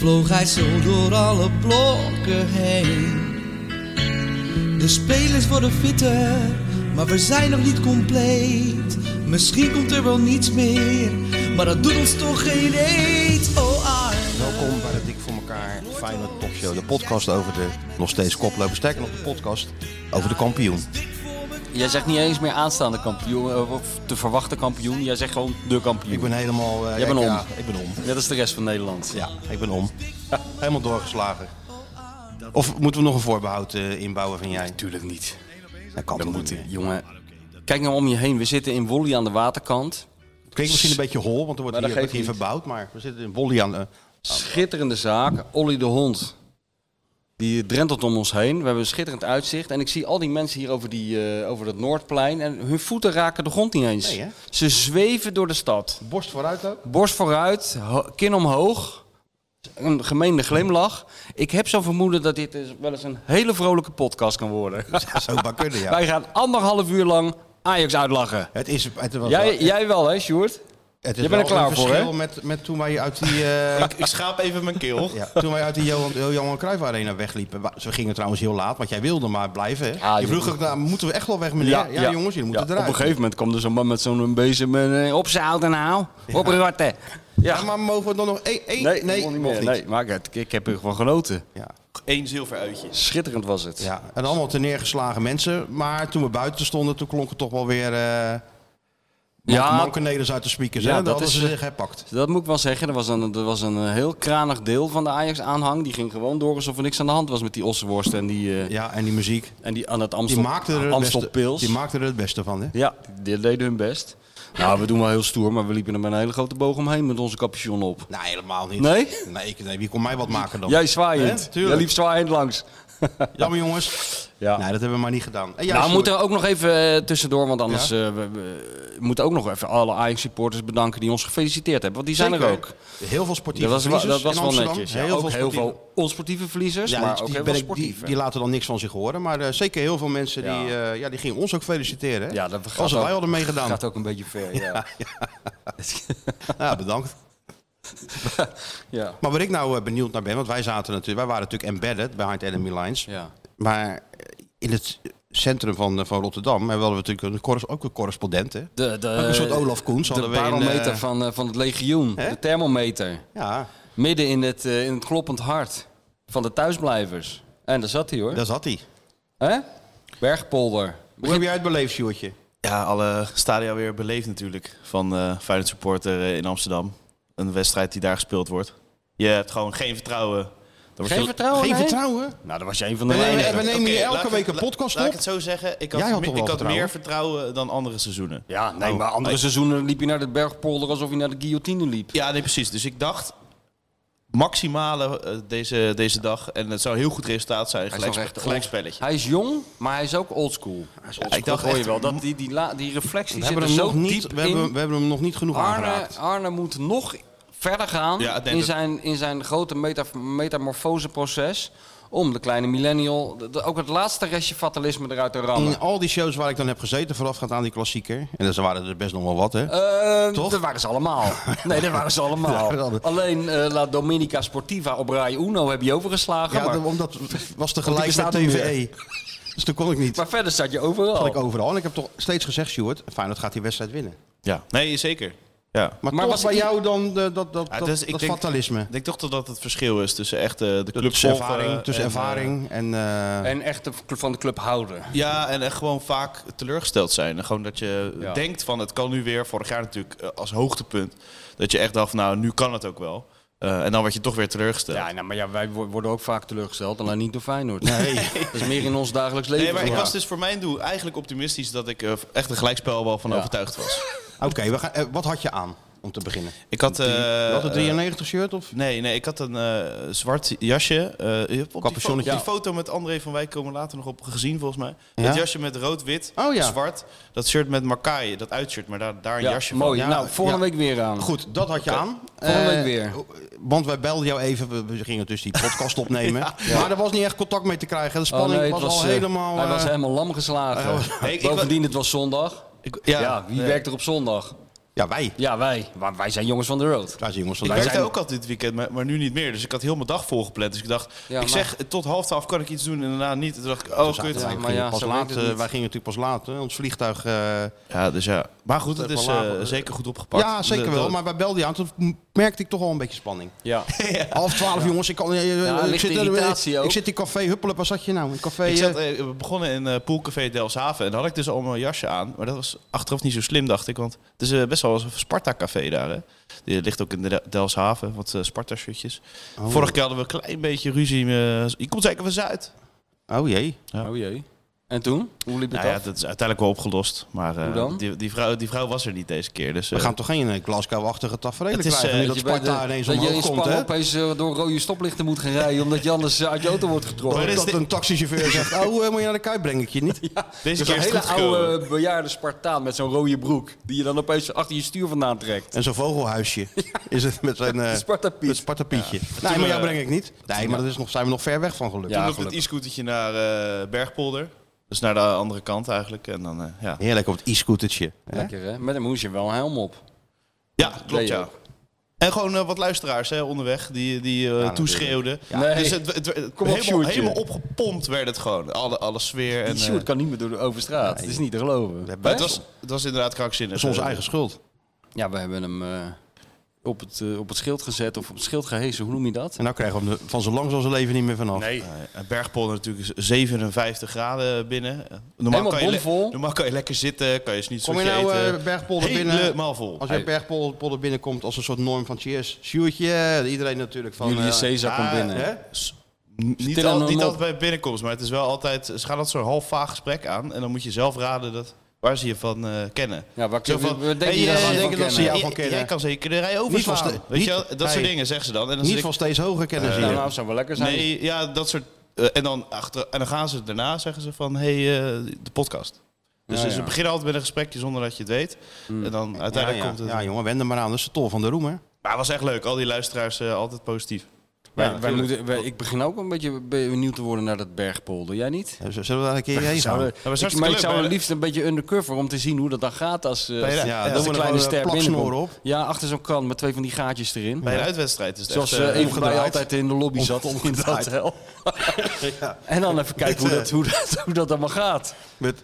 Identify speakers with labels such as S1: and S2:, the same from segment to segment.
S1: Vloog hij zo door alle blokken heen De spelers worden fitter, maar we zijn nog niet compleet Misschien komt er wel niets meer, maar dat doet ons toch geen eet Oh Arne,
S2: Welkom bij de Dik voor elkaar Feyenoord Topshow. De podcast over de nog steeds koploper. Sterker nog, de podcast over de kampioen.
S3: Jij zegt niet eens meer aanstaande kampioen eh, of te verwachten kampioen. Jij zegt gewoon de kampioen.
S2: Ik ben helemaal... eh,
S3: Jij bent om.
S2: Ja, ik ben om.
S3: Net als de rest van Nederland.
S2: Ja, ik ben om. Helemaal doorgeslagen. Of moeten we nog een voorbehoud eh, inbouwen van jij?
S3: Natuurlijk niet.
S2: Dat kan toch niet. meer?
S3: Jongen, kijk nou om je heen. We zitten in Wolly aan de waterkant.
S2: Het klinkt misschien een beetje hol, want er wordt
S3: Maar dat
S2: hier, wordt
S3: geeft
S2: hier
S3: niet.
S2: verbouwd. Maar we zitten in Wolly aan... eh,
S3: Schitterende zaak. Olly de Hond. Die drentelt om ons heen. We hebben een schitterend uitzicht. En ik zie al die mensen hier over, die, eh, over dat Noordplein. En hun voeten raken de grond niet eens.
S2: Nee, hè?
S3: Ze zweven door de stad.
S2: borst vooruit ook.
S3: Borst vooruit, ho- kin omhoog. Een gemeende glimlach. Ik heb zo'n vermoeden dat dit dus wel eens een hele vrolijke podcast kan worden.
S2: Dat zou maar kunnen, ja.
S3: Wij gaan anderhalf uur lang Ajax uitlachen.
S2: Het is... Het was
S3: Jij,
S2: wel-
S3: jij wel, hè, Sjoerd?
S2: Het is
S3: Jij bent er
S2: wel
S3: klaar
S2: een
S3: voor,
S2: verschil
S3: hè?
S2: Met, met toen wij uit die, eh,
S4: Ik schaap even mijn keel.
S2: ja, toen wij uit die Johan, Johan Cruijff Arena wegliepen. wa- Ze gingen trouwens heel laat, want jij wilde maar blijven. Hè?
S3: Ja,
S2: je vroeg
S3: joh.
S2: ook, nou, moeten we echt wel weg, meneer? Ja, jongens, jullie moeten
S3: Ja,
S2: eruit.
S3: Op een gegeven moment kwam er zo'n man met zo'n bezem en eh, op zijn houten nou. Op ratten. Ja.
S2: Ja, maar mogen we dan nog één? één-
S3: nee,
S2: nee,
S3: mocht niet
S2: mocht
S3: meer. Nee, maar ik, ik heb er gewoon genoten.
S2: Ja,
S4: Eén zilver uitje.
S3: Schitterend was het.
S2: ja, en allemaal te neergeslagen mensen. Maar toen we buiten stonden, toen klonk het toch wel weer eh
S3: Ja,
S2: mankeneders uit de speakers.
S3: Ja,
S2: Ja,
S3: dat
S2: dat hadden
S3: is- eh,
S2: ze zich herpakt.
S3: Dat moet ik wel zeggen. Er was een, er was een eh, heel kranig deel van de Ajax-aanhang. Die ging gewoon door alsof er niks aan de hand was met die ossenworst en die, eh,
S2: Ja, en die muziek,
S3: en die aan het
S2: die
S3: Amstel,
S2: maakte er het
S3: Amstel
S2: beste,
S3: Pils.
S2: die maakte er het beste van. Hè?
S3: Ja, die deden hun best. Nou, we doen wel heel stoer, maar we liepen er met een hele grote boog omheen met onze capuchon op.
S2: Nee, helemaal niet.
S3: Nee?
S2: Nee, ik- nee, wie kon mij wat maken dan?
S3: Jij zwaaiend.
S2: Hè? Tuurlijk.
S3: Jij liep zwaaiend langs.
S2: Jammer jongens.
S3: Ja.
S2: Nee, dat hebben we maar niet gedaan. En jij,
S3: nou, we
S2: Sjoerd?
S3: moeten ook nog even eh, tussendoor, want anders eh, we, we- we moeten ook nog even alle Ajax-supporters bedanken die ons gefeliciteerd hebben. Want die zijn er
S2: Zeker.
S3: ook.
S2: Heel veel sportieve
S3: Dat was, wel-
S2: verliezers
S3: dat was
S2: in
S3: wel
S2: Amsterdam.
S3: netjes. Ja,
S2: Heel,
S3: ook
S2: veel
S3: heel
S2: sportieve-
S3: veel onsportieve verliezers,
S2: Ja,
S3: maar
S2: die,
S3: ook
S2: die
S3: heel
S2: ben
S3: veel
S2: ik- die-
S3: sportieve.
S2: die laten dan niks van zich horen. Maar eh, zeker heel veel mensen
S3: Ja.
S2: die, eh, ja, die gingen ons ook feliciteren. hè?
S3: Ja, dat gaat
S2: Als
S3: ook-
S2: wij hadden meegedaan.
S3: gaat ook een beetje ver, ja.
S2: Ja, bedankt.
S3: ja.
S2: Maar waar ik nou eh, benieuwd naar ben, want wij zaten natuurlijk, wij waren natuurlijk embedded behind enemy lines.
S3: ja.
S2: Maar eh, in het centrum van, eh, van Rotterdam hebben we natuurlijk een, corres- ook een correspondent. Hè?
S3: De, de,
S2: Ook een soort Olaf Koens
S3: De
S2: hadden we in,
S3: barometer
S2: eh,
S3: van, eh, van het legioen,
S2: Hè?
S3: de thermometer.
S2: Ja,
S3: Midden in het, eh, in het kloppend hart van de thuisblijvers. En daar zat hij hoor.
S2: daar zat hij.
S3: Hè? Bergpolder.
S2: Hoe heb jij het beleefd, Sjoerdje?
S4: Ja, alle stadia weer beleefd natuurlijk van eh Feyenoord supporter eh, in Amsterdam. Een wedstrijd die daar gespeeld wordt. Je hebt gewoon geen vertrouwen. Dat wordt
S3: Geen
S4: heel-
S3: vertrouwen?
S2: Geen
S3: nee?
S2: vertrouwen.
S3: Nou, dat was je een van de
S2: We nemen,
S3: weinigen.
S2: we nemen
S4: Oké,
S2: hier
S4: laat
S2: elke
S4: ik
S2: week een
S4: het-
S2: podcast
S4: Laat ik
S2: op.
S4: het zo zeggen, ik had,
S2: Jij had
S4: me-
S2: toch
S4: ik had
S2: wel vertrouwen?
S4: meer vertrouwen dan andere seizoenen.
S3: Ja,
S2: Oh.
S3: nee, maar andere seizoenen liep je naar de Bergpolder alsof je naar de guillotine liep.
S4: Ja, nee, precies. Dus ik dacht, maximale eh, deze, deze dag. En het zou een heel goed resultaat zijn.
S3: is nog
S4: Gelijk,
S3: echt old.
S4: gelijkspelletje.
S3: Hij is jong, maar hij is ook oldschool.
S4: Ja, ik
S3: Dat
S4: dacht
S3: hoor je
S4: echt,
S3: wel. Dat, die, die, la- die reflectie
S2: We
S3: zit
S2: hebben,
S3: er
S2: hem
S3: zo
S2: nog niet,
S3: diep
S2: we,
S3: in.
S2: hebben, we hebben hem nog niet genoeg
S3: Arne,
S2: aangeraakt.
S3: Arne moet nog verder gaan
S4: Ja, ik denk
S3: in,
S4: dat-
S3: zijn, in zijn grote meta- metamorfoseproces. Om de kleine millennial de- de- ook het laatste restje fatalisme eruit te rammen.
S2: In al die shows waar ik dan heb gezeten, voorafgaand aan die klassieker. En dat waren er best nog wel wat, hè?
S3: Eh,
S2: Toch?
S3: Dat waren ze allemaal. Nee, dat waren ze allemaal.
S2: Ja, dat-
S3: Alleen eh, La Dominica Sportiva op Rai Uno heb je overgeslagen.
S2: ja,
S3: maar,
S2: dat- omdat was tegelijk met
S3: bestaat niet
S2: TVE. Dus toen kon ik niet.
S3: maar verder zat je overal.
S2: Zat ik overal. En ik heb toch steeds gezegd, Stuart, Feyenoord gaat die wedstrijd winnen.
S4: Ja, nee, zeker. Ja.
S2: Maar,
S3: Maar
S2: toch
S3: was
S2: bij
S3: i-
S2: jou dan eh, dat, dat,
S4: Ja,
S2: dat,
S4: dus ik
S2: dat
S4: denk-
S2: fatalisme?
S4: Ik denk toch dat dat het verschil is tussen echt eh, de club
S2: Tussen
S4: eh,
S2: ervaring, tussen ervaring en... eh,
S3: En echt de- van de club houden.
S4: Ja, en echt gewoon vaak teleurgesteld zijn. En Gewoon dat je
S3: Ja.
S4: denkt van het kan nu weer. Vorig jaar natuurlijk eh, als hoogtepunt. Dat je echt dacht, nou nu kan het ook wel. Eh, en dan word je toch weer teleurgesteld.
S3: Ja, nou, maar ja, wij wo- worden ook vaak teleurgesteld. Alleen niet door Feyenoord. Nee. dat is meer in ons dagelijks leven.
S4: nee, maar ik
S3: Ja.
S4: was dus voor mijn doel eigenlijk optimistisch dat ik eh, echt een gelijkspel wel van
S3: Ja.
S4: overtuigd was.
S2: Oké, we gaan- eh, wat had je aan om te beginnen?
S4: Ik had, eh,
S2: je had een
S4: eh,
S2: 93 shirt of?
S4: nee, nee, ik had een eh, zwart jasje. eh, je hebt op die, fo-
S2: Capuchonnetje.
S4: die foto met André van Wijk komen we later nog op gezien volgens mij.
S2: Ja?
S4: Dat jasje met rood-wit,
S2: Oh, ja.
S4: zwart. Dat shirt met Marcaille, dat uitshirt, maar daar, daar een
S3: Ja,
S4: jasje
S3: mooi.
S4: van.
S3: nou, volgende
S2: ja.
S3: week weer aan. Oh,
S2: Goed, dat had je aan.
S3: volgende
S2: Eh,
S3: week weer.
S2: Want wij belden jou even, we, we gingen dus die podcast opnemen. Maar er was niet echt contact mee te krijgen. De
S3: Oh,
S2: spanning
S3: nee,
S2: was,
S3: het
S2: al
S3: eh,
S2: helemaal...
S3: Hij
S2: eh,
S3: was helemaal lam geslagen.
S4: Nee, ik- ik
S3: Bovendien, het was zondag.
S4: Ik-
S3: Ja, wie
S4: nee.
S3: werkt er op zondag?
S2: Ja, wij.
S3: Ja, wij. Maar wij zijn jongens van de road.
S2: Daar zijn jongens van
S4: Ik
S2: de
S4: werkte
S2: zijn-
S4: ook altijd dit weekend, maar, maar nu niet meer. Dus ik had heel mijn dag volgepland. Dus ik dacht,
S3: Ja,
S4: ik
S3: maar-
S4: zeg tot half twaalf kan ik iets doen en daarna niet. En toen dacht ik, oh
S2: Zaten
S4: kut.
S2: wij,
S4: Ja,
S3: maar
S2: gingen
S3: ja,
S2: pas
S3: zo werkt
S2: laat,
S3: het
S2: eh,
S3: niet.
S2: wij gingen natuurlijk pas laat. hè. Ons vliegtuig... eh,
S4: dus ja. Maar goed, het
S2: Even
S4: is
S2: lager.
S4: eh, zeker goed opgepakt.
S2: ja,
S4: De-
S2: zeker
S4: de-
S2: wel. Maar wij belden je aan. Toen m- merkte ik toch al een beetje spanning.
S3: Ja.
S2: Half twaalf, jongens. Ik, kan, eh, eh,
S3: Ja,
S2: ik,
S3: lichte
S2: zit, in-
S3: irritatie
S2: ik,
S3: ook.
S2: zit in café Huppelen. Waar zat je nou? In café...
S4: Ik zat,
S2: eh,
S4: eh, we begonnen in eh Poolcafé Delshaven. En daar had ik dus al mijn jasje aan. Maar dat was achteraf niet zo slim, dacht ik. Want het is eh, best wel een Sparta-café daar. Hè? Die ligt ook in de Delshaven. Wat eh, Sparta-shirtjes. Vorige keer hadden we een klein beetje ruzie. eh, je komt zeker van Zuid.
S2: Oh jee.
S3: Oh jee. En toen? Hoe liep het
S4: Nou ja,
S3: af?
S4: dat is uiteindelijk wel opgelost. Maar eh,
S3: Hoe dan?
S4: Die, die, vrouw, die vrouw was er niet deze keer. Dus, eh,
S2: We gaan toch geen eh, Glasgow-achtige tafereel
S4: Het is,
S2: krijgen
S4: eh,
S2: nu dat
S3: je bij
S2: Sparta
S3: de-
S2: ineens
S3: dat je in
S2: omhoog komt,
S3: Spanje
S2: hè?
S3: opeens eh, door rode stoplichten moet gaan rijden, omdat je anders eh, uit je auto wordt
S4: Maar
S3: getrokken.
S4: is
S2: Dat
S4: dit-
S2: een taxichauffeur zegt, oh, eh, moet je naar de Kuip, breng ik je niet.
S4: deze
S3: Dus
S4: keer
S3: een
S4: is het
S3: hele
S4: goed gekomen.
S3: oude bejaarde Spartaan met zo'n rode broek, die je dan opeens achter je stuur vandaan trekt.
S2: En zo'n vogelhuisje is het met zijn eh
S3: Spartapiet.
S2: met Spartapietje.
S4: Toen,
S2: Nee, maar
S4: eh,
S2: jou breng ik niet. Nee, maar daar is nog, zijn we nog ver weg van gelukkig.
S3: Ja,
S4: Toen op het e-scootertje naar eh, Bergpolder. Dus naar de andere kant eigenlijk. En dan, eh, ja.
S2: Heerlijk op het e-scootertje. hè?
S3: Lekker hè? Met een moesje wel een helm op.
S4: ja,
S3: Nee,
S4: klopt ja.
S3: joh.
S4: En gewoon eh, wat luisteraars hè, onderweg die, die eh,
S2: natuurlijk.
S4: toeschreeuwden.
S3: Nee.
S4: Dus het, het- het-
S3: Kom op,
S4: helemaal,
S3: Sjoerdje.
S4: helemaal opgepompt werd het gewoon. Alle, alle sfeer. En,
S3: Die
S4: eh,
S3: shoot kan niet meer door de overstraat. Het is niet te geloven.
S4: maar het, was, het was inderdaad krankzinnig.
S2: Dat is onze
S4: Eh,
S2: eigen schuld.
S3: Ja, we hebben hem eh, op, het, eh, op het schild gezet of op het schild gehezen. Hoe noem je dat?
S2: En nou krijgen we hem de- van zo lang als zijn leven niet meer vanaf.
S3: Nee.
S4: eh, Bergpolder natuurlijk is 57 graden binnen. Eh, Normaal
S3: Helemaal
S4: kan, je le-
S3: bomvol.
S4: normaal kan je lekker zitten, kan je niet zo
S2: Kom je
S4: eten.
S2: nou eh, Bergpolder binnen?
S4: Helemaal vol.
S2: Als je Bergpolder binnenkomt als een soort norm van cheers. Sjoerdje, eh, iedereen natuurlijk van...
S3: Julius
S2: eh,
S3: Caesar komt
S4: ah,
S3: binnen.
S2: hè?
S4: S- n- Niet,
S3: Stil
S4: al,
S3: en
S4: niet
S3: op.
S4: altijd bij binnenkomst, maar het is wel altijd. Ze gaan altijd zo'n half vaag gesprek aan. En dan moet je zelf raden dat, waar ze je van eh, kennen.
S3: Ja, waar
S4: Zo
S3: kun-
S4: van,
S3: we denken
S4: hey,
S3: je
S4: eh,
S3: dat ze van
S4: denken
S3: kennen?
S4: ze jou van
S2: Ja, jij-
S4: kennen.
S2: jij
S4: Jij kan ze kunnen rij
S2: Niet van
S4: overslaan.
S2: ste-
S4: Weet
S2: niet-
S4: je wel, dat soort
S2: hey.
S4: dingen zeggen ze dan. En dan
S2: Niet
S4: zit
S2: van
S4: ik,
S2: steeds hoger kennen ze
S3: Ja,
S2: je.
S3: nou, zou wel lekker zijn.
S4: Nee, ja, dat soort. eh, en, dan achter, en dan gaan ze daarna zeggen ze van, hey, eh, de podcast. Dus
S3: Ja,
S4: ze
S3: ja. Hmm.
S4: beginnen altijd met een gesprekje zonder dat je het weet. En dan
S2: Ja,
S4: uiteindelijk
S2: ja,
S4: komt het.
S2: ja, jongen, wend er maar aan. Dat is de tol van de roem, hè?
S4: Maar het was echt leuk. Al die luisteraars eh, altijd positief.
S3: Wij- wij moeten, wij- ik begin ook een beetje benieuwd te worden naar dat bergpolder. Jij niet?
S2: Eh, z- Zullen we daar een keer heen gaan?
S3: Zouden-
S4: maar is
S3: ik,
S4: hartstikke
S3: maar ik
S4: leuk,
S3: zou
S4: maar-
S3: liefst een beetje undercover om te zien hoe dat dan gaat als, eh
S4: Bij de- ja,
S3: als
S4: doen we
S2: er
S3: een kleine
S2: gewoon,
S3: ster
S2: eh, plaksnoren
S3: binnenkomt. Ja, achter zo'n krant met twee van die gaatjes erin.
S4: Bij een uitwedstrijd is het
S3: Zoals
S4: echt...
S3: eh,
S4: eh,
S3: een van mij
S2: omgedraaid.
S3: altijd in de lobby zat
S2: Om-
S3: in het
S2: omgedraaid. eh,
S3: hotel. En dan even kijken hoe dat, hoe, dat, hoe dat allemaal gaat.
S2: Met,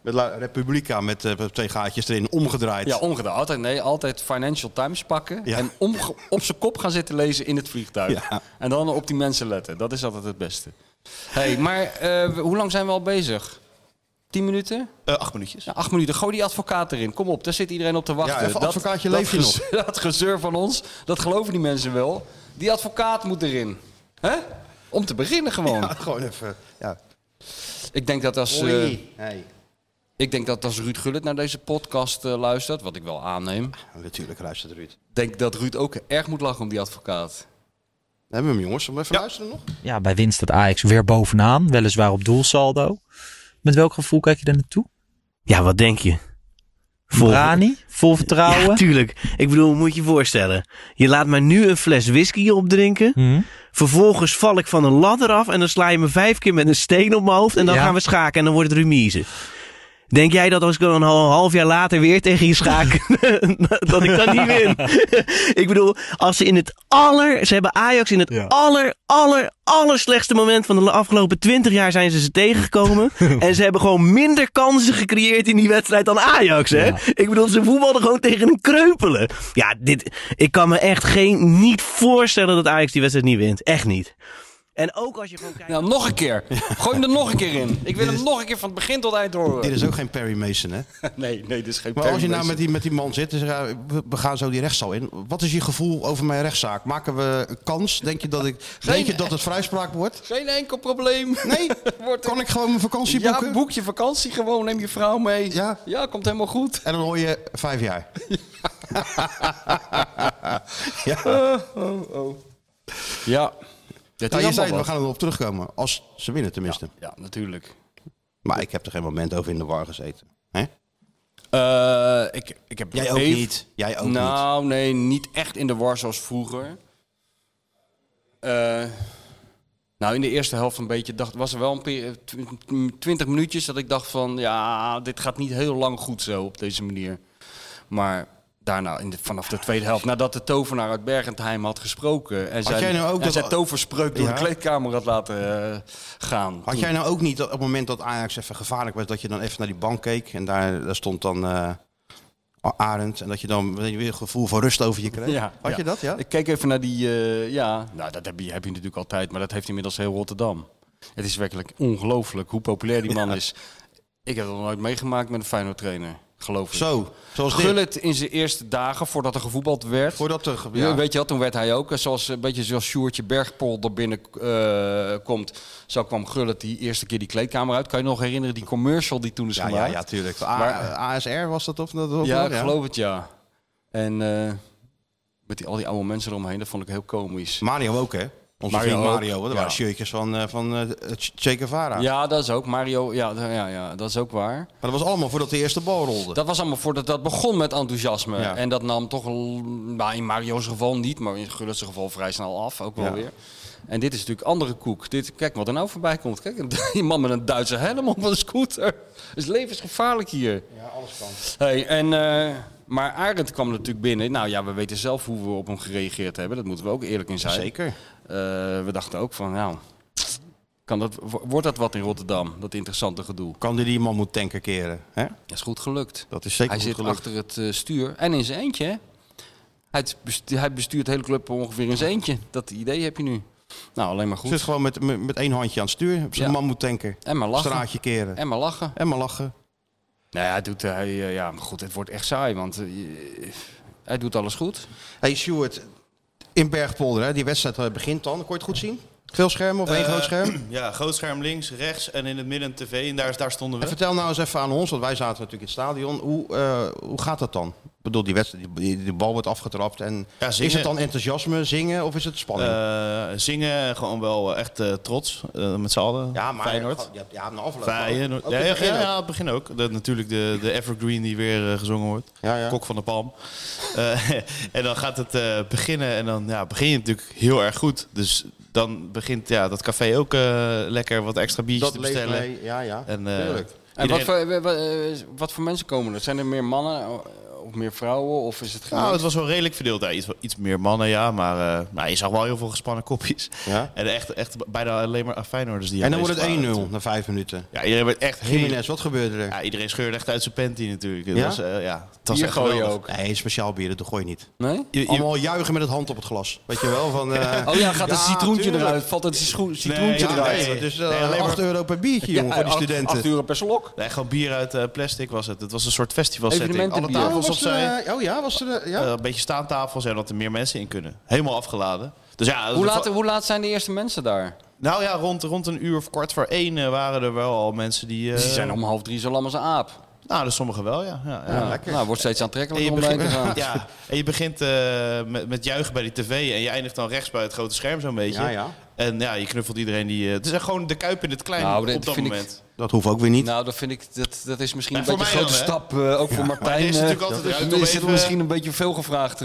S2: met La Republica met eh, twee gaatjes erin omgedraaid.
S3: Ja, omgedraaid. Altijd, nee, altijd Financial Times pakken
S2: Ja.
S3: en omge- op zijn kop gaan zitten lezen in het vliegtuig.
S2: Ja.
S3: En dan op die mensen letten. Dat is altijd het beste. Hey, maar eh, we- hoe lang zijn we al bezig? Tien minuten?
S4: eh, acht minuutjes.
S3: Ja, Nou, acht minuten. Gooi die advocaat erin. Kom op, daar zit iedereen op te wachten.
S2: Ja, even advocaatje, leef je
S3: dat nog. Dat gezeur van ons, dat geloven die mensen wel. Die advocaat moet erin. Hè? Om te beginnen gewoon.
S2: Ja, gewoon even. Ja.
S3: Ik, denk dat als, eh,
S2: Oei. Nee.
S3: ik denk dat als Ruud Gullit naar deze podcast eh, luistert, wat ik wel aanneem,
S2: Oh, Natuurlijk luistert Ruud. We
S3: denk dat Ruud ook erg moet lachen om die advocaat.
S2: hebben we hem, jongens. Zullen we even luisteren nog?
S5: ja, bij winst staat Ajax weer bovenaan, weliswaar op doelsaldo. Met welk gevoel kijk je daar naartoe?
S6: Ja, wat denk je? Vol-
S5: Brani, vol
S6: Ja,
S5: vertrouwen.
S6: tuurlijk. Ik bedoel, moet je je voorstellen. Je laat mij nu een fles whisky opdrinken.
S5: Mhm.
S6: Vervolgens val ik van een ladder af en dan sla je me vijf keer met een steen op mijn hoofd. En dan
S5: Ja.
S6: gaan we schaken en dan wordt het remise. Denk jij dat als ik dan een hal- half jaar later weer tegen je schaak, dat ik dan niet win? ik bedoel, als ze in het aller, ze hebben Ajax in het
S7: Ja.
S6: aller, aller, aller slechtste moment van de afgelopen twintig jaar zijn ze ze tegengekomen. en ze hebben gewoon minder kansen gecreëerd in die wedstrijd dan Ajax, hè?
S7: Ja.
S6: Ik bedoel, ze voetbalden gewoon tegen een kreupelen. Ja, dit, ik kan me echt geen, niet voorstellen dat Ajax die wedstrijd niet wint. Echt niet. En ook als je gewoon kijkt...
S3: Nou, nog een keer. Gooi hem er nog een keer in. Ik wil hem nog een keer van het begin tot eind
S2: Dit
S3: horen.
S2: is ook geen Perry Mason, hè?
S3: Nee, nee, dit is geen
S2: Maar als je
S3: Perry
S2: nou
S3: Mason.
S2: met die, met die man zit en zegt, ja, we, we gaan zo die rechtszaal in. Wat is je gevoel over mijn rechtszaak? Maken we een kans? Denk je dat, ik, denk je dat het vrijspraak wordt?
S3: Geen enkel probleem.
S2: Nee?
S3: Wordt
S2: Kan ik gewoon mijn vakantie
S3: ja,
S2: boeken?
S3: boek je vakantie gewoon. Neem je vrouw mee.
S2: Ja.
S3: komt helemaal goed.
S2: En dan hoor je vijf jaar. Nou, ja.
S3: Ja. Dat
S2: Nou, je zei, het, we gaan erop terugkomen. Als ze winnen tenminste.
S3: Ja, natuurlijk.
S2: Maar ik heb er geen moment over in de war gezeten. Hè?
S3: Eh, ik, ik heb
S2: Jij ook
S3: even-
S2: niet. Jij ook niet.
S3: nou, nee, niet echt in de war zoals vroeger. Eh, nou, in de eerste helft een beetje dacht, was er wel een peri- tw- tw- 20 minuutjes dat ik dacht van, ja, dit gaat niet heel lang goed zo op deze manier. Maar daarna, in de, vanaf de tweede helft, nadat de tovenaar uit Bergentheim had gesproken en zijn,
S2: jij nou ook
S3: en
S2: dat-
S3: zijn toverspreuk door
S2: Ja.
S3: de kleedkamer had laten eh, gaan.
S2: Had jij nou ook niet op het moment dat Ajax even gevaarlijk was, dat je dan even naar die bank keek en daar, daar stond dan eh, Arend en dat je dan weet je, weer een gevoel van rust over je kreeg?
S3: Ja,
S2: Had
S3: ja.
S2: je dat? Ja.
S3: Ik keek even naar die, eh, ja, nou dat heb je, heb je natuurlijk altijd, maar dat heeft inmiddels heel Rotterdam. Het is werkelijk ongelooflijk hoe populair die man is. Ik heb het nog nooit meegemaakt met een Feyenoord trainer, geloof ik.
S2: Zo, zoals dit.
S3: Gullit in zijn eerste dagen voordat er gevoetbald werd.
S2: Voordat er
S3: Ja.
S2: ja.
S3: Weet je wat, toen werd hij ook, eh, zoals, een beetje zoals Sjoertje Bergpol er binnen eh, komt. Zo kwam Gullit die eerste keer die kleedkamer uit. Kan je nog herinneren die commercial die toen is
S2: Ja, ja,
S3: gemaakt?
S2: ja, tuurlijk. eh,
S3: Maar- eh,
S2: A- ASR was dat of dat? of
S3: Ja,
S2: wat?
S3: ik geloof het ja. En eh, met die, al die oude mensen eromheen, dat vond ik heel komisch.
S2: Mario ook, hè? Onze
S3: Mario
S2: vriend
S3: ook.
S2: Mario. Dat
S3: Ja.
S2: waren shirtjes van, eh, van eh, Che Guevara.
S3: Ja, dat is ook. Mario, ja, d- ja, ja, dat is ook waar.
S2: Maar dat was allemaal voordat de eerste bal rolde.
S3: Dat was allemaal voordat dat begon met enthousiasme.
S2: Ja.
S3: En dat nam toch, l- nou, in Mario's geval niet, maar in Gullet's geval vrij snel af. Ook wel
S2: Ja.
S3: weer. En dit is natuurlijk andere koek. Dit, kijk wat er nou voorbij komt. Kijk, die man met een Duitse helm op een scooter. Het is levensgevaarlijk hier.
S2: Ja, alles kan.
S3: Hey, en, eh, maar Arend kwam natuurlijk binnen. Nou ja, we weten zelf hoe we op hem gereageerd hebben. Dat moeten we ook eerlijk in zijn.
S2: Zeker.
S3: Eh, we dachten ook van, nou, kan dat, wo- wordt dat wat in Rotterdam? Dat interessante gedoe.
S2: Kan die die man moet tanken keren? Hè?
S3: Dat is goed gelukt.
S2: Dat is zeker
S3: hij
S2: goed
S3: zit
S2: gelukt.
S3: achter het eh, stuur en in zijn eentje. hè? Hij het bestu- hij bestuurt de hele club ongeveer in zijn eentje. Dat idee heb je nu. Nou, alleen maar
S2: Zit
S3: goed.
S2: gewoon met, met, met één handje aan het stuur. Zijn
S3: Ja.
S2: man moet tanken.
S3: En maar lachen.
S2: Straatje keren. En,
S3: En maar lachen.
S2: maar lachen.
S3: Nou ja, hij doet, hij, eh, ja, maar goed, het wordt echt saai, want eh, je- hij doet alles goed.
S2: hey, Stuart, in Bergpolder, hè, die wedstrijd eh, begint dan. Kon je het goed zien? Veel schermen of één
S4: Eh,
S2: groot scherm?
S4: Ja, groot scherm links, rechts en in het midden een tv. En daar, daar stonden
S2: En
S4: we.
S2: vertel nou eens even aan ons, want wij zaten natuurlijk in het stadion. Hoe, eh, hoe gaat dat dan? Ik bedoel, die, wedstrijd, die, die- die bal wordt afgetrapt. En
S4: Ja, zingen.
S2: is het dan enthousiasme, zingen of is het spanning?
S4: Eh, zingen, gewoon wel eh, echt eh, trots. eh, met z'n allen.
S2: ja, maar
S4: Feyenoord.
S2: Ja, ja, na afloop.
S4: Feyenoord.
S2: Ook
S4: Ja,
S2: in het
S4: ja,
S2: begin
S4: ja,
S2: ook.
S4: ja, het begin ook. Dat, natuurlijk de, de Evergreen die weer eh, gezongen wordt.
S2: Ja, ja.
S4: Kok van de Palm. Eh, en dan gaat het eh, beginnen. En dan ja, begin je natuurlijk heel erg goed. Dus dan begint ja, dat café ook eh, lekker wat extra biertjes
S2: dat
S4: te
S2: leeft
S4: bestellen.
S2: mee. Ja, ja.
S4: En, eh,
S2: Tuurlijk.
S3: En wat voor, eh, wa- eh, wat voor mensen komen er? Zijn er meer mannen eh, of meer vrouwen? Of is het
S4: Nou,
S3: gemixt?
S4: het was wel redelijk verdeeld. Ja, iets, iets meer mannen, ja. Maar eh, nou, je zag wel heel veel gespannen kopjes.
S2: Ja.
S4: En echt, echt bijna alleen maar Feyenoorders die
S2: En dan wordt
S4: aanwezig
S2: het
S4: waren.
S2: 1-0 na vijf minuten.
S4: Ja, iedereen werd echt heel...
S2: Jiménez, wat gebeurde er?
S4: Ja, iedereen scheurde echt uit zijn panty natuurlijk. Het
S2: Ja?
S4: was, eh, ja, het was
S3: Bier
S4: echt
S3: gooien
S4: geweldig.
S3: ook.
S2: Nee, speciaal bieren, dat gooi je niet.
S3: Nee?
S4: Je- je-
S2: Allemaal juichen met het hand op het glas. Weet je wel, van... eh,
S3: Oh ja, gaat een
S2: Ja,
S3: citroentje
S2: tuurlijk.
S3: eruit? Valt het citroen- citroentje
S4: ja,
S3: eruit?
S4: nee.
S2: dus eh,
S4: Nee, alleen maar-
S2: 8 euro per biertje, jongen, voor die
S3: acht-
S2: studenten.
S3: Acht uur per slok.
S4: Nee, gewoon bier uit eh, plastic was het. Het was een soort festival setting. Alle
S3: Evenementenbier.
S4: tafels
S2: Oh, was
S4: opzij.
S2: er, eh, oh ja, was er... eh, ja?
S4: Eh, een beetje staantafels en dat er meer mensen in kunnen. Helemaal afgeladen. Dus ja,
S3: Hoe
S4: dat-
S3: laat, hoe laat zijn de eerste mensen daar?
S4: nou ja, rond, rond een uur of kwart voor één eh, waren er wel al mensen die... eh,
S3: Ze zijn om half drie zo lam als een aap.
S4: Nou, dus sommigen wel, ja. ja, ja.
S3: Ja, Nou, wordt steeds
S4: Ah, En je
S3: aantrekkelijker om daarheen
S4: begint,
S3: te gaan.
S4: ja, en je begint eh, met, met juichen bij die tv en je eindigt dan rechts bij het grote scherm zo'n beetje.
S2: Ja, ja.
S4: En ja, je knuffelt iedereen die... eh, het is echt gewoon de Kuip in het klein
S3: Nou, dat
S4: op dat
S3: vind ik-
S4: moment.
S2: Dat hoeft ook weer niet.
S3: Nou, dat vind ik, dat, dat is misschien
S4: Ja,
S3: een beetje een
S4: voor mij
S3: grote
S4: dan,
S3: stap, eh, ook voor Martijn.
S4: er is natuurlijk
S3: eh,
S4: altijd
S3: dat-
S4: ruimte
S3: is
S4: om
S3: het
S4: even-
S3: misschien een beetje veel gevraagd te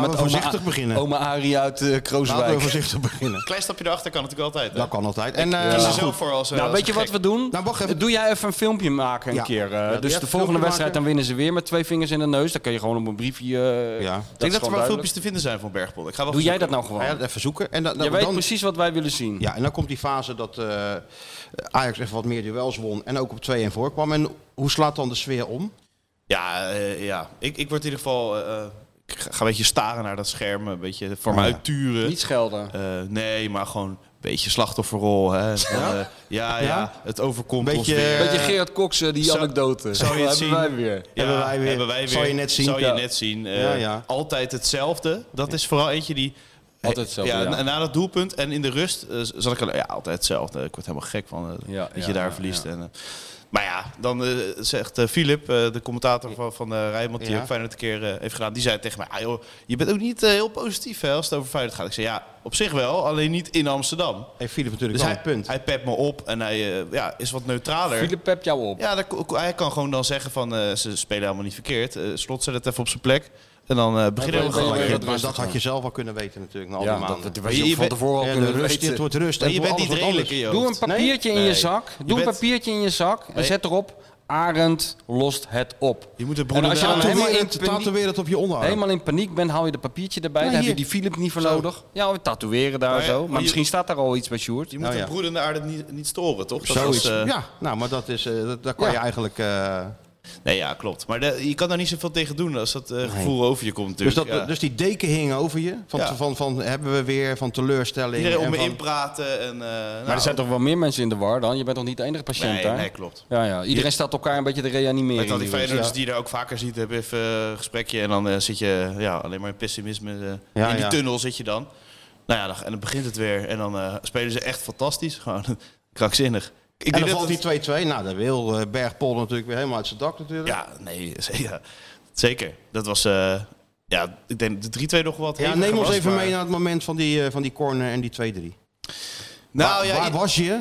S2: Laten
S3: met
S2: we
S3: oma,
S2: voorzichtig beginnen.
S3: oma Arie uit eh
S2: Laten we
S3: Krooswijk.
S2: voorzichtig beginnen.
S4: Klein stapje erachter kan natuurlijk altijd. hè?
S2: Dat kan altijd. En, eh,
S4: Kies er
S2: nou,
S4: zelf voor als, eh,
S3: nou,
S4: als
S3: weet je
S4: gek.
S3: wat we doen?
S2: Nou, wacht even.
S3: Doe jij even een filmpje maken een
S2: Ja.
S3: keer. eh,
S2: even
S3: dus de
S2: een
S3: volgende
S2: filmpje
S3: wedstrijd,
S2: maken.
S3: dan winnen ze weer met twee vingers in de neus. Dan kun je gewoon op een briefje... eh,
S2: Ja.
S4: Ik denk dat, er
S3: dat is gewoon
S4: wel
S3: duidelijk.
S4: filmpjes te vinden zijn van Bergpol. Ik ga wel
S3: Doe jij
S4: zoeken.
S3: dat nou gewoon?
S2: Hij had even zoeken. En dan, dan,
S3: Je weet
S2: dan-
S3: precies wat wij willen zien.
S2: ja, en dan komt die fase dat eh, Ajax even wat meer duels won. En ook op 2-1 voorkwam. En hoe slaat dan de sfeer om?
S4: Ja, eh, ja. Ik, ik word in ieder geval... eh, ik ga ga een beetje staren naar dat scherm. Een beetje voor
S2: Oh,
S4: me
S2: ja.
S4: uitturen.
S3: Niet schelden.
S4: Eh, nee, maar gewoon een beetje slachtofferrol. Hè. Van, eh, Ja? ja,
S2: Ja?
S4: het overkomt
S2: Beetje,
S4: ons weer.
S2: eh,
S3: Beetje Gerard Cox, eh, die
S4: zou-
S3: anekdote.
S4: zou je
S3: Dat
S4: het
S3: hebben
S4: zien?
S3: wij weer.
S4: Ja,
S2: Hebben wij weer.
S4: Hebben wij weer.
S2: Zou je net zien,
S4: Zou je
S2: ja.
S4: net zien. Eh,
S2: Ja, ja.
S4: Altijd hetzelfde. Dat is vooral eentje die...
S3: Altijd hetzelfde, ja.
S4: na- Na dat doelpunt en in de rust eh, zat ik al... Ja, altijd hetzelfde. Ik word helemaal gek van eh,
S3: Ja,
S4: dat
S3: ja,
S4: je daar
S3: ja,
S4: verliest.
S3: ja.
S4: En, eh, maar ja, dan eh, zegt eh, Filip, eh, de commentator van, van eh, Rijnmond... die
S2: Ja.
S4: ook Feyenoord een keer eh, heeft gedaan. Die zei tegen mij... Ah, joh, je bent ook niet eh, heel positief hè, als het over Feyenoord gaat. Ik zei, ja, op zich wel. Alleen niet in Amsterdam.
S2: Heeft Philip natuurlijk
S4: Dus
S2: wel
S4: hij,
S2: een punt.
S4: hij pept me op en hij eh, ja, is wat neutraler.
S3: Philip pep jou op.
S4: Ja, dat ko- ko- hij kan gewoon dan zeggen van eh, ze spelen helemaal niet verkeerd. Eh, slot zet het even op zijn plek. En dan eh, beginnen we
S3: ben je
S4: gewoon
S3: weer
S4: weer.
S2: maar
S3: wat
S2: dat,
S3: rustiger.
S2: had je zelf al kunnen weten natuurlijk. Na al
S3: Ja,
S2: die maanden.
S3: dat, dat was
S4: Je
S3: je, van
S4: bent-
S3: tevoren al
S2: Ja,
S3: kunnen
S2: de rust,
S3: weten.
S2: het wordt rust.
S4: Maar
S2: en
S4: je
S2: voor
S4: bent niet
S2: alles wat
S4: redelijk in
S2: anders.
S4: je
S3: Doe een
S4: hoofd.
S3: papiertje in
S4: Nee.
S3: je zak. Doe een
S4: bent-
S3: papiertje in je zak. En zet erop. Arend lost het op.
S4: Je moet het
S3: En
S4: broeder
S3: als je dan
S4: Daan-
S3: helemaal
S2: Tatoeëer
S3: in
S2: het-
S3: paniek,
S2: Tatoeëer het op je onderarm.
S3: helemaal in paniek bent, haal je de papiertje erbij.
S2: Ja,
S3: dan heb je
S2: hier.
S3: die Philip niet voor
S2: Zo.
S3: nodig. Ja, we tatoeëren daar
S4: Maar ja,
S3: zo.
S4: maar
S3: Maar
S4: je-
S3: misschien staat daar al iets bij Sjoerd.
S4: Je moet
S2: Nou
S4: de
S2: ja.
S4: broeder in de aarde niet, niet storen, toch? Dat
S2: Zoiets.
S4: was, eh,
S2: ja, nou, maar dat is, eh, dat, daar kan
S3: Ja.
S2: je eigenlijk... eh,
S4: Nee, ja, klopt. Maar de- je kan daar niet zoveel tegen doen als dat eh, gevoel over je komt
S2: dus,
S4: natuurlijk.
S2: dat,
S4: ja.
S2: dus die deken hing over je. Van,
S4: Ja.
S2: van, van, hebben we weer, van teleurstelling.
S4: Iedereen om
S2: en
S4: me
S2: van-
S4: inpraten. En, eh,
S3: Maar
S4: nou,
S3: er zijn toch wel meer mensen in de war dan? Je bent toch niet de enige patiënt
S4: nee,
S3: daar?
S4: nee, klopt.
S3: Ja, ja. Iedereen staat elkaar een beetje te reanimeren.
S4: Met al
S3: in
S4: die
S3: die rust.
S4: Feyenoorders die je daar ook vaker ziet, hebben even eh, een gesprekje. En dan eh, zit je ja, alleen maar in pessimisme. eh,
S2: Ja,
S4: in die
S2: ja.
S4: tunnel zit je dan. Nou ja, dan- en dan begint het weer. En dan eh, spelen ze echt fantastisch. Gewoon krankzinnig. Ik
S2: en dan
S4: dat
S2: valt
S4: het-
S2: die 2-2. Nou, dan wil eh, Bergpol natuurlijk weer helemaal uit zijn dak natuurlijk.
S4: Ja, nee, ja, zeker. Dat was... eh, ja, ik denk de 3-2 nog wat.
S2: Ja,
S4: heviger
S2: neem ons
S4: was,
S2: even
S4: maar-
S2: mee naar het moment van die, eh, van die corner en die 2-3.
S4: Nou ja,
S2: Waar
S4: ik,
S2: was je?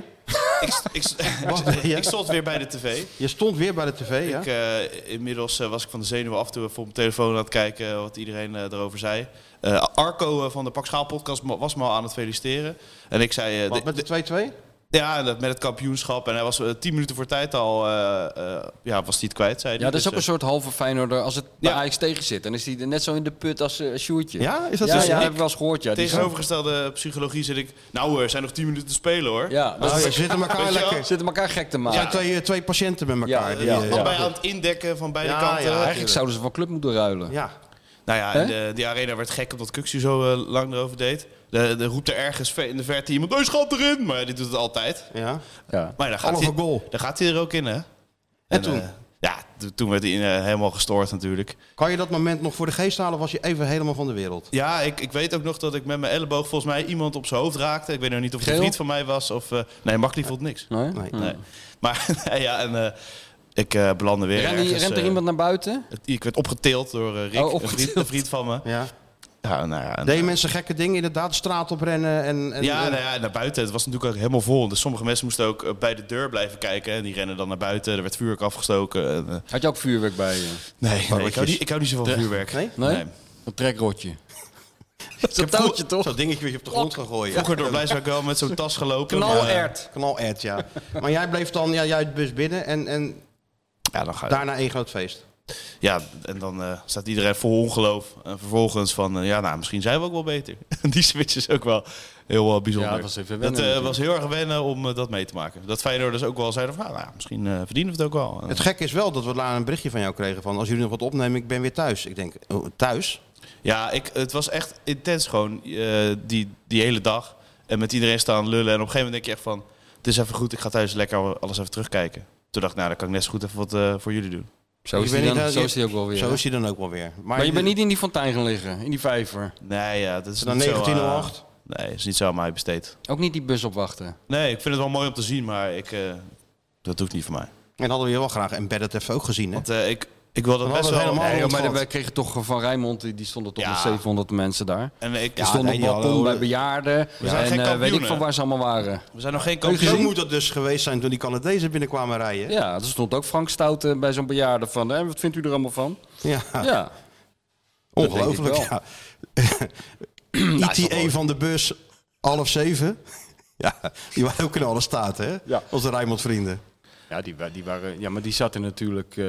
S4: ik,
S2: Waar ben je?
S4: ik stond weer bij de tv.
S2: Je stond weer bij de tv, ja?
S4: Ik, eh, inmiddels eh, was ik van de zenuwen af toen we op mijn telefoon aan het kijken eh, wat iedereen eh, erover zei. Eh, Arco eh, van de Pak Schaal podcast ma- was me al aan het feliciteren. En ik zei... eh,
S2: Wat,
S4: de-
S2: met de 2-2?
S4: de- ja, dat- met het kampioenschap. En hij was eh, tien minuten voor tijd al... eh, eh, ja, was hij het kwijt, zei hij.
S3: Ja, dat is
S4: Dus,
S3: ook een soort halve Feyenoorder als het bij
S4: Ja.
S3: Ajax tegen zit. Dan is die er net zo in de put als eh, Sjoerdje.
S2: Ja, is dat
S3: ja,
S2: zo?
S3: Ja,
S2: Ik-
S3: heb ik wel eens gehoord. Ja,
S4: eh,
S3: Die-
S4: Tegenovergestelde psychologie zit ik... Nou, er zijn nog tien minuten te spelen, hoor.
S3: Ja, dat
S2: Oh,
S3: is-
S2: we zitten elkaar
S4: Weet je wel?
S2: lekker.
S3: Ze zitten elkaar gek te
S2: Het
S3: maken.
S2: zijn twee, eh, twee patiënten met elkaar.
S3: Ja,
S2: die,
S3: ja.
S2: eh,
S4: Allebei aan het indekken van beide
S2: Ja,
S4: kanten.
S2: ja.
S3: Eigenlijk zouden ze van dus club moeten ruilen.
S2: ja.
S4: Nou ja,
S3: Hè?
S4: en de, die arena werd gek omdat Kuxu zo eh, lang erover deed. De, de roept er ergens ver in de verte iemand... Hé, schat erin! Maar die doet het altijd.
S2: ja.
S3: Ja.
S4: Maar daar gaat,
S2: Alle
S4: hij,
S2: voor goal.
S4: daar gaat hij er ook in, hè? En,
S2: toen?
S4: eh, ja, t- toen werd hij eh, helemaal gestoord natuurlijk.
S2: Kan je dat moment nog voor de geest halen of was je even helemaal van de wereld?
S4: Ja, ik, ik weet ook nog dat ik met mijn elleboog volgens mij iemand op zijn hoofd raakte. Ik weet nog niet of het een
S3: Geel?
S4: vriend van mij was of... eh, nee, Makli vond niks.
S3: Nee?
S2: Nee.
S4: Nee. Maar nee, ja, en eh, ik eh belandde weer
S3: Ren-
S4: ergens,
S3: rent er
S4: eh,
S3: iemand naar buiten?
S4: het- ik werd opgetild door eh, Rick,
S3: Oh,
S4: een, vriend,
S3: opgetild.
S4: een vriend van me.
S2: Ja.
S4: Ja, nou ja, en-
S2: Deden mensen gekke dingen inderdaad, straat oprennen en... en
S4: ja,
S2: en-
S4: nou ja, en naar buiten. Het was natuurlijk ook helemaal vol. Dus sommige mensen moesten ook eh, bij de deur blijven kijken. En die rennen dan naar buiten. Er werd vuurwerk afgestoken. En, eh,
S3: Had je ook vuurwerk bij je?
S4: nee, nee ik, hou niet, ik hou niet zo van vuurwerk.
S2: Nee?
S3: Nee? Een trekrotje. Zo'n touwtje toch?
S2: Zo'n dingetje wat je op de grond gaan gooien.
S4: Vroeger door Blijswijk wel met zo'n tas gelopen. eh, Ja,
S3: Knalert.
S2: Knalert, ja. Maar jij bleef dan ja, jij het bus binnen en, en
S4: ja, dan ga je.
S2: daarna één groot feest.
S4: Ja, en dan eh, staat iedereen vol ongeloof. En vervolgens van, eh, ja, nou, misschien zijn we ook wel beter. Die switch is ook wel heel eh, bijzonder.
S3: Ja, dat was
S4: Dat
S3: even wennen
S4: eh,
S3: natuurlijk.
S4: was heel erg wennen om eh, dat mee te maken. Dat Feyenoorders ook wel zeiden van, ah, nou, misschien eh, verdienen we het ook wel. En,
S2: Het gekke is wel dat we daar een berichtje van jou kregen van... als jullie nog wat opnemen, ik ben weer thuis. Ik denk, oh, thuis?
S4: Ja, ik, het was echt intens gewoon eh, die, die hele dag. En met iedereen staan lullen. En op een gegeven moment denk je echt van... Het is even goed, ik ga thuis lekker alles even terugkijken. Toen dacht ik, nou, dan kan ik net zo goed even wat eh, voor jullie doen.
S3: Zo is,
S2: Ik ben
S3: die dan,
S2: niet aan-
S3: zo is die ook wel weer.
S2: Zo is hij dan ook wel weer.
S3: maar je bent niet in die fontein gaan liggen, in die vijver.
S4: Nee, ja, dat is
S2: Dan
S4: niet zo, eh,
S2: 1908.
S4: nee, is niet zo aan mij besteed.
S3: Ook niet die bus opwachten.
S4: Nee, ik vind het wel mooi om te zien, maar ik, eh, dat doet niet voor mij.
S2: En hadden we je wel graag embedded even ook gezien, hè?
S4: Want eh, ik, Ik wil dat
S2: Dan
S4: best
S2: hadden
S4: wel...
S2: we helemaal-
S3: Nee, joh, maar
S2: ontvat.
S3: wij kregen toch van Rijnmond, die, die stonden toch
S4: Ja.
S3: met 700 mensen daar.
S4: En we, ik,
S3: Die stonden
S2: nee,
S3: op
S2: die
S3: balkon
S2: hadden-
S3: bij bejaarden.
S4: We zijn
S3: en
S4: geen
S3: eh, weet ik
S4: kampioenen.
S3: van waar ze allemaal waren.
S4: we zijn nog geen
S3: je
S2: Zo
S3: gezien?
S4: kampioen.
S2: moet dat dus geweest zijn toen die Canadezen binnenkwamen rijden.
S3: Ja, er stond ook Frank Stout eh, bij zo'n bejaarde van. Hè, wat vindt u er allemaal van?
S2: Ja,
S3: Ja.
S2: ongelooflijk.
S3: denk ik
S2: Ja. ITA van de bus, half zeven. Ja, die waren ook in alle staten, hè?
S3: Ja.
S2: Onze Rijnmond vrienden.
S3: Ja, die, wa- die waren, ja, maar die zaten, natuurlijk, eh,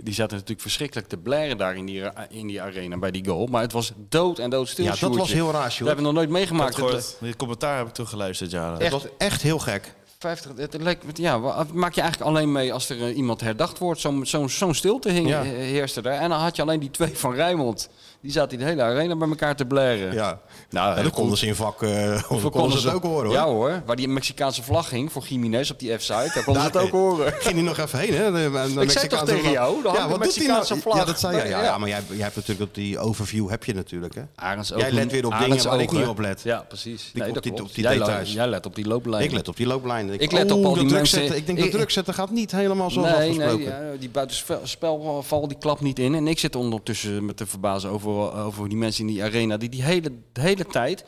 S3: die zaten natuurlijk verschrikkelijk te blaren daar in die, ra- in die arena bij die goal. Maar het was dood en doodstil.
S2: Ja, dat
S3: Sjoerdje.
S2: was heel raar,
S3: Dat
S2: Sjoerd.
S3: hebben we nog nooit meegemaakt. Het,
S4: Gehoord. Die commentaar heb ik toen geluisterd, ja.
S2: Het was echt heel gek.
S3: 50, het lijkt, ja, wa- maak je eigenlijk alleen mee als er eh, iemand herdacht wordt. Zo'n zo'n zo'n stilte hing,
S2: Ja.
S3: eh, heerste daar. En dan had je alleen die twee van Rijmond. Die zaten in de hele arena bij elkaar te blaren.
S2: Ja.
S3: Nou,
S2: Ja, dat konden ze in vak eh konden, konden ze het ook horen, hoor.
S3: Ja hoor, waar die Mexicaanse vlag ging voor Jiménez op die F-site. Daar konden ze het
S2: Daar-
S3: ook horen.
S2: Ging hij nog even heen, hè? De- De, de
S3: toch
S2: Mexicaanse
S3: tegen
S2: vlag.
S3: jou, dan hangt de
S2: doet hij nou?
S3: Mexicaanse vlag.
S2: Ja, dat zei jij. Ja,
S3: Ja.
S2: ja, maar jij, jij hebt natuurlijk op die overview heb je natuurlijk, hè?
S3: Arends
S2: Jij
S3: ogen-
S2: let weer op
S3: Arends
S2: dingen waar ik
S3: ogen.
S2: niet op let.
S3: Ja, precies.
S2: Die-
S3: Nee,
S2: op
S3: dat
S2: die-
S3: klopt.
S2: op die
S3: jij,
S2: details.
S3: Let, jij let op die looplijn.
S2: Ik let op die looplijn.
S3: Ik let op
S2: oeh,
S3: al
S2: de
S3: die
S2: druk
S3: mensen.
S2: zetten. Ik denk, de
S3: Ik-
S2: druk zetten gaat niet helemaal zoals
S3: Nee,
S2: afgesproken.
S3: nee, ja, die buitenspelval die klapt niet in. En ik zit ondertussen me te verbazen over, over die mensen in die arena die die hele, de hele tijd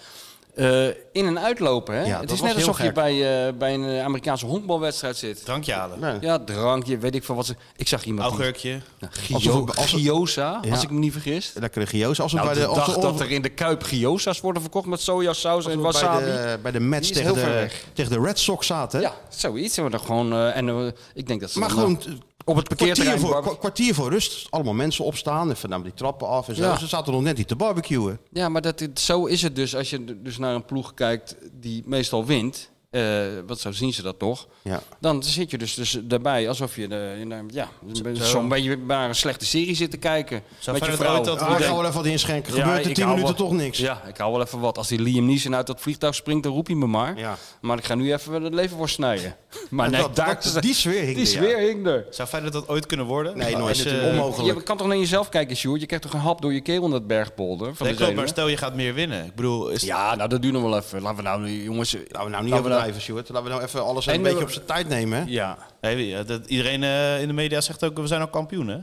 S3: eh, in en uitlopen. Hè?
S2: Ja,
S3: het
S2: dat was
S3: is net
S2: heel
S3: alsof je
S2: gek.
S3: bij, eh, bij een Amerikaanse honkbalwedstrijd zit.
S4: Drankje halen.
S2: Nee.
S3: Ja, drankje, weet ik van wat ze... Ik zag iemand die...
S4: Augurkje.
S3: Nou,
S2: Alsof
S3: Gio,
S2: het- als het-
S3: Giosa,
S2: Ja.
S3: als ik me niet vergis.
S2: Lekkere gio's. Als het
S3: Nou,
S2: bij
S3: de,
S2: de, als
S3: dag
S2: de
S3: dat er in de Kuip Giosa's worden verkocht met sojasaus en
S2: als we
S3: wasabi.
S2: bij de, bij de match
S3: Die is heel
S2: tegen
S3: ver
S2: de,
S3: weg.
S2: tegen de Red Sox zaten.
S3: Ja, zoiets. Maar dan gewoon, eh, en eh, ik denk dat ze
S2: Maar
S3: dan,
S2: gewoon
S3: eh,
S2: eh,
S3: op het
S2: kwartier
S3: parkeerterrein...
S2: voor,
S3: bar-
S2: kwa- kwartier voor rust. Allemaal mensen opstaan. Even namen die trappen af en zo.
S3: Ja.
S2: Ze zaten nog net niet te barbecuen.
S3: Ja, maar dat, dit- zo is het dus. Als je d- dus naar een ploeg kijkt die meestal wint, eh, want zo zien ze dat toch,
S2: Ja.
S3: dan zit je dus, dus daarbij alsof je eh, in, eh, ja, zo'n beetje naar een slechte serie zit te kijken. met je
S4: verder
S3: vrouw.
S4: nooit dat
S2: Ah, ik ga wel even wat inschenken.
S3: Ja,
S2: Gebeurt er
S3: ik
S2: tien
S3: hou
S2: minuten
S3: wel-
S2: toch niks.
S3: Ja, ik hou wel even wat. Als die Liam Neeson uit dat vliegtuig springt, dan roep je me maar.
S2: Ja.
S3: Maar ik ga nu even het leven voor snijden. Maar
S2: En
S3: nee,
S2: dat-
S3: daar,
S2: dat- die sfeer hing
S3: die
S2: er, ja.
S3: sfeer hing er.
S4: Zou Feyenoord dat ooit kunnen worden?
S2: Nee, nooit.
S4: Als je-
S2: Natuurlijk onmogelijk.
S3: Je kan toch naar jezelf kijken, Sjoerd? Je krijgt toch een hap door je keel in dat bergpolder? Van
S4: Nee,
S3: de
S4: klopt, maar
S3: zenuwen?
S4: stel je gaat meer winnen. Ik bedoel, is
S3: Ja, nou dat duurt nog wel even. Laten we nou, nu, jongens...
S2: Laten we nou niet
S3: laten we
S2: overdrijven, Sjoerd. Laten we nou even alles
S3: En
S2: een beetje
S3: we-
S2: op zijn tijd nemen. hè?
S3: Ja.
S4: Nee, ja, dat, iedereen eh, in de media zegt ook, we zijn al kampioen, hè?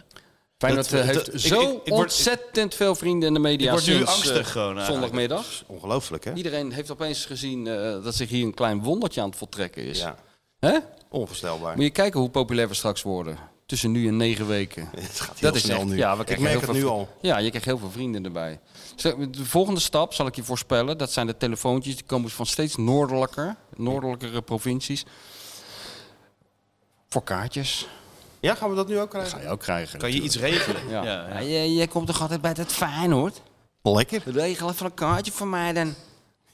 S3: Feyenoord
S4: Dat-
S3: eh, heeft
S4: dat- ik-
S3: zo
S4: ik- ik word-
S3: ontzettend veel vrienden in de media
S4: Ik word nu
S3: sinds, eh,
S4: angstig gewoon eigenlijk.
S3: zondagmiddag.
S2: Ongelooflijk, hè?
S3: Iedereen heeft opeens gezien eh, dat zich hier een klein wondertje aan het voltrekken is.
S2: Ja.
S3: Hè?
S2: Onvoorstelbaar.
S3: Moet je kijken hoe populair we straks worden. Tussen nu en negen weken.
S2: Het gaat heel
S3: Dat is
S2: snel
S3: echt,
S2: nu.
S3: Ja, we
S2: ik
S3: krijgen
S2: merk
S3: heel
S2: het nu
S3: veel-
S2: al.
S3: Ja, je krijgt heel veel vrienden erbij. Zo, De volgende stap zal ik je voorspellen. Dat zijn de telefoontjes. Die komen van steeds noordelijker, noordelijkere provincies. Voor kaartjes.
S2: Ja, gaan we dat nu ook
S3: Ga
S2: krijgen?
S3: je ook krijgen.
S4: Kan je iets regelen?
S3: Ja.
S4: Ja, ja.
S3: Ja, jij- jij komt toch altijd bij het Feyenoord?
S2: Lekker.
S3: Regel even een kaartje voor mij dan.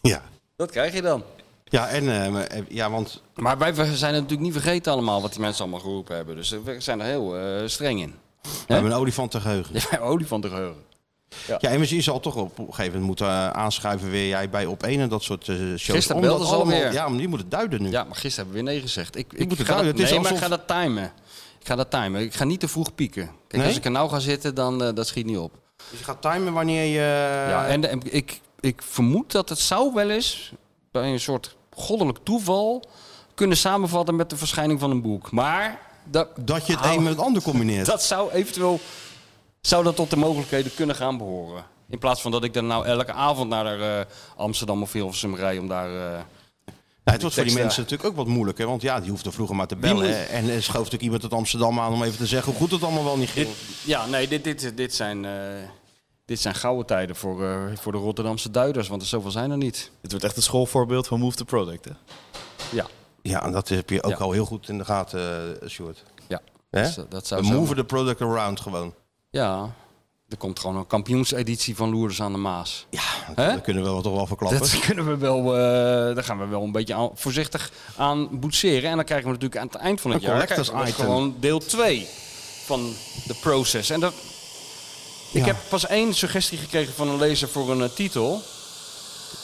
S2: Ja.
S3: Dat krijg je dan.
S2: Ja, en, eh, ja, want
S3: Maar wij zijn het natuurlijk niet vergeten allemaal wat die mensen allemaal geroepen hebben. Dus eh, we zijn er heel eh, streng in.
S2: we hebben een olifantengeheugen.
S3: Ja, olifanten geheugen.
S2: Ja, en je zal toch op een gegeven moment moeten eh, aanschuiven weer jij bij op één en dat soort eh, shows.
S3: Gisteren
S2: Omdat
S3: belden ze alweer.
S2: Ja, maar die moeten duiden nu.
S3: Ja, maar gisteren hebben we weer nee gezegd. Ik, ik
S2: moet het
S3: ga dat,
S2: duiden. Het is
S3: nee, maar ik ga
S2: alsof-
S3: dat timen. Ik ga dat timen. Ik ga niet te vroeg pieken. Kijk,
S2: Nee?
S3: als ik er nou ga zitten, dan eh, dat schiet niet op.
S2: Dus je gaat timen wanneer je... eh,
S3: ja, en, en ik, ik vermoed dat het zou wel eens bij een soort goddelijk toeval kunnen samenvatten met de verschijning van een boek. Maar dat,
S2: dat je het
S3: Au.
S2: een met het ander combineert.
S3: Ah. dat zou eventueel zou dat tot de mogelijkheden kunnen gaan behoren. In plaats van dat ik dan nou elke avond naar eh, Amsterdam of Hilversum rij om daar... eh,
S2: Ja, het wordt voor die
S3: tekst,
S2: mensen natuurlijk ook wat moeilijker. Want ja, die hoeft er vroeger maar te bellen.
S3: moet-
S2: hè. En er schoof natuurlijk iemand uit Amsterdam aan om even te zeggen hoe goed het allemaal wel niet ging.
S3: dit, ja, nee, dit, dit, dit, zijn, eh, dit zijn gouden tijden voor, eh, voor de Rotterdamse duiders, want er zoveel zijn er niet.
S4: Het wordt echt een schoolvoorbeeld van Move the Product, hè?
S3: Ja,
S2: Ja, en dat heb je ook
S3: Ja.
S2: al heel goed in de gaten, eh Sjoerd.
S3: ja.
S2: Hè?
S3: Dus, eh, dat zou
S2: We
S3: zo-
S2: moven the product around gewoon.
S3: Ja, er komt gewoon een kampioenseditie van Loerders aan de Maas.
S2: Ja,
S3: Hè?
S2: dat kunnen we wel toch wel verklappen.
S3: Dat kunnen we wel, eh, daar gaan we wel een beetje aan- voorzichtig aan boetseren. En dan krijgen we natuurlijk aan het eind van het
S2: Een
S3: jaar
S2: collectors
S3: krijgen we
S2: item.
S3: gewoon deel 2 van de process. En dat, ik
S2: Ja.
S3: heb pas één suggestie gekregen van een lezer voor een eh, titel.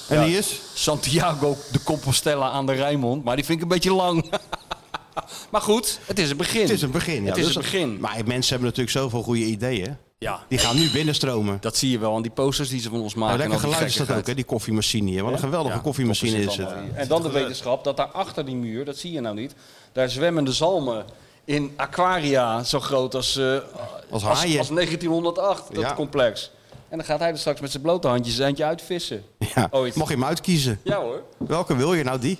S2: En die is?
S3: Santiago de Compostela aan de Rijnmond. Maar die vind ik een beetje lang. maar goed, het is een begin.
S2: Het is een begin. Ja.
S3: het is
S2: Dus-
S3: een begin.
S2: Maar mensen hebben natuurlijk zoveel goede ideeën.
S3: ja,
S2: Die gaan nu binnenstromen.
S3: dat zie je wel aan die posters die ze van ons maken.
S2: Nou, lekker
S3: en al die
S2: geluid is dat ook,
S3: gekkigheid.
S2: hè, die koffiemachine hier. Wat een geweldige
S3: Ja,
S2: koffiemachine
S3: koffie
S2: is
S3: zit
S2: het.
S3: allemaal hier. En dan de wetenschap dat daar achter die muur, dat zie je nou niet, daar zwemmen de zalmen in Aquaria zo groot als, eh,
S2: Als
S3: als,
S2: haaien.
S3: als 1908, dat
S2: Ja.
S3: complex. En dan gaat hij er straks met zijn blote handjes eentje uitvissen.
S2: Ja.
S3: Ooit.
S2: Mag je hem uitkiezen?
S3: Ja hoor.
S2: Welke wil je? Nou, die.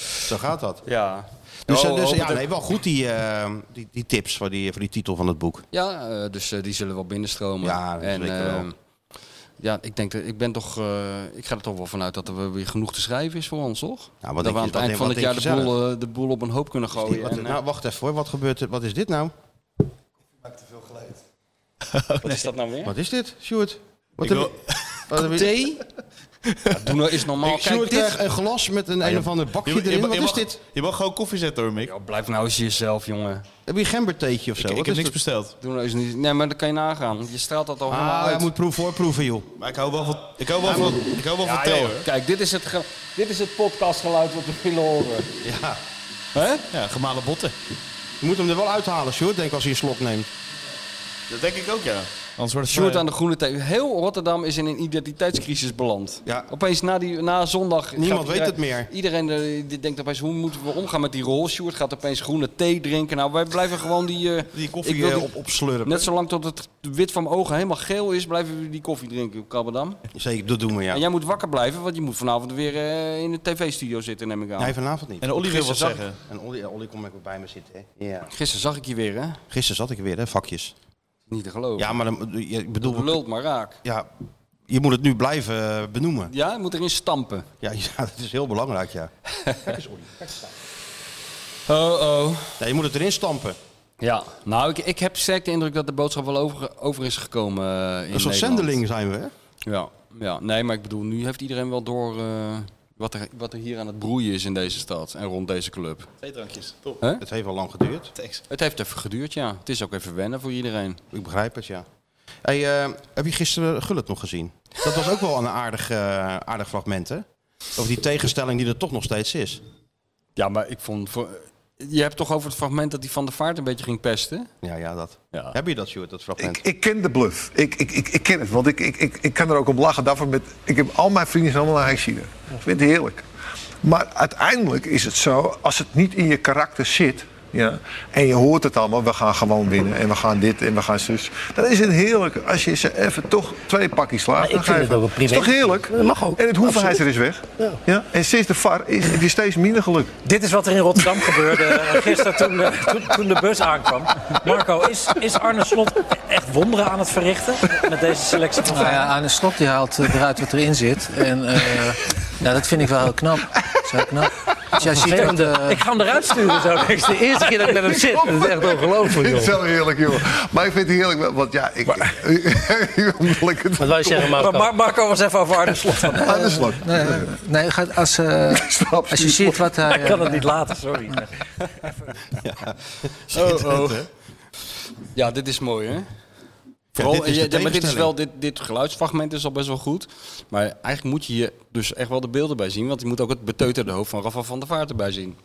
S2: Zo gaat dat.
S3: Ja.
S2: Dus, eh,
S3: Oh,
S2: dus
S3: oh,
S2: ja,
S3: dat-
S2: nee, wel goed die, eh, die, die tips voor die, voor die titel van het boek.
S3: Ja, eh, dus eh, die zullen wel binnenstromen.
S2: Ja, dat
S3: en,
S2: zeker wel.
S3: eh, ja, ik denk dat ik ben toch. eh, ik ga er toch wel vanuit dat er weer genoeg te schrijven is voor ons, toch?
S2: denk je-
S3: dat we aan
S2: wat
S3: het
S2: denk-
S3: eind van
S2: wat
S3: het jaar
S2: denk
S3: de
S2: je
S3: boel, eh, de boel op een hoop kunnen gooien.
S2: Wat-
S3: en, eh,
S2: nou, wacht even hoor. Wat gebeurt er? Wat is dit nou?
S3: wat is dat nou weer?
S2: Wat is dit, Sjoerd? Wat
S4: Ik
S2: heb
S4: wil-
S2: je- wat heb je- Oh,
S3: Thee? Ja, doe nou is normaal.
S2: Ik- Sjoerd
S3: Kijk
S2: krijgt
S3: dit.
S2: een glas met een een of ander bakje
S4: Je- je-
S2: erin.
S4: je
S2: Wat is
S4: mag-
S2: dit?
S4: Je mag gewoon koffie zetten hoor, Mick.
S3: Ja, blijf nou eens jezelf, jongen.
S2: Heb je een gembertheetje of zo?
S4: ik ik
S2: Wat
S4: heb
S2: is
S4: niks
S2: dat?
S4: besteld.
S3: Doe nou eens niet. Nee, maar dat kan je nagaan. want Je straalt dat al helemaal
S2: Ah,
S3: uit.
S2: hij moet proef voorproeven, joh.
S4: Maar ik hou wel van, ik hou wel van, ik hou wel van
S3: Ah,
S4: thee
S3: joh,
S4: hoor.
S3: Kijk, dit is het, ge- dit is het podcastgeluid wat we willen horen.
S2: Ja.
S3: Hè?
S4: Ja, gemalen botten.
S2: Je moet hem er wel uithalen, Sjoerd, denk ik, als hij een slok neemt.
S4: Dat denk ik ook, ja. Anders wordt het
S3: Sjoerd aan de groene thee. Heel Rotterdam is in een identiteitscrisis beland.
S2: Ja.
S3: Opeens na, die, na zondag... gaat
S2: Niemand weet
S3: iedereen-
S2: het meer.
S3: Iedereen eh, die denkt opeens, hoe moeten we omgaan met die rol? Sjoerd gaat opeens groene thee drinken. Nou, wij blijven gewoon die... eh,
S2: Die koffie
S3: ik wil
S2: eh,
S3: die-
S2: op, opslurpen.
S3: Net zolang tot het wit van mijn ogen helemaal geel is, blijven we die koffie drinken op Kabberdam.
S2: Zeker, dat doen we, ja.
S3: En jij moet wakker blijven, want je moet vanavond weer eh, in de tv-studio zitten, neem ik aan.
S2: Nee, vanavond niet.
S4: En Olly wil wat
S3: Gisteren zag
S4: zeggen.
S2: En Olly, ja, Olly komt lekker bij me zitten, hè. Ja.
S3: Gisteren zag ik je weer, hè?
S2: Gisteren zat ik er weer, hè, vakjes.
S3: Niet te geloven.
S2: Ja, maar dan, ja, ik bedoel,
S3: Lult maar raak.
S2: ja, je moet het nu blijven eh, benoemen.
S3: Ja, je moet erin stampen.
S2: Ja, ja, dat is heel belangrijk, ja.
S3: Oh, oh.
S2: ja. Je moet het erin stampen.
S3: Ja, nou, ik, ik heb sterk de indruk dat de boodschap wel over, over is gekomen eh, in
S2: Een soort
S3: Nederland.
S2: zendeling zijn we, hè?
S3: Ja, ja, nee, maar ik bedoel, nu heeft iedereen wel door eh, wat, er, wat er hier aan het broeien is in deze stad en rond deze club.
S4: Twee drankjes, top.
S2: Het heeft al lang geduurd.
S4: Thanks.
S3: Het heeft even geduurd, ja. Het is ook even wennen voor iedereen.
S2: Ik begrijp het, ja. Hey, eh, heb je gisteren Gullit nog gezien? Dat was ook wel een aardig, eh, aardig fragment, hè? Over die tegenstelling die er toch nog steeds is.
S3: Ja, maar ik vond... Voor, je hebt toch over het fragment dat hij Van der Vaart een beetje ging pesten?
S2: Ja, ja, dat.
S3: Ja.
S2: Heb je dat, Sjoerd, dat fragment?
S7: Ik, ik ken de bluff. Ik, ik, ik, ik ken het. Want ik, ik, ik, ik kan er ook op lachen. Daarvoor met, ik heb al mijn vrienden zijn allemaal naar China. Ik vind het heerlijk. Maar uiteindelijk is het zo, als het niet in je karakter zit. Ja, en je hoort het allemaal, we gaan gewoon winnen. En we gaan dit en we gaan zus. Dan is het heerlijk als je ze even toch twee pakjes slaat.
S8: ik
S7: dan ga
S8: vind
S7: je
S8: het
S7: van-
S8: ook een privé-
S7: Is toch heerlijk?
S8: Dat mag ook,
S7: En het hoeveelheid is
S8: absoluut.
S7: weg. Ja. En sinds de VAR is het weer steeds minder geluk.
S8: Dit is wat er in Rotterdam gebeurde eh, gisteren toen, eh, toen, toen de bus aankwam. Marco, is, is Arne Slot echt wonderen aan het verrichten met deze selectie van
S9: Nou ja,
S8: Feyenoord?
S9: Arne Slot die haalt eh, eruit wat erin zit. En eh, ja, dat vind ik wel heel knap. Dat is heel knap. Dus jij ziet dat, eh,
S8: Ik ga hem eruit sturen zo.
S9: het is de eerste keer dat ik met hem zit. Dat is echt
S8: Oh,
S9: ongelooflijk,
S7: Dit is
S9: joh.
S7: wel heerlijk, joh. Maar ik vind het heerlijk, want ja, ik... omdat ik het-
S8: Wat wil je zeggen, Marco?
S9: Maar Mar- Marco was even over Arne Slot. Van, eh,
S7: Aan de slag.
S9: nee, eh, nee, gaat als, eh,
S7: Snap
S9: als je ziet wat hij...
S8: Ik
S9: eh,
S8: kan het niet laten, sorry.
S3: Oh, oh. Ja, dit is mooi, hè? Vooral,
S2: dit is de
S3: ja, ja, maar dit, is
S2: tegenstelling.
S3: wel, dit, dit geluidsfragment is al best wel goed. Maar eigenlijk moet je hier dus echt wel de beelden bij zien. Want je moet ook het beteuterde hoofd van Rafa van der Vaart erbij zien.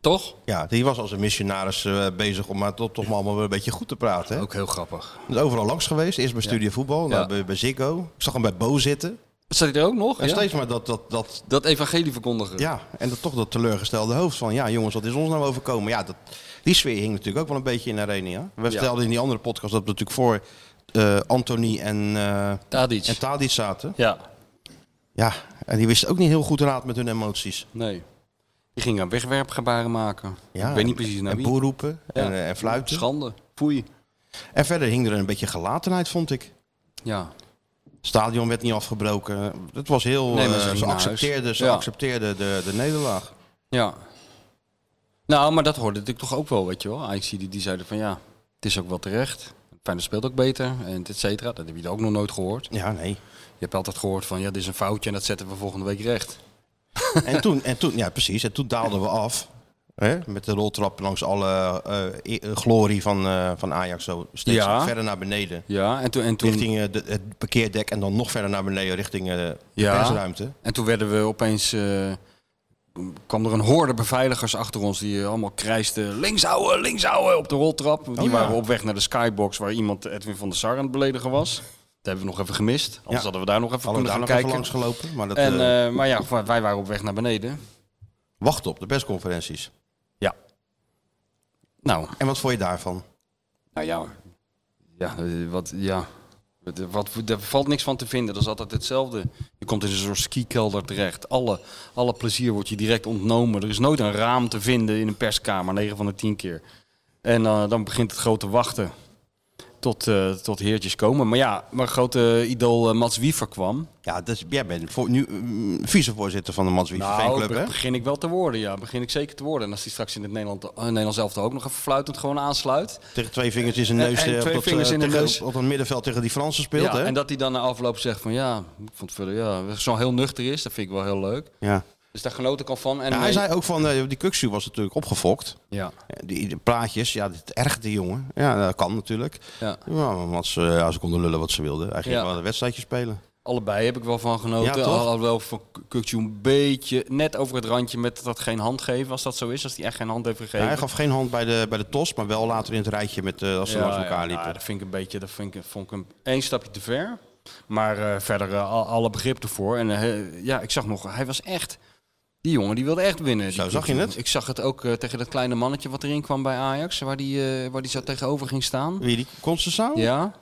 S3: Toch?
S2: Ja, die was als een missionaris eh, bezig om maar toch, toch maar allemaal weer een beetje goed te praten. Hè?
S3: Ook heel grappig.
S2: Hij is overal langs geweest. Eerst bij Studio Voetbal, nou,
S3: Ja.
S2: bij, bij Ziggo. Ik zag hem bij Bo zitten.
S3: Zat hij er ook nog?
S2: En
S3: Ja?
S2: steeds maar dat, dat, dat,
S3: Dat evangelie verkondigen.
S2: ja, en dat, toch dat teleurgestelde hoofd van, ja jongens, wat is ons nou overkomen? Ja, dat, die sfeer hing natuurlijk ook wel een beetje in de arena. ja. We
S3: Ja.
S2: stelden in die andere podcast dat we natuurlijk voor eh, Anthony en, eh
S3: Tadic.
S2: en Tadic zaten.
S3: Ja,
S2: Ja, en die wisten ook niet heel goed raad met hun emoties.
S3: nee. Die ging aan wegwerpgebaren maken.
S2: Ja,
S3: ik weet niet precies naar
S2: en
S3: wie.
S2: boer roepen en,
S3: Ja.
S2: eh, en fluiten.
S3: Schande. Poei.
S2: En verder hing er een beetje gelatenheid, vond ik.
S3: Ja.
S2: stadion werd niet afgebroken. Het was heel.
S3: Nee, maar
S2: eh,
S3: ze
S2: ze,
S3: gingen naar
S2: accepteerden,
S3: huis.
S2: ze
S3: Ja.
S2: accepteerden de, de nederlaag.
S3: Ja. Nou, maar dat hoorde ik toch ook wel, weet je wel. Ajax die, die zeiden van ja, het is ook wel terecht. Feyenoord speelt ook beter, en et cetera. Dat heb je ook nog nooit gehoord.
S2: Ja, nee.
S3: Je hebt altijd gehoord van ja, dit is een foutje en dat zetten we volgende week recht.
S2: En toen, en toen, ja, precies. En toen daalden we af. Hè, met de roltrap langs alle eh, e- eh, glorie van, eh, van Ajax. Zo steeds
S3: Ja.
S2: verder naar beneden.
S3: Ja, en toen, en toen,
S2: Richting eh, de, het parkeerdek en dan nog verder naar beneden richting eh, de
S3: Ja.
S2: persruimte.
S3: en toen werden we opeens... eh, kwam er een hoorde beveiligers achter ons die eh, allemaal krijsten... links houden, links houden op de roltrap. Die
S2: ja.
S3: waren op weg naar de skybox waar iemand Edwin van der Sar aan het beledigen was. Dat hebben we nog even gemist. Anders
S2: Ja.
S3: hadden we daar nog even
S2: Hadden we
S3: kunnen
S2: daar
S3: gaan
S2: nog
S3: kijken.
S2: even langs gelopen. Maar dat,
S3: en,
S2: eh,
S3: eh, maar ja, wij waren op weg naar beneden.
S2: wacht op, de persconferenties.
S3: Ja. Nou,
S2: En wat vond je daarvan?
S3: nou ja. Ja, eh, wat, ja. Wat, eh, Wat, daar valt niks van te vinden. Dat is altijd hetzelfde. Je komt in een soort skikelder terecht. Alle, alle plezier wordt je direct ontnomen. Er is nooit een raam te vinden in een perskamer, 9 van de 10 keer. En eh, dan begint het grote wachten tot, eh, tot heertjes komen. Maar ja, mijn grote idool eh, Mats Wiever kwam.
S2: Ja, dus jij bent voor, nu mm, vicevoorzitter van de Manswief
S3: Nou,
S2: Fanclub,
S3: be-
S2: hè?
S3: begin ik wel te worden, ja. Begin ik zeker te worden. En als hij straks in het Nederland, eh, Nederlands elftal ook nog even fluitend gewoon aansluit.
S2: Tegen twee vingers in zijn neus.
S3: En- en
S2: eh, op
S3: twee
S2: dat, eh,
S3: vingers in de
S2: tegen-
S3: neus.
S2: Op het middenveld tegen die Fransen speelt,
S3: ja,
S2: hè?
S3: En dat hij dan na afloop zegt van ja, ik vond het verder, ja, zo heel nuchter is, dat vind ik wel heel leuk.
S2: ja.
S3: Dus daar genoot ik al van. En
S2: Ja, hij
S3: nee-
S2: zei ook van, eh, die Kuksu was natuurlijk opgefokt.
S3: ja,
S2: Eh, Die, die plaatjes, ja, dit ergde jongen. Ja, dat kan natuurlijk.
S3: ja,
S2: Ja, maar want ze, eh, ja, ze konden lullen wat ze wilden. Hij ging
S3: Ja.
S2: wel een wedstrijdje spelen.
S3: allebei heb ik wel van
S2: Ja,
S3: genoten.
S2: toch?
S3: al Alhoewel van Kukju een beetje net over het randje met dat geen hand geven, als dat zo is, als hij echt geen hand heeft
S2: Ja,
S3: gegeven.
S2: hij gaf geen hand bij de, bij de tos, maar wel later in het rijtje met, eh, als ze
S3: Ja,
S2: langs elkaar
S3: ja,
S2: liepen.
S3: ja, dat vind ik een beetje, dat vind ik, vond ik een, één stapje te ver. Maar eh, verder eh, al- alle begrip ervoor. En eh, ja, ik zag nog, hij was echt, die jongen die wilde echt winnen. Die
S2: Zo zag
S3: Kukçu.
S2: je het?
S3: Ik zag het ook eh, tegen dat kleine mannetje wat erin kwam bij Ajax, waar die, eh, waar die zo tegenover ging staan.
S2: Wie die? Constanzaal?
S3: Ja.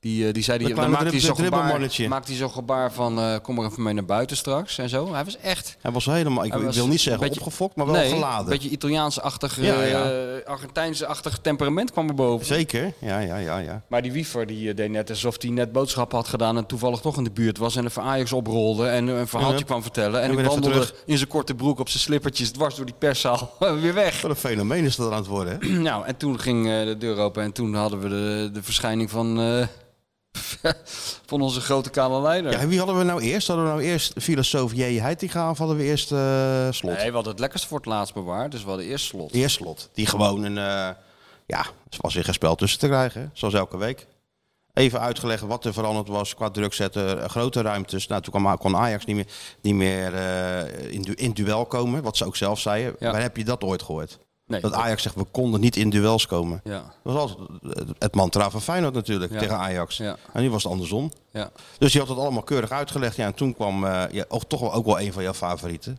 S3: Die, eh, die zei die,
S2: Oh. Dat kleine
S3: dan maakte hij
S2: drib-
S3: zo'n gebaar,
S2: dribbelmannetje.
S3: maakte hij zo'n gebaar van eh, kom maar even mee naar buiten straks en zo. Hij was echt
S2: Hij was helemaal, ik
S3: Hij was
S2: wil niet zeggen
S3: een beetje-
S2: opgefokt, maar wel
S3: nee,
S2: geladen.
S3: een beetje Italiaans-achtig,
S2: Ja, ja.
S3: eh, Argentijnse-achtig temperament kwam er boven.
S2: Zeker, ja, ja, ja, ja.
S3: Maar die wiever die eh, deed net alsof hij net boodschappen had gedaan en toevallig toch in de buurt was en even Ajax oprolde en eh, een verhaaltje
S2: Ja.
S3: kwam vertellen.
S2: En
S3: En,
S2: weer
S3: ik
S2: even
S3: wandelde
S2: terug.
S3: in zijn korte broek op zijn slippertjes dwars door die perszaal weer weg.
S2: Wat een fenomeen is dat aan het worden, hè?
S3: nou, en toen ging eh, de deur open en toen hadden we de, de verschijning van, eh, van onze grote kale leider.
S2: Ja, en wie hadden we nou eerst? Hadden we nou eerst filosoof J. Heitinga of hadden we eerst eh, Slot?
S3: nee, we hadden het lekkerst voor het laatst bewaard, dus we hadden eerst slot.
S2: Eerst Slot, die gewoon een, eh ja, er was weer geen spel tussen te krijgen, hè, zoals elke week. Even uitgelegd wat er veranderd was qua druk zetten, eh, grote ruimtes. Nou, toen kwam, kon Ajax niet meer, niet meer eh, in, du- in duel komen, wat ze ook zelf zeiden.
S3: Ja.
S2: Waar heb je dat ooit gehoord?
S3: Nee,
S2: Dat Ajax zegt, we konden niet in duels komen.
S3: Ja,
S2: Dat was altijd het- het mantra van Feyenoord natuurlijk
S3: Ja.
S2: tegen Ajax.
S3: Ja.
S2: En nu was het andersom.
S3: ja.
S2: Dus je had het allemaal keurig uitgelegd. Ja, en toen kwam eh, ja, ook, toch wel, ook wel een van jouw favorieten.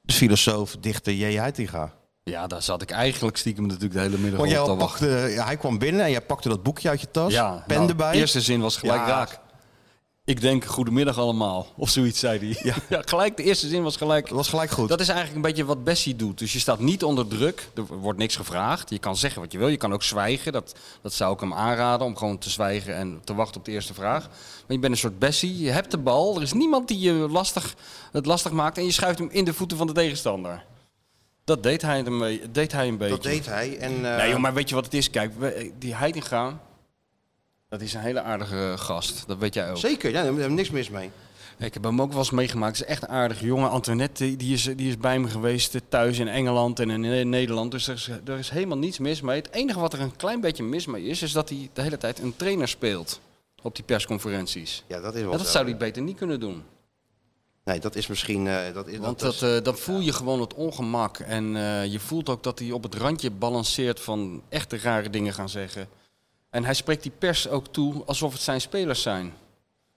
S2: De filosoof, dichter J. Heitinga.
S3: ja, daar zat ik eigenlijk stiekem natuurlijk de hele middag
S2: Want jij
S3: op te wachten.
S2: pakte, ja, hij kwam binnen en jij pakte dat boekje uit je tas.
S3: Ja,
S2: pen
S3: nou,
S2: erbij.
S3: De eerste zin was gelijk
S2: Ja.
S3: raak. Ik denk goedemiddag allemaal. Of zoiets zei hij. Ja. gelijk, de eerste zin was gelijk.
S2: Dat was gelijk goed.
S3: Dat is eigenlijk een beetje wat Bessie doet. Dus je staat niet onder druk. Er wordt niks gevraagd. Je kan zeggen wat je wil. Je kan ook zwijgen. Dat, dat zou ik hem aanraden. Om gewoon te zwijgen en te wachten op de eerste vraag. Maar je bent een soort Bessie. Je hebt de bal. Er is niemand die je lastig, het lastig maakt. En je schuift hem in de voeten van de tegenstander. Dat deed hij een, be- deed hij een beetje.
S2: Dat deed hij. En, eh,
S3: Nee, joh, maar weet je wat het is? Kijk, we- eh, die Heidinga, dat is een hele aardige eh, gast. Dat weet jij ook.
S2: Zeker, ja, daar hebben we niks mis mee.
S3: Ik heb hem ook wel eens meegemaakt. Het is echt een aardige jongen. Antoinette, die- die is, die is bij me geweest eh, thuis in Engeland en in eh, Nederland. Dus er is, er is helemaal niets mis mee. Het enige wat er een klein beetje mis mee is, is dat hij de hele tijd een trainer speelt op die persconferenties.
S2: Ja, dat is wel
S3: Ja, dat
S2: zo.
S3: zou hij beter niet kunnen doen.
S2: Nee, dat is misschien... eh, dat is,
S3: Want
S2: dat
S3: dat,
S2: is-
S3: eh, dan voel je gewoon het ongemak. En eh, je voelt ook dat hij op het randje balanceert van echte rare dingen gaan zeggen. En hij spreekt die pers ook toe alsof het zijn spelers zijn.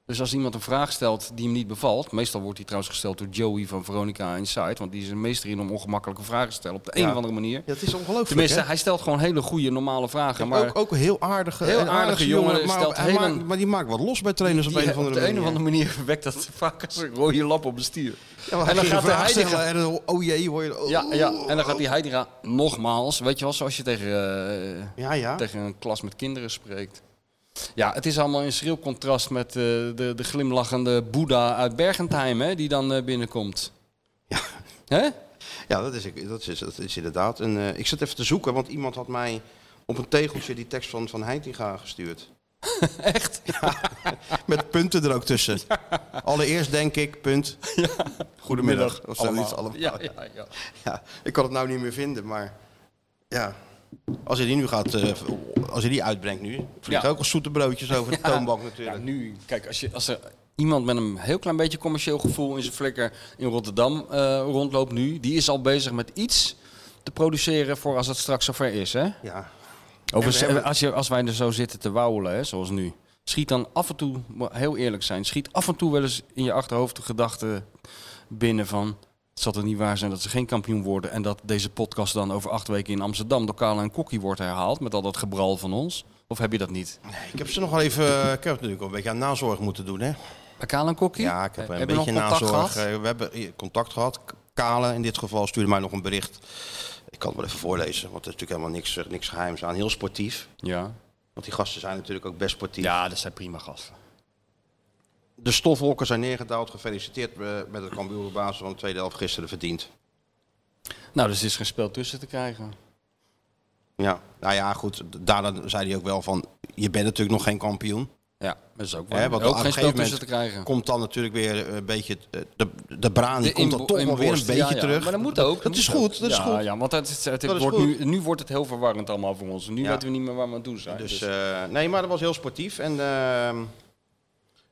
S3: Dus als iemand een vraag stelt die hem niet bevalt, meestal wordt die trouwens gesteld door Joey van Veronica Inside, want die is een meester in om ongemakkelijke vragen te stellen op de een
S2: Ja.
S3: of andere manier.
S2: Ja, dat is ongelooflijk,
S3: eh, Tenminste,
S2: hè?
S3: hij stelt gewoon hele goede normale vragen, maar
S2: Maar, ook, ook een heel aardige,
S3: Heel
S2: een
S3: aardige jongen,
S2: maar,
S3: stelt
S2: hij
S3: heel
S2: maakt-
S3: een-
S2: maar die maakt wat los bij trainers
S3: die-
S2: op een of andere
S3: op de een
S2: manier.
S3: of andere manier wekt dat vaak als een rode lap op een stier.
S2: Ja, maar
S3: en dan
S2: ging
S3: gaat
S2: een
S3: de
S2: vraag
S3: Heidegger-
S2: stellen en dan, oh jee, hoor je... oh,
S3: Ja, ja, en dan gaat die Heidra nogmaals, weet je wel, zoals je tegen, eh,
S2: Ja, ja.
S3: tegen een klas met kinderen spreekt. Ja, het is allemaal in schril contrast met eh, de, de glimlachende Boeddha uit Bergentheim, hè, die dan eh, binnenkomt.
S2: Ja.
S3: Hè?
S2: Ja, dat is, dat is, dat is inderdaad. En, eh, ik zat even te zoeken, want iemand had mij op een tegeltje die tekst van Van Heitinga gestuurd.
S3: Echt?
S2: Met punten er ook tussen. Allereerst denk ik, punt. Goedemiddag. Of zoiets allemaal.
S3: Ja, ja, ja.
S2: Ja, ik kan het nou niet meer vinden, maar ja. Als hij die nu gaat, eh, als hij die uitbrengt nu, vliegen
S3: Ja.
S2: ook al zoete broodjes over de toonbank natuurlijk.
S3: Ja, nu, kijk, als, je, als er iemand met een heel klein beetje commercieel gevoel in zijn flikker in Rotterdam eh, rondloopt nu, die is al bezig met iets te produceren voor als het straks zover is, hè?
S2: Ja.
S3: Overigens,
S2: En we hebben-
S3: eh, als, je, als wij er zo zitten te wauwelen, hè, zoals nu, schiet dan af en toe, moet heel eerlijk zijn, schiet af en toe wel eens in je achterhoofd de gedachte binnen van, Het zal toch niet waar zijn dat ze geen kampioen worden en dat deze podcast dan over acht weken in Amsterdam door Carla en Kokkie wordt herhaald met al dat gebral van ons? Of heb je dat niet?
S2: Ik heb ze nog wel even. eh, Ik heb natuurlijk al een beetje aan nazorg moeten doen, hè?
S3: Bij Carla en Kokkie?
S2: Ja, ik heb een
S3: Hebben we
S2: beetje
S3: nog contact
S2: nazorg.
S3: gehad?
S2: Eh, We hebben eh, contact gehad. K- Kale in dit geval stuurde mij nog een bericht. Ik kan het wel even voorlezen, want er is natuurlijk helemaal niks, eh, niks geheims aan. Heel sportief.
S3: Ja.
S2: Want die gasten zijn natuurlijk ook best sportief.
S3: ja, dat zijn prima gasten.
S2: De stofwolken zijn neergedaald. Gefeliciteerd eh, met het kampioenbasis van de tweede helft gisteren verdiend.
S3: Nou, dus er is geen spel tussen te krijgen.
S2: Ja, nou ja, goed. Daarna zei hij ook wel van, je bent natuurlijk nog geen kampioen.
S3: Ja, dat is ook
S2: Hè,
S3: waar.
S2: want
S3: ook
S2: op
S3: geen
S2: een
S3: spel
S2: gegeven
S3: tussen te
S2: moment
S3: krijgen.
S2: komt dan natuurlijk weer een beetje eh, de, de braan, die
S3: De
S2: komt dan
S3: inbo-
S2: toch wel weer een
S3: inborst,
S2: beetje
S3: ja, ja.
S2: terug.
S3: Maar dat moet ook.
S2: Dat is
S3: moet
S2: goed,
S3: ook.
S2: dat is
S3: ja,
S2: goed.
S3: Ja, want het, het, het
S2: Dat is
S3: wordt
S2: goed.
S3: Nu, nu wordt het heel verwarrend allemaal voor ons. Nu
S2: Ja.
S3: weten we niet meer waar we aan toe zijn.
S2: Dus,
S3: Dus,
S2: eh, nee, maar dat was heel sportief. En ehm,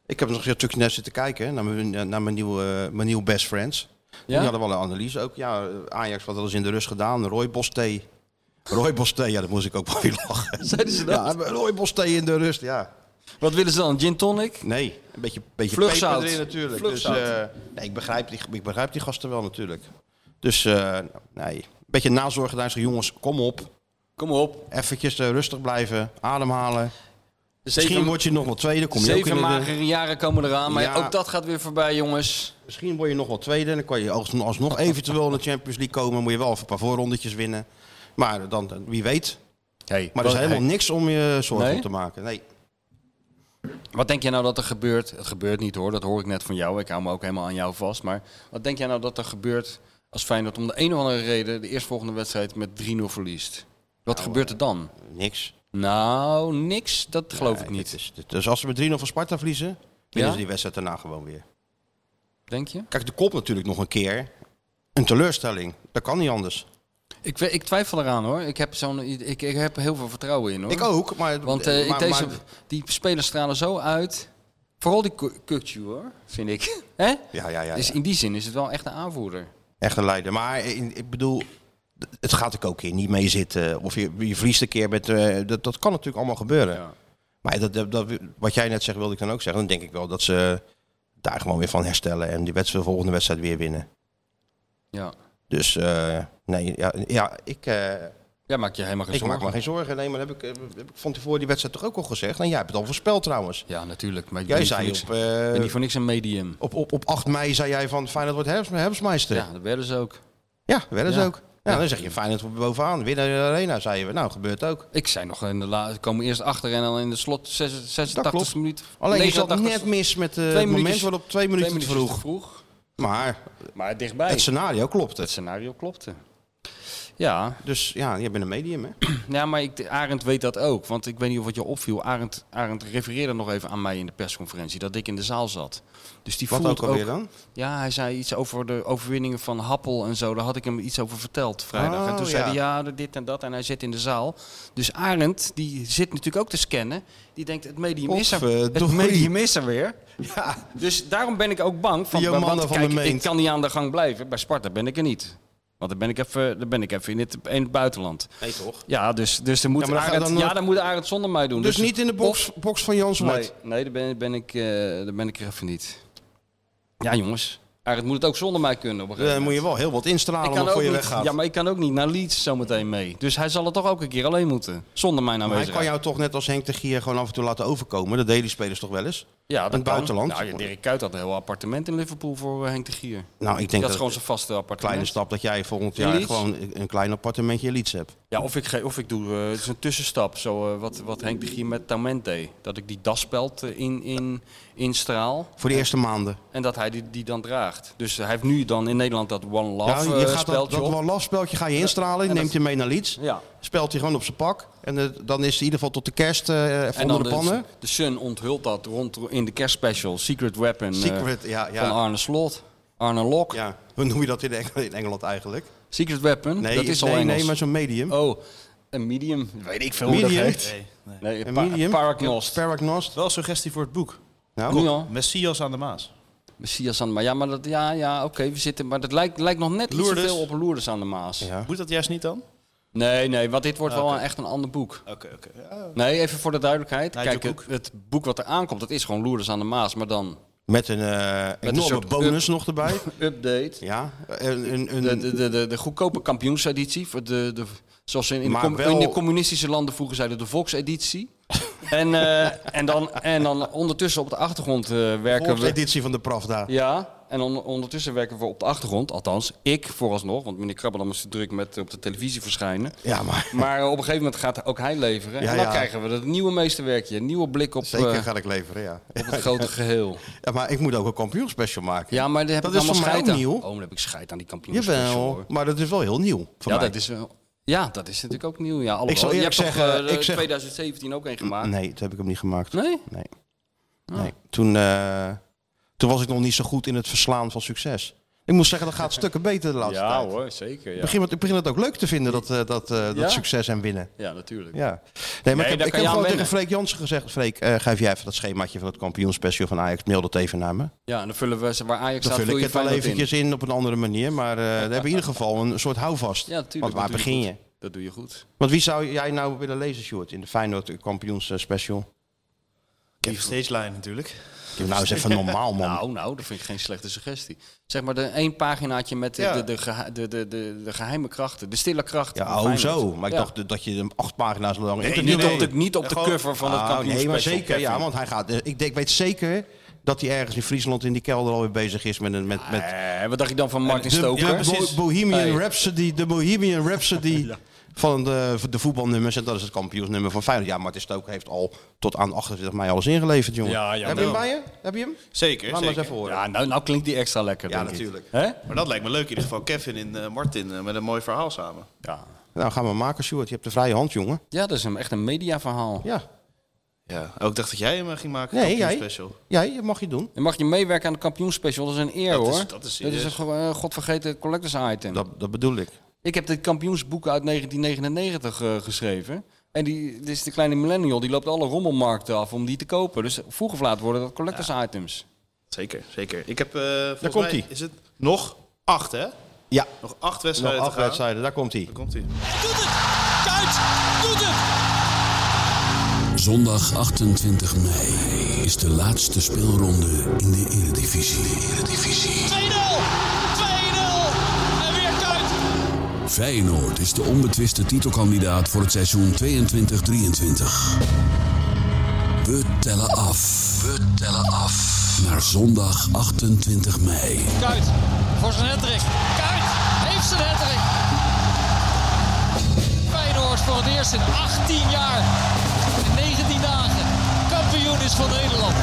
S2: ik heb nog een stukje naar zitten kijken hè, naar mijn, naar mijn, nieuwe, eh, mijn nieuwe best friends. Die
S3: ja?
S2: hadden wel een analyse ook. Ja, Ajax wat hadden ze in de rust gedaan. Roy Bosté. Roy Bosté, ja, dat moest ik ook wel weer lachen.
S3: Zeiden ze dat?
S2: Ja, Roy Bosté in de rust, ja.
S3: Wat willen ze dan? Gin tonic?
S2: Nee, een beetje, beetje
S3: Vlugzout.
S2: peper erin natuurlijk.
S3: Vlugzout.
S2: Dus, eh, nee, ik begrijp, die, ik begrijp die gasten wel natuurlijk. Dus eh, nou, nee, een beetje nazorg gedaan. Zeggen, jongens, kom op.
S3: Kom op.
S2: Eventjes eh, rustig blijven, ademhalen. Misschien
S3: Zeven,
S2: word je nog wel tweede, kom je ook in
S3: zeven
S2: de-
S3: magere jaren komen eraan. Maar
S2: Ja.
S3: ook dat gaat weer voorbij, jongens.
S2: Misschien word je nog wel tweede. Dan kan je als- alsnog eventueel in de Champions League komen. Moet je wel even een paar voorrondetjes winnen. Maar dan, wie weet.
S3: Hey,
S2: Maar er is helemaal niks om je zorgen
S3: Nee?
S2: om te maken. Nee.
S3: Wat denk jij nou dat er gebeurt? Het gebeurt niet hoor, dat hoor ik net van jou. Ik hou me ook helemaal aan jou vast. Maar wat denk jij nou dat er gebeurt als Feyenoord om de een of andere reden de eerstvolgende wedstrijd met 3-0 verliest? Wat
S2: Nou,
S3: gebeurt er dan?
S2: Niks.
S3: Nou, niks. Dat geloof ik
S2: Nee,
S3: niet.
S2: dit is- dit- dus als ze met 3-0 van Sparta verliezen, winnen
S3: Ja?
S2: ze die wedstrijd daarna gewoon weer.
S3: Denk je?
S2: Kijk, de kop natuurlijk nog een keer. Een teleurstelling. Dat kan niet anders.
S3: Ik, we- ik twijfel eraan hoor. Ik heb, zo'n, ik, ik heb er heel veel vertrouwen in hoor.
S2: Ik ook, maar...
S3: Want eh, ik
S2: maar-
S3: deze,
S2: maar-
S3: die spelers stralen zo uit. Vooral die Ku- Kukçu hoor, vind ik. Hè?
S2: ja, ja, ja.
S3: Dus
S2: ja.
S3: in die zin is het wel echt een aanvoerder.
S2: Echt een leider. Maar eh, in- ik bedoel, d- het gaat ook ook keer niet mee zitten. Of je, je verliest een keer met... eh, dat, dat kan natuurlijk allemaal gebeuren.
S3: Ja.
S2: Maar dat, dat, dat- wat jij net zegt, wilde ik dan ook zeggen. Dan denk ik wel dat ze daar gewoon weer van herstellen. En die wedstrijd, de volgende wedstrijd weer winnen.
S3: Ja.
S2: Dus eh, nee, ja, ja ik, eh,
S3: Ja, maak je helemaal geen
S2: ik
S3: zorgen.
S2: maak me geen zorgen. Nee, maar dat heb ik, eh, heb ik van tevoren die wedstrijd toch ook al gezegd. En jij hebt het al voorspeld trouwens.
S3: Ja, natuurlijk. Maar ik ben
S2: Jij
S3: niet voor
S2: zei
S3: niks-
S2: op,
S3: ik
S2: eh,
S3: ben niet voor niks een medium.
S2: op, op, op 8 mei zei jij van Feyenoord wordt herfst, herfstmeister. Ja,
S3: Ja, dat werden ze ook.
S2: dat werden ze
S3: Ja.
S2: ook. Ja, dan zeg je Feyenoord wordt bovenaan. Winnen in de arena, zeiden we. Nou, gebeurt ook.
S3: Ik zei nog, in de la- ze komen eerst achter en dan in de slot 86
S2: klopt.
S3: 86 minuut.
S2: Alleen je zat
S3: 89
S2: net mis met eh,
S3: Twee
S2: het moment
S3: minuutjes-
S2: waarop twee
S3: twee
S2: minuten te
S3: minuutjes
S2: vroeg. Maar
S3: Maar dichtbij.
S2: het
S3: Het,
S2: scenario klopt. Het.
S3: scenario klopte. Ja.
S2: Dus ja, je bent een medium, hè?
S3: ja, maar ik, Arend weet dat ook. Want ik weet niet of het je opviel. Arend, Arend refereerde nog even aan mij in de persconferentie. Dat ik in de zaal zat. Dus die
S2: Wat
S3: voelt
S2: ook alweer dan?
S3: Ja, hij zei iets over de overwinningen van Happel en zo. Daar had ik hem iets over verteld vrijdag.
S2: Oh,
S3: en toen
S2: ja.
S3: zei hij ja, dit en dat. En hij zit in de zaal. Dus Arend, die zit natuurlijk ook te scannen. Die denkt, het medium is er.
S2: eh,
S3: Het
S2: Potverdorie.
S3: medium is er weer. Ja. Dus daarom ben ik ook bang. Van,
S2: Johanna
S3: want
S2: van
S3: kijk,
S2: der Meent.
S3: ik kan niet aan de gang blijven. Bij Sparta ben ik er niet. Want dan ben ik even, dan ben ik even in, het, in het buitenland.
S2: Nee, toch?
S3: Ja, dus, dus dan moet
S2: Ja, maar dan ga-
S3: Arend,
S2: dan-
S3: ja, dan moet Arend zonder mij doen.
S2: Dus niet in de box, box van Jan Zwart.
S3: Nee, nee daar, ben, ben ik, eh, daar ben ik er even niet. Ja, jongens. Arend moet het ook zonder mij kunnen op
S2: Dan
S3: een gegeven
S2: Eh, moet je
S3: moment.
S2: wel heel wat instralen
S3: ik
S2: om
S3: kan ook
S2: voor je
S3: niet-
S2: weggaat.
S3: Ja, maar ik kan ook niet naar Leeds zometeen mee. Dus hij zal het toch ook een keer alleen moeten. Zonder mijn
S2: maar hij
S3: aanwezigheid.
S2: kan jou toch net als Henk de Gier gewoon af en toe laten overkomen. Dat deden die spelers toch wel eens?
S3: ja, dat
S2: in het
S3: kan.
S2: buitenland.
S3: Nou, ja, Dirk Kuyt had een heel appartement in Liverpool voor eh, Henk de Gier.
S2: Nou, ik
S3: Dat
S2: denk
S3: is
S2: dat,
S3: gewoon zijn vaste appartement.
S2: kleine stap dat jij volgend
S3: In
S2: jaar
S3: Leeds?
S2: gewoon een klein appartementje in Leeds hebt.
S3: Ja, of ik, ge- of ik doe, eh, het is een tussenstap, zo, eh, wat, wat Henk de Gier met Tament deed. Dat ik die daspeld eh, in, in, instraal
S2: Voor de eerste maanden.
S3: en dat hij die, die dan draagt. Dus hij heeft nu dan in Nederland dat One
S2: Ja,
S3: Love
S2: je
S3: eh,
S2: gaat dat,
S3: speldje
S2: dat
S3: op.
S2: wel laf speltje ga je instralen,
S3: en
S2: neemt
S3: dat-
S2: je mee naar Leeds.
S3: Ja.
S2: Spelt hij gewoon op zijn pak. En eh, dan is hij in ieder geval tot de kerst eh even onder de pannen.
S3: De, de Sun onthult dat rond in de kerstspecial. Secret Weapon eh,
S2: Secret, ja, ja.
S3: van Arne Slot. Arne Lok.
S2: Ja, hoe noem je dat in, Eng- in Engeland eigenlijk?
S3: Secret Weapon,
S2: Nee,
S3: dat is al
S2: nee,
S3: Engels.
S2: nee maar zo'n medium.
S3: Oh, een medium. Weet ik veel hoe
S2: medium.
S3: dat heet. Nee,
S2: Een
S3: een pa-
S2: medium.
S3: paragnost.
S2: Paragnost.
S4: Wel een suggestie voor het boek.
S2: Nou,
S3: nu al.
S4: Messias aan de Maas.
S3: Messias aan de Maas. Ja, maar dat, ja, ja oké, we zitten. Maar dat lijkt, lijkt nog net iets te
S4: Lourdes.
S3: veel op Lourdes aan de Maas.
S2: Ja. Ah,
S4: Moet dat juist niet dan?
S3: Nee, nee, want dit wordt wel een- echt een ander boek.
S4: Oké, oké. Ja,
S3: Nee, even voor de duidelijkheid.
S4: Nigel
S3: Kijk, het, het boek wat er aankomt, dat is gewoon Lourdes aan de Maas, maar dan
S2: Met een eh enorme
S3: soort
S2: bonus nog erbij.
S3: Update.
S2: Ja, een, een, een,
S3: De, de, de, de, de goedkope kampioenseditie. Voor de, de, zoals ze in, in, de
S2: Maar
S3: com-
S2: wel-
S3: in de communistische landen vroeger zeiden, de volkseditie. en, eh, en, dan, en dan ondertussen op de achtergrond eh, werken we...
S2: editie van de Pravda.
S3: Ja, en on- ondertussen werken we op de achtergrond. Althans, ik vooralsnog. Want meneer Krabbelam is te druk met op de televisie verschijnen.
S2: Ja, maar
S3: Maar eh, op een gegeven moment gaat ook hij leveren.
S2: Ja,
S3: en dan
S2: ja.
S3: krijgen we dat nieuwe meesterwerkje. Een nieuwe blik op,
S2: zeker
S3: eh,
S2: ga ik leveren, ja.
S3: op het grote geheel.
S2: Ja, Maar ik moet ook een kampioenspecial maken.
S3: Ja, maar daar heb
S2: Dat
S3: ik
S2: is
S3: allemaal
S2: voor mij
S3: scheid aan.
S2: ook nieuw.
S3: Oh, dan heb ik scheid aan die kampioenschap.
S2: Jawel, maar dat is wel heel nieuw voor
S3: Ja,
S2: mij. Dus
S3: dat is wel... Ja, dat is natuurlijk ook nieuw. Ja, alhoewel,
S2: zal
S3: je hebt
S2: eerlijk
S3: toch
S2: zeggen,
S3: eh,
S2: ik zeg- Mm.
S3: 2017 ook een gemaakt?
S2: Ah, Nee, dat heb ik hem niet gemaakt.
S3: Nee?
S2: Nee. nee. Toen, eh, toen was ik nog niet zo goed in het verslaan van succes. Ik moet zeggen, dat gaat stukken beter de laatste tijd.
S3: hoor, zeker.
S2: Ik begin, ik begin het ook leuk te vinden, dat, eh, dat, eh, dat
S3: Ja?
S2: succes en winnen.
S3: Ja, natuurlijk.
S2: Ja. Nee, maar
S3: Nee,
S2: ik
S3: daar
S2: heb, ik
S3: kan
S2: heb
S3: je aan
S2: gewoon
S3: wennen.
S2: tegen Freek Jansen gezegd... Freek, eh, geef jij even dat schemaatje van het kampioenspecial van Ajax. Mail dat even naar me.
S3: Ja, en dan vullen we ze waar Ajax
S2: Dan
S3: staat,
S2: vul
S3: vul
S2: ik
S3: je
S2: het wel
S3: Feyenoord in.
S2: eventjes in. op een andere manier. Maar eh dan hebben we in ieder geval een soort houvast.
S3: Ja, natuurlijk.
S2: Want waar
S3: dat doe
S2: begin
S3: goed. Dat doe je goed.
S2: Want wie zou jij nou willen lezen, Sjoerd? In de Feyenoord kampioenspecial?
S4: Die stage natuurlijk.
S2: Nou, is even normaal, man.
S3: Nou, nou, dat vind ik geen slechte suggestie. Zeg maar de één paginaatje met de,
S4: Ja.
S3: de, de, gehe- de, de, de, de geheime krachten, de stille krachten.
S2: Ja,
S3: van
S2: oh
S3: Feyenoord.
S2: zo. Maar ik
S3: Ja.
S2: dacht dat je hem acht pagina's lang...
S3: Nee,
S2: Ik
S3: niet, Op de, niet op de cover van het
S2: Ah,
S3: kampioenspecial.
S2: Nee, maar zeker.
S3: Kevin.
S2: Ja, want hij gaat... eh, Ik, denk- ik weet zeker dat hij ergens in Friesland in die kelder alweer bezig is met... Een, met, met
S3: Eh, wat dacht je dan van Martin
S2: de,
S3: Stoker?
S2: de Bo- Bohemian
S3: Hey.
S2: Rhapsody. De Bohemian Rhapsody van de, de voetbalnummers. En dat is het kampioensnummer van Feyenoord. Ja, Martin Stoker heeft al tot aan 28 mei alles ingeleverd, jongen.
S4: Ja, ja,
S2: Heb je
S4: nou.
S2: hem bij je? Heb je hem?
S4: Zeker,
S2: Laat maar eens
S4: zeker.
S2: even horen.
S3: Ja, nou, nou klinkt die extra lekker.
S2: Ja,
S3: denk ik.
S2: natuurlijk.
S3: Hè?
S4: Maar dat lijkt me leuk in ieder geval. Kevin en eh, Martin eh, met een mooi verhaal samen.
S3: Ja.
S2: Nou, gaan we maken, Sjoerd. Je hebt de vrije hand, jongen.
S3: ja, dat is een, echt een mediaverhaal.
S2: Ja.
S4: Ja. Ook dacht dat jij hem eh, ging maken.
S2: Nee, jij.
S4: kampioenspecial.
S2: Jij, dat mag je doen.
S3: En mag je meewerken aan de kampioenspecial, dat is een eer
S4: Dat is-
S3: hoor.
S4: dat is
S3: een
S4: serieus.
S3: go- eh, godvergeten collectors item.
S2: Dat, dat bedoel ik.
S3: Ik heb dit kampioensboek uit 1999 eh, geschreven. En die, dit is de kleine millennial, die loopt alle rommelmarkten af om die te kopen. Dus vroeg of laat worden dat collectors items.
S4: Zeker, zeker. Ik heb eh volgens
S2: Daar komt
S4: mij
S2: ie.
S4: is het nog acht, hè?
S2: Ja.
S4: Nog acht
S2: Nog
S4: wedstrijden
S2: acht
S4: te gaan.
S2: wedstrijden, daar komt hij.
S4: Daar komt hij.
S10: Zondag 28 mei is de laatste speelronde in de Eredivisie. Feyenoord is de onbetwiste titelkandidaat voor het seizoen 22-23. We tellen af. We tellen af. Naar zondag 28 mei.
S1: Kuit voor zijn hattrick. Kuit heeft zijn hattrick. Feyenoord voor het eerst in 18 jaar en 19 dagen kampioen is van Nederland.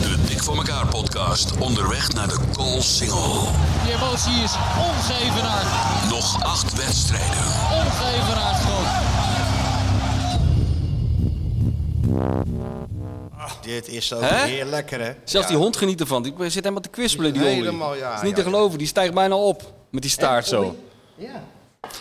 S10: De Dik voor elkaar podcast onderweg naar de goal single.
S1: Die emotie is ongevenaard,
S10: Nog acht wedstrijden.
S1: ongevenaard groot.
S2: Dit is ook
S3: Hè?
S2: weer lekker, hè?
S3: Zelfs die hond geniet ervan, die zit helemaal te kwispelen die Olly.
S2: Helemaal, ja,
S3: Dat is niet
S2: ja,
S3: te geloven, die stijgt bijna op met die staart zo.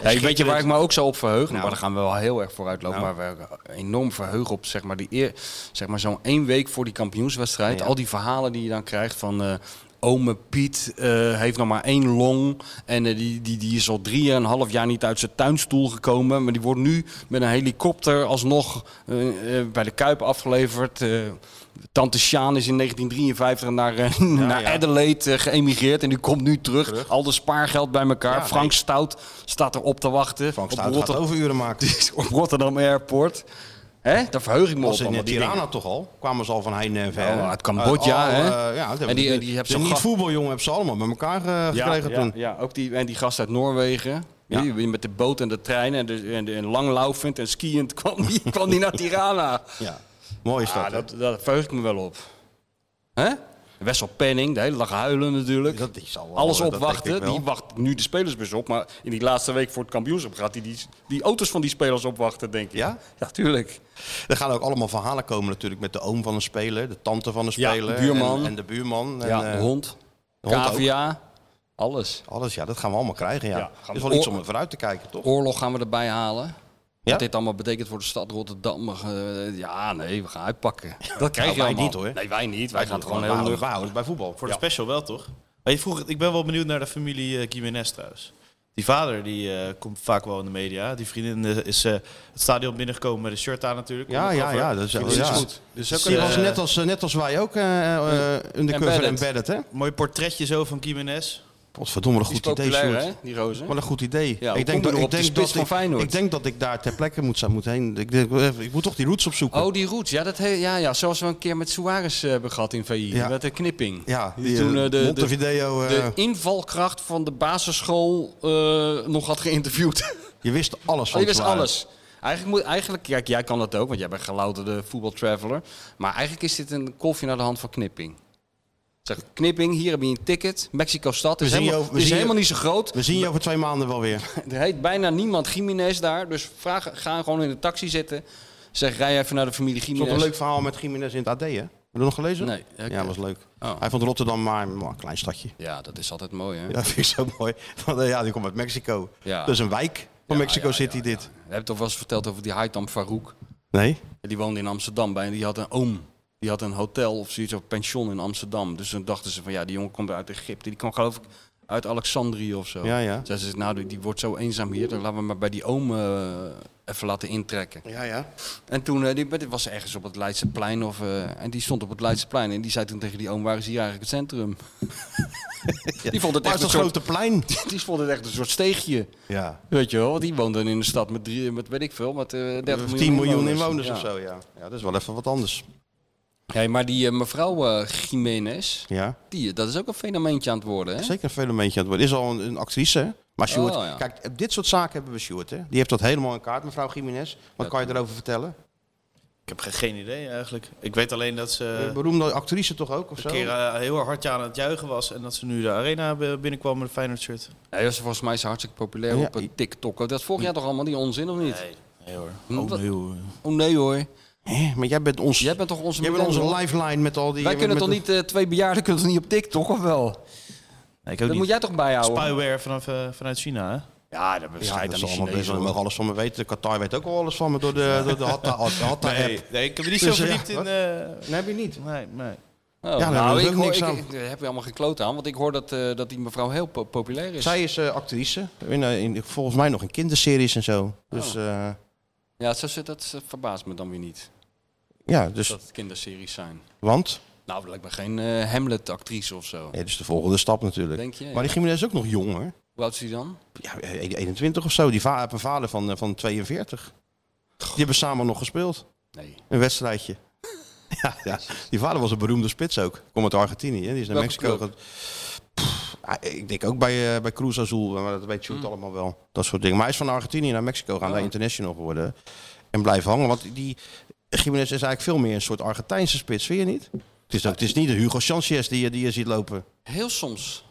S3: Hey, weet je waar ik me ook zo op verheug? Nou, maar daar gaan we wel heel erg vooruit lopen. Maar we enorm verheugen op zeg maar, die eer, zeg maar, zo'n één week voor die kampioenswedstrijd. Al die verhalen die je dan krijgt van... eh Ome Piet eh, heeft nog maar één long. En eh, die, die, die is al drieënhalf jaar niet uit zijn tuinstoel gekomen. Maar die wordt nu met een helikopter alsnog eh, eh, bij de Kuip afgeleverd. Eh, Tante Sjaan is in 1953 naar, eh, naar Adelaide eh, geëmigreerd. En die komt nu terug. Al de spaargeld bij elkaar.
S2: Ja,
S3: Frank Stout staat erop te wachten.
S2: Frank
S3: op,
S2: Stout gaat
S3: Rotter-
S2: overuren maken.
S3: op Rotterdam Airport. Hè? Daar verheug ik me
S2: Was
S3: op.
S2: in eh,
S3: allemaal, die dingen.
S2: Tirana toch al? Kwamen ze al van heen en ver?
S3: Oh, uit Cambodja,
S2: Uit al,
S3: hè?
S2: eh, ja, dat
S3: En die-
S2: hebben-
S3: die hebben
S2: de
S3: zo'n gast-
S2: niet-voetbaljongen hebben ze allemaal bij elkaar eh, gekregen
S3: ja,
S2: toen.
S3: Ja, ook die, en die gast uit Noorwegen.
S2: Ja.
S3: Die met de boot en de trein en, de, en, de, en langlaufend en skiënd kwam die, kwam die naar Tirana.
S2: Ja. Mooi is dat,
S3: Ah,
S2: hè?
S3: dat, dat verheug ik me wel op. Hè? Wessel Penning, de hele dag huilen natuurlijk.
S2: Dat is al wel-
S3: Alles
S2: dat denk
S3: opwachten.
S2: ik wel.
S3: Die wacht nu de spelersbus op. Maar in die laatste week voor het kampioenschap gaat hij die, die auto's van die spelers opwachten, denk ik.
S2: Ja?
S3: Ja, tuurlijk.
S2: Er gaan ook allemaal verhalen komen natuurlijk met de oom van een speler, de tante van een
S3: Ja,
S2: speler.
S3: de buurman.
S2: En, en de buurman. En,
S3: ja,
S2: eh,
S3: de hond,
S2: de hond ook.
S3: cavia, alles.
S2: Alles, ja, dat gaan we allemaal krijgen, ja.
S3: Ja, gaan
S2: is
S3: we-
S2: wel iets om er vooruit te kijken, toch?
S3: Oorlog gaan we erbij halen.
S2: Ja?
S3: Wat dit allemaal betekent voor de stad Rotterdam. eh, ja, nee, we gaan uitpakken. Dat krijg
S2: nou,
S3: je
S2: wij
S3: allemaal.
S2: niet, hoor.
S3: Nee, wij niet. Wij, gaan het gewoon
S2: We
S3: heel
S2: houden-
S3: lucht.
S2: we houden het bij voetbal.
S4: Voor de special wel, toch? Maar je vroeg, het- ik ben wel benieuwd naar de familie eh Gimenez trouwens. Die vader die eh, komt vaak wel in de media. Die vriendin eh, is eh, het stadion binnengekomen met een shirt aan natuurlijk.
S2: Ja,
S4: Onder
S2: ja,
S4: cover.
S2: ja, dat is,
S4: Die
S2: ja.
S4: goed.
S2: Dus
S4: Dus
S2: ook,
S4: ook
S2: die
S4: een,
S2: was
S4: eh,
S2: net als, eh, net als wij ook eh eh undercover
S3: Embedded.
S2: en embedded, hè?
S4: Mooi portretje zo van Jiménez.
S2: Potverdomme, wat een
S3: Die
S2: goed
S3: is
S2: idee,
S3: populair,
S2: Sjoerd.
S3: hè, die roze.
S2: Wat een goed idee.
S3: Ja, hoe
S2: ik, denk
S3: kom
S2: dat,
S3: je
S2: ik,
S3: erop? Die
S2: denk
S3: spits
S2: dat
S3: van
S2: ik,
S3: Feyenoord.
S2: ik denk dat ik daar ter plekke moet, zou- moet heen. Ik, denk, eh, ik moet toch die roots opzoeken.
S3: Oh, die roots. Ja, dat he- ja, ja, zoals we een keer met Suarez eh, hebben gehad in VI.
S2: Ja.
S3: Met de knipping.
S2: Ja,
S3: Die
S2: die,
S3: toen,
S2: eh,
S3: eh, de,
S2: Montevideo,
S3: de,
S2: eh.
S3: de invalkracht van de basisschool eh, nog had geïnterviewd.
S2: Je wist alles
S3: Oh,
S2: van
S3: je wist
S2: Suarez.
S3: alles. Eigenlijk, moet, eigenlijk, kijk, jij kan dat ook, want jij bent gelouterde voetbaltraveler. Maar eigenlijk is dit een kolfje naar de hand van Knipping. Zeg, Knipping, hier heb je een ticket. Mexico stad
S2: We
S3: is
S2: zien je
S3: helemaal,
S2: over- we
S3: is
S2: zien je-
S3: helemaal niet zo groot.
S2: We zien je over twee maanden wel weer.
S3: Er heet bijna niemand Jiménez daar. Dus vraag, ga gewoon in de taxi zitten. Zeg, rij even naar de familie
S2: Er stond
S3: Jiménez.
S2: een leuk verhaal met Jiménez in het AD, hè? Heb je dat nog gelezen?
S3: Nee, oké.
S2: Ja, dat was leuk.
S3: Oh.
S2: Hij vond Rotterdam maar maar een oh, klein stadje.
S3: Ja, dat is altijd mooi, hè?
S2: Ja, dat vind ik zo mooi. Van, eh, ja, die komt uit Mexico.
S3: Ja.
S2: Dat is een wijk van Mexico City, dit.
S3: Je hebt toch wel eens verteld over die Haitham Farouk.
S2: Nee?
S3: Die woonde in Amsterdam bij en die had een oom. Die had een hotel of zoiets, of pension in Amsterdam. Dus toen dachten ze van, ja, die jongen komt uit Egypte. Die kwam geloof ik uit Alexandrië of zo.
S2: Ja, ja.
S3: Zeiden ze, nou, die- die wordt zo eenzaam hier. Dan laten we maar bij die oom eh, even laten intrekken.
S2: Ja, ja.
S3: En toen, eh, die, dit was ergens op het Leidseplein. Of, eh, en die stond op het Leidseplein. En die zei toen tegen die oom, waar is hier eigenlijk het centrum? die vond het
S2: Waar
S3: echt
S2: is
S3: een
S2: dat
S3: soort,
S2: grote plein?
S3: die vond het echt een soort steegje.
S2: Ja.
S3: Weet je wel, want die woonde in een stad met, drie, met weet ik veel, met eh 30 miljoen
S2: 10 miljoen inwoners of zo, ja. Ja, dat is wel even wat anders.
S3: Hey, maar die eh, mevrouw eh Jiménez,
S2: Ja.
S3: die, eh, dat is ook een fenomeentje aan het worden, hè?
S2: Zeker een fenomeentje aan het worden. Is al een, een actrice, hè? Maar Sjoerd,
S3: Oh, ja.
S2: kijk, dit soort zaken hebben we Sjoerd, hè? Die heeft dat helemaal in kaart, mevrouw Jiménez. Wat
S3: Ja,
S2: kan je erover vertellen?
S4: Ik heb ge- geen idee eigenlijk. Ik weet alleen dat ze
S2: Een
S4: eh,
S2: beroemde actrice toch ook, of zo?
S4: een keer eh, heel hard aan het juichen was. En dat ze nu de arena b- binnenkwam met een Feyenoord shirt.
S3: Ja, dat is volgens mij is ze hartstikke populair
S2: Ja.
S3: op eh, TikTok. Dat is vorig jaar toch allemaal die onzin, of niet?
S4: Nee hoor.
S3: Oh, nee,
S4: hoor.
S3: Oh nee hoor.
S2: Hè, maar jij bent ons...
S3: Jij bent toch onze
S2: Jij bent
S3: millennial?
S2: onze lifeline met al die...
S3: Wij
S2: met-
S3: kunnen
S2: met
S3: toch niet, eh, twee bejaarden kunnen toch niet op TikTok, of wel?
S4: Nee, ik
S3: dat
S4: ook
S3: moet
S4: niet.
S3: jij toch bijhouden?
S4: Spyware vanaf, eh, vanuit China, hè?
S3: Ja, dat
S2: Ja,
S3: bestrijdt
S2: dat is
S3: aan
S2: allemaal
S3: de
S2: best wel.
S3: Chinezen.
S2: Die mogen alles van me weten. Qatar weet ook al alles van me door de, door de Hatta- Hatta-app.
S4: Nee, nee, ik heb me niet
S2: Dus,
S4: zo
S2: eh,
S4: verdiept in...
S2: wat?
S4: eh,
S2: Nee, heb je niet.
S4: nee, nee.
S3: Oh,
S2: daar
S3: nou,
S2: hebben we
S3: ik,
S2: ook
S3: hoor,
S2: niks
S3: ik,
S2: aan.
S3: ik- daar heb je allemaal geen kloot aan, want ik hoor dat, eh, dat die mevrouw heel po- populair is.
S2: Zij is eh, actrice. In, eh, in, volgens mij nog in kinderseries en zo. Dus
S3: Oh.
S2: eh,
S3: Ja, zo zit, dat eh, verbaast me dan weer niet,
S2: ja, dus...
S3: dat het kinderseries zijn.
S2: Want?
S3: Nou, dat lijkt me geen eh, Hamlet-actrice of zo.
S2: Nee, dat is de volgende stap natuurlijk.
S3: Denk je?
S2: Maar die Gimenez is ook nog jong, hoor.
S3: Hoe oud is die dan?
S2: Ja, eh, 21 of zo. Die va heeft een vader van, eh, van 42. Die hebben samen nog gespeeld.
S3: Nee.
S2: Een wedstrijdje. ja, ja, die vader was een beroemde spits ook. Komt uit Argentinië. hè. Die is naar
S3: Welke
S2: Mexico.
S3: club?
S2: ge- Pff, ah, ik denk ook bij, eh, bij Cruz Azul. Maar dat weet Sjoerd allemaal wel. Dat soort dingen. Maar hij is van Argentinië naar Mexico gaan.
S3: Hmm. Oh.
S2: Daar international geworden. En blijven hangen. Want die Jiménez is eigenlijk veel meer een soort Argentijnse spits. Vind je niet? Het is, ook, het is niet de Hugo Sanchez die je, die je ziet lopen.
S3: Heel soms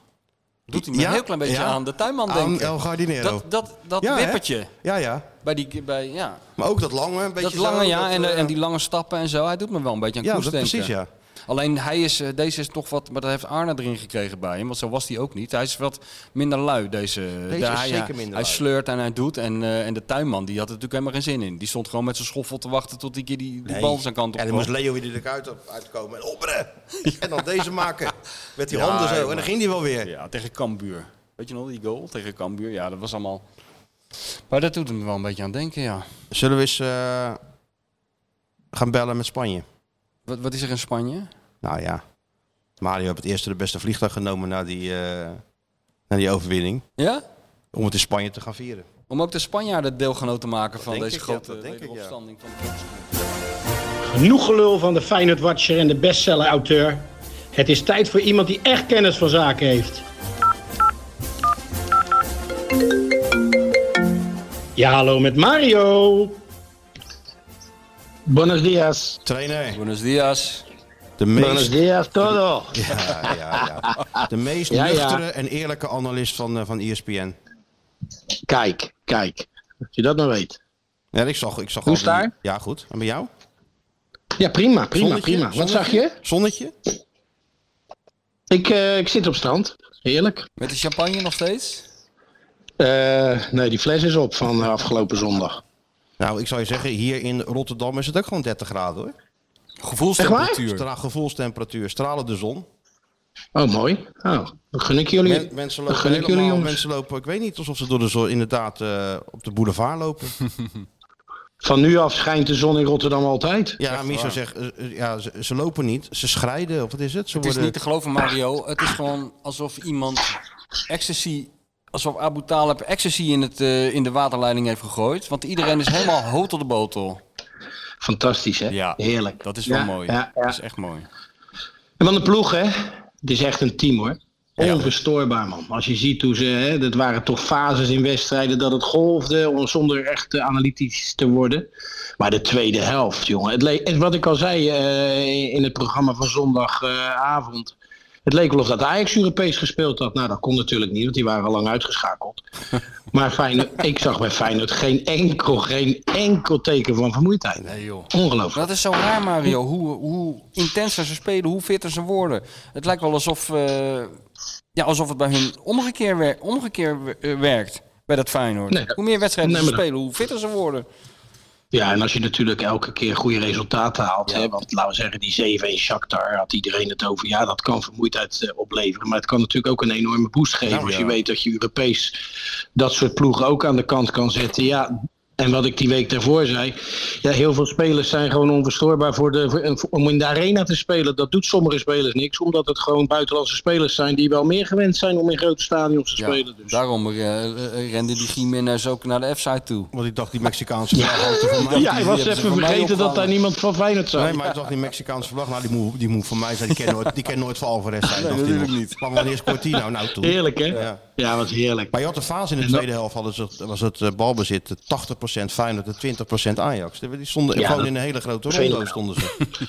S3: doet hij me
S2: Ja?
S3: een heel klein beetje
S2: Ja?
S3: aan de tuinman
S2: Aan
S3: denken.
S2: El Gardinero.
S3: dat dat, dat
S2: Ja, hè?
S3: wippertje.
S2: Ja, ja.
S3: Bij die, bij, ja.
S2: Maar ook dat lange. Een beetje
S3: Dat lange,
S2: zo,
S3: ja,
S2: dat,
S3: en, de-
S2: eh,
S3: en die lange stappen en zo. Hij doet me wel een beetje aan
S2: Ja,
S3: Kroes
S2: dat,
S3: denken.
S2: precies, ja.
S3: Alleen hij is, eh, deze is toch wat, maar dat heeft Arne erin gekregen bij hem, want zo was hij ook niet. Hij is wat minder lui, deze.
S2: is zeker
S3: hij, hij-
S2: minder
S3: Hij
S2: lui.
S3: sleurt en hij doet. En, eh, en de tuinman, die had er natuurlijk helemaal geen zin in. Die stond gewoon met zijn schoffel te wachten tot die keer die, die bal zijn kant op
S2: En dan
S3: kwam.
S2: moest Leo weer er uit, uitkomen. En opperen! en dan deze maken. Met die
S3: Ja,
S2: handen zo. En
S3: jongen.
S2: dan ging die wel weer.
S3: Ja, tegen Cambuur. Weet je nog, die goal tegen Cambuur? Ja, dat was allemaal... Maar dat doet hem wel een beetje aan denken, ja.
S2: Zullen we eens eh, gaan bellen met Spanje?
S3: Wat, wat is er in Spanje?
S2: Nou ja. Mario heeft het eerste de beste vliegtuig genomen na die, eh, na die overwinning.
S3: Ja?
S2: Om het in Spanje te gaan vieren.
S3: Om ook de Spanjaarden deelgenoot te maken van
S2: denk
S3: deze
S2: ik, ja,
S3: grote
S2: dat denk ik, ja.
S3: opstanding van de volksgroep.
S11: Genoeg gelul van de Feyenoord Watcher en de bestseller-auteur. Het is tijd voor iemand die echt kennis van zaken heeft. Ja, hallo met Mario. Buenos dias.
S2: Trainer.
S3: Buenos dias.
S2: De meest,
S11: Buenos dias todo.
S2: ja, ja, ja. De meest
S11: Ja, ja.
S2: nuchtere en eerlijke analist van, eh, van ESPN.
S11: Kijk, kijk. Dat je dat nou weet.
S2: Ja, ik zag, ik zag
S11: Hoe
S2: al die-
S11: sta je?
S2: Ja, goed. En bij jou?
S11: Ja, prima, prima,
S2: Zonnetje?
S11: prima. Wat
S2: Zonnetje?
S11: zag je?
S2: Zonnetje?
S11: Ik, eh, ik zit op strand. Heerlijk.
S3: Met de champagne nog steeds?
S11: Eh, nee, die fles is op van eh, afgelopen zondag.
S2: Nou, ik zou je zeggen, hier in Rotterdam is het ook gewoon 30 graden hoor.
S3: Gevoelstemperatuur.
S2: Stra gevoelstemperatuur, stralen de zon.
S11: Oh, mooi. Oh, dan gun ik jullie.
S2: Men- mensen
S11: dan
S2: lopen
S11: gun ik jullie,
S2: helemaal-
S11: jongens.
S2: Mensen lopen, ik weet niet alsof ze door de zon inderdaad eh, op de boulevard lopen.
S11: Van nu af schijnt de zon in Rotterdam altijd.
S2: ja, Miso zegt, eh, eh, ja, ze, ze lopen niet, ze schrijden. Of wat is het? Ze
S3: Het is
S2: worden-
S3: niet te geloven, Mario. Het is gewoon alsof iemand ecstasy, alsof Abu Talib ecstasy in, het, eh, in de waterleiding heeft gegooid. Want iedereen is helemaal hoog tot de botel.
S11: Fantastisch, hè?
S3: Ja,
S11: Heerlijk.
S3: Dat is wel
S11: Ja,
S3: mooi. Dus
S11: ja,
S3: Dat is echt mooi.
S11: En van de ploeg, hè? Het is echt een team, hoor. Onverstoorbaar, man. Als je ziet hoe ze... Hè, dat waren toch fases in wedstrijden dat het golfde... om- zonder echt eh, analytisch te worden. Maar de tweede helft, jongen. Het leek, en wat ik al zei eh, in het programma van zondagavond... het leek wel of dat Ajax Europees gespeeld had. Nou, dat kon natuurlijk niet, want die waren al lang uitgeschakeld. Maar Feyenoord, ik zag bij Feyenoord geen enkel, geen enkel teken van vermoeidheid.
S3: Nee, joh.
S11: Ongelooflijk.
S3: Dat is zo raar, Mario. Hoe, hoe intenser ze spelen, hoe fitter ze worden. Het lijkt wel alsof, eh, ja, alsof het bij hun omgekeerd, wer- omgekeerd wer- eh, werkt. Bij dat Feyenoord.
S11: Nee, dat-
S3: hoe meer wedstrijden
S11: nee,
S3: ze
S11: maar dat-
S3: spelen, hoe fitter ze worden.
S11: Ja, en als je natuurlijk elke keer goede resultaten haalt. Hè, want laten we zeggen, die 7 in Shakhtar had iedereen het over. Ja, dat kan vermoeidheid eh, opleveren. Maar het kan natuurlijk ook een enorme boost geven.
S12: Nou,
S11: als
S12: ja.
S11: je weet dat je Europees dat soort ploegen ook aan de kant kan zetten. Ja, en wat ik die week daarvoor zei. Ja, heel veel spelers zijn gewoon onverstoorbaar voor de, voor- om in de arena te spelen. Dat doet sommige spelers niks. Omdat het gewoon buitenlandse spelers zijn die wel meer gewend zijn om in grote stadions te
S3: Ja,
S11: spelen. dus.
S3: daarom eh, eh, rende die Jiménez ook naar de F-site toe.
S2: Want ik dacht die Mexicaanse
S11: Ja, ik was even vergeten dat daar niemand van Feyenoord zou.
S2: Nee, maar ik dacht die Mexicaanse vlag, nou die moet, die moet van mij zijn. Die ken nooit, die ken nooit van Alvarez zijn.
S11: Nee,
S2: dacht
S11: natuurlijk
S2: niet. Maar wanneer scoort die nou, nou toe?
S11: Heerlijk, hè?
S2: Ja.
S11: ja, wat heerlijk.
S2: Maar je had de fase in de
S11: En dat-
S2: tweede helft, hadden ze, was het eh, balbezit eh, 80% Feyenoord en 20% Ajax. Die stonden
S11: Ja,
S2: gewoon
S11: dat-
S2: in een hele grote
S11: vind ik
S2: rondo
S11: wel.
S2: stonden ze.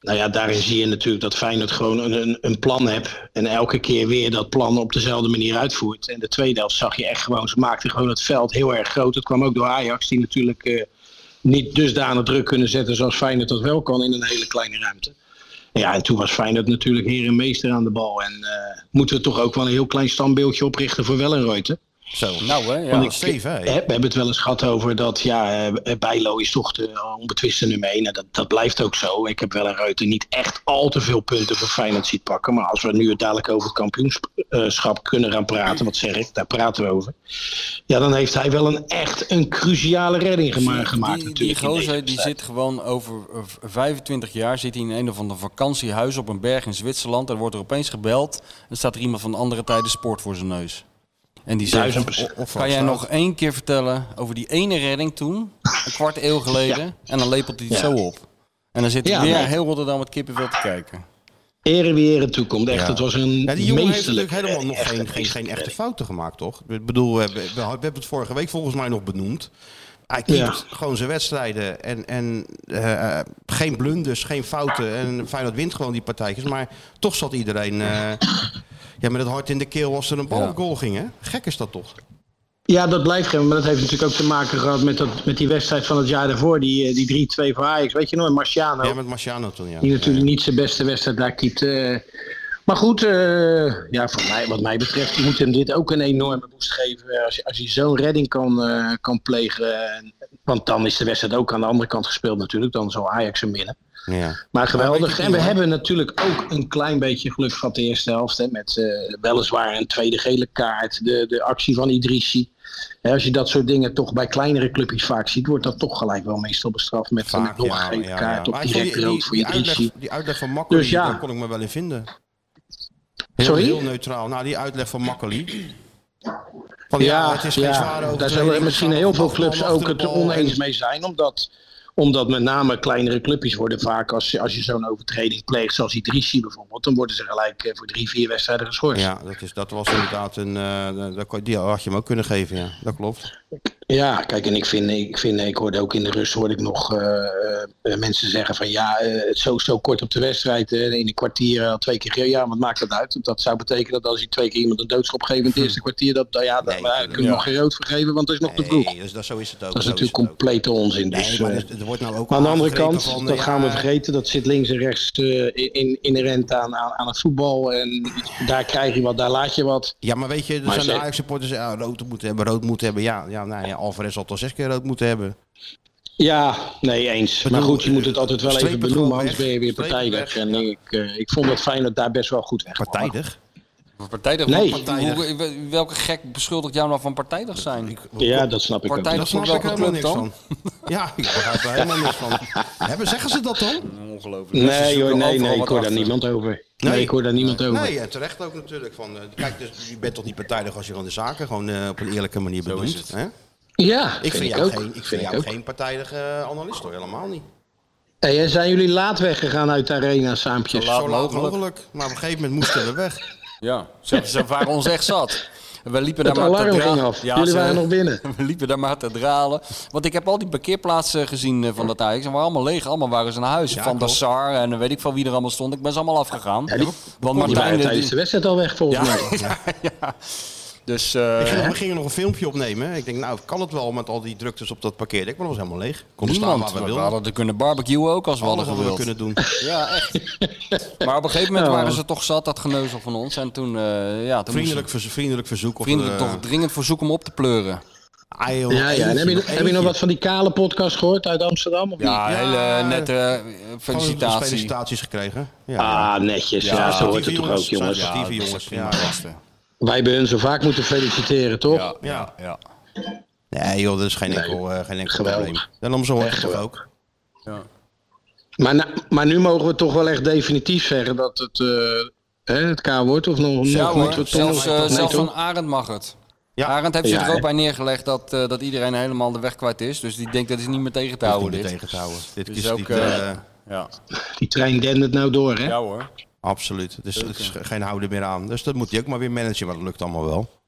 S11: Nou ja, daarin zie je natuurlijk dat Feyenoord gewoon een, een, een plan hebt. En elke keer weer dat plan op dezelfde manier uitvoert. En de tweede helft zag je echt gewoon, ze maakten gewoon het veld heel erg groot. Het kwam ook door Ajax, die natuurlijk eh, niet dusdanig druk kunnen zetten zoals Feyenoord dat wel kan in een hele kleine ruimte. Ja, en toen was Feyenoord natuurlijk heer en meester aan de bal. En eh, moeten we toch ook wel een heel klein standbeeldje oprichten voor Wellenreuter.
S2: Zo,
S3: nou hè.
S11: Want ik,
S2: Steven,
S11: Eh, we hebben het wel eens gehad over dat ja, eh, Bijlo is toch de onbetwiste nummer 1. En dat, dat blijft ook zo. Ik heb wel een Reuter niet echt al te veel punten voor Feyenoord ziet pakken. Maar als we nu dadelijk over het kampioenschap kunnen gaan praten, wat zeg ik, daar praten we over. Ja, dan heeft hij wel een echt een cruciale redding gema- gemaakt.
S3: Die, die
S11: natuurlijk in deze
S3: gozer die
S11: wedstrijd.
S3: zit gewoon over eh, v- 25 jaar zit hij in een of ander vakantiehuis op een berg in Zwitserland. Er wordt er opeens gebeld. En staat er iemand van andere tijden sport voor zijn neus. En die zegt,
S11: Duizend procent.
S3: "O- kan jij nog één keer vertellen over die ene redding toen, een kwart eeuw geleden? En dan lepelt hij het
S11: Ja.
S3: zo op. En dan zit hij
S11: Ja,
S3: weer
S11: nee.
S3: heel Rotterdam met kippenvel te kijken.
S11: Ere wie ere toekomt. Echt, het was een
S2: Ja, die jongen heeft
S11: meesterlijk- eh,
S2: natuurlijk helemaal nog geen, geen, geen echte fouten gemaakt, toch? Ik bedoel, we, hebben- we hebben het vorige week volgens mij nog benoemd. Hij keept
S11: Ja.
S2: gewoon zijn wedstrijden en, en eh, eh, geen blunders, geen fouten. En Feyenoord wint gewoon die partijtjes. Maar toch zat iedereen eh, ja, met het hart in de keel als er een bal op goal ging, hè? Gek is dat toch?
S11: Ja, dat blijft geen. Maar dat heeft natuurlijk ook te maken gehad met, dat, met die wedstrijd van het jaar daarvoor. Die, eh, die 3-2 voor Ajax. Weet je nog, Marciano.
S2: Ja, met Marciano toen, ja.
S11: Die natuurlijk niet zijn beste wedstrijd daar kipt. eh. maar goed, eh, ja, voor mij, wat mij betreft moet hem dit ook een enorme boost geven. eh, Als, je- als hij zo'n redding kan, eh, kan plegen. En- want dan is de wedstrijd ook aan de andere kant gespeeld natuurlijk. Dan zal Ajax hem winnen.
S2: Ja.
S11: Maar geweldig.
S2: het
S11: En we
S2: niet, hoor.
S11: hebben natuurlijk ook een klein beetje geluk gehad de eerste helft. Hè, met eh, weliswaar een tweede gele kaart. De, de actie van Idrissi. Hè, als je dat soort dingen toch bij kleinere clubjes vaak ziet, wordt dat toch gelijk wel meestal bestraft met
S2: Vaak,
S11: een
S2: ja,
S11: gele
S2: ja,
S11: kaart
S2: ja.
S11: op
S2: Maar ik vond die-
S11: direct
S2: die-
S11: rood voor
S2: die uitleg,
S11: Idrissi.
S2: die uitleg van Makkeli,
S11: Dus ja.
S2: daar kon ik me wel in vinden. Heel,
S11: Sorry?
S2: heel neutraal. Nou, die uitleg van Makkeli. Van, ja, het is geen zware
S11: daar
S2: overtreding.
S11: zullen misschien heel veel clubs
S2: Achter
S11: ook
S2: de
S11: het
S2: bal
S11: oneens
S2: en-
S11: mee zijn. Omdat, omdat met name kleinere clubjes worden vaak, als, je- als je zo'n overtreding pleegt, zoals Idrissi bijvoorbeeld, dan worden ze gelijk eh, voor drie, vier wedstrijden geschorst.
S2: Ja, dat, is, dat was inderdaad een. eh, dat kon- die had je hem ook kunnen geven, ja. Dat klopt.
S11: Ja, kijk, en ik vind, ik vind, ik hoorde ook in de rust hoorde ik nog eh, eh, mensen zeggen van ja, eh, het zo, zo kort op de wedstrijd, eh, in een kwartier al twee keer, ge- ja, wat maakt dat uit? Want dat zou betekenen dat als je twee keer iemand een doodschop geeft in het eerste kwartier, dat, nou ja, dan maar, kun je
S2: ja.
S11: nog geen rood vergeven, want dat is nog te vroeg.
S2: Nee, dus dat, zo is het ook.
S11: Dat is
S2: zo
S11: natuurlijk
S2: het ook.
S11: complete onzin. Dus,
S2: nee, maar
S11: eh,
S2: het, het wordt nou ook
S11: Maar aan de andere
S2: aangegrepen
S11: kant,
S2: van, eh,
S11: dat
S2: ja,
S11: gaan we vergeten, dat zit links en rechts eh, in- in, inherent aan, aan, aan het voetbal. En daar krijg je wat, daar laat je wat.
S2: Ja, maar weet je, er
S11: Maar
S2: zijn de
S11: ze-
S2: Ajax-supporters ja, rood moeten hebben, rood moeten hebben. Ja, ja, nou ja, Alvarez had al zes keer rood moeten hebben.
S11: Ja, nee, eens. maar goed, je moet het altijd wel even
S2: streep het gewoon
S11: benoemen, anders
S2: weg.
S11: ben je weer
S2: Streep het
S11: partijdig. En ik, eh, ik vond dat Feyenoord daar best wel goed weg kwam.
S2: Partijdig?
S3: Partijdig?
S11: Nee.
S3: Hoe- hoe- welke gek beschuldigt jou nou van partijdig zijn?
S11: Ja, dat snap ik ook.
S3: Partijdig
S11: Dat
S3: voor
S11: snap ik
S3: welke
S11: helemaal
S3: club
S11: niks
S3: dan?
S2: Ja, ik begrijp er helemaal niks van. Hebben, zeggen ze dat dan?
S3: Ongelooflijk.
S11: Nee,
S2: Ze
S11: joh,
S2: zoeken
S11: nee,
S2: overal
S11: nee, ik
S2: wat
S11: hoor daar
S2: achter.
S11: niemand over. Nee, ik hoor daar niemand over.
S2: Nee, eh, terecht ook natuurlijk. Van, eh, kijk, dus, je bent toch niet partijdig als je gewoon de zaken gewoon eh, op een eerlijke manier
S3: is
S2: benoemt.
S3: het.
S2: Hè?
S11: Ja,
S2: ik
S11: vind
S2: vind
S11: ik
S2: jou,
S11: ook.
S2: geen, ik
S11: Vind
S2: vind
S11: ik
S2: jou
S11: ook.
S2: geen partijdige eh, analist hoor, helemaal niet.
S11: Hey, en zijn jullie laat weggegaan uit de arena, saampjes?
S2: Zo laat mogelijk. Maar op een gegeven moment moesten we weg.
S3: Ja, ze, ze waren ons echt zat. We liepen
S11: Het
S3: daar maar
S11: alarm
S3: te dra-
S11: ging af.
S3: Ja,
S11: Jullie
S3: ze-
S11: waren nog binnen.
S3: We liepen daar maar te dralen. Want ik heb al die parkeerplaatsen gezien eh, van dat Ajax. En waren allemaal leeg. Allemaal waren ze naar huis. van der
S2: klopt.
S3: Sar en weet ik van wie er allemaal stond. Ik ben ze allemaal afgegaan.
S11: Ja, die-
S3: want
S11: Die
S3: Martijn...
S11: waren
S3: eh,
S11: tijdens de
S3: die-
S11: wedstrijd al weg, volgens
S3: Ja,
S11: mij.
S3: ja, ja. Dus...
S2: Ik
S3: eh,
S2: ging- we gingen nog een filmpje opnemen. Ik denk, nou, kan het wel met al die druktes op dat parkeerdek. Maar dat was helemaal leeg. Kon staan
S3: Niemand.
S2: waar we
S3: Dus We
S2: wilden.
S3: hadden er kunnen barbecuen ook als we
S2: Alles
S3: hadden
S2: hadden we
S3: gewild.
S2: kunnen doen.
S3: Ja, echt. Maar op een gegeven moment
S11: Ja.
S3: waren ze toch zat, dat geneuzel van ons. En toen, eh ja, toen
S2: Vriendelijk,
S3: moesten
S2: verzo- vriendelijk verzoek.
S3: we
S2: Of,
S3: vriendelijk
S2: eh,
S3: toch dringend verzoek om op te pleuren.
S2: ah, joh,
S11: Ja, ja. En heb, je,
S2: eentje,
S11: heb je nog
S2: eentje.
S11: wat van die kale podcast gehoord uit Amsterdam? Of niet?
S3: Ja, hele nette eh,
S2: Gewoon dus
S3: felicitatie.
S2: felicitaties gekregen.
S11: Ah, netjes. Ja, zo hoort het toch ook, jongens.
S2: Ja,
S3: Ja,
S2: Actieve jongens.
S3: prima
S2: Ja,
S3: gasten.
S11: Wij hebben hun zo vaak moeten feliciteren, toch?
S3: Ja, ja, ja.
S2: Nee joh, dat is geen enkel, eh, geen enkel
S11: geweldig.
S2: probleem. En om zo hoort
S11: Echt
S2: het toch ook.
S11: Maar, na- maar nu mogen we toch wel echt definitief zeggen dat het, eh, hè, het K-woord of nog,
S3: Ja,
S11: nog
S3: hoor.
S11: niet. Wat
S3: Zelfs, eh,
S11: nee,
S3: zelfs
S11: toch?
S3: van Arend mag het.
S2: Ja.
S3: Arend heeft zich
S11: Ja,
S3: er ook
S11: hè.
S3: bij neergelegd dat, eh, dat iedereen helemaal de weg kwijt is. Dus die denkt dat is niet meer tegen te
S2: Dat is
S3: houden.
S2: niet meer
S3: Dit.
S2: tegen te houden. Dit
S3: Dus
S2: is
S3: ook,
S2: niet,
S3: eh,
S2: eh,
S3: ja.
S11: Die trein dendert nou door, hè?
S3: ja hoor.
S2: absoluut. Dus het is ge- geen houden meer aan. Dus dat moet je ook maar weer managen, maar dat lukt allemaal wel.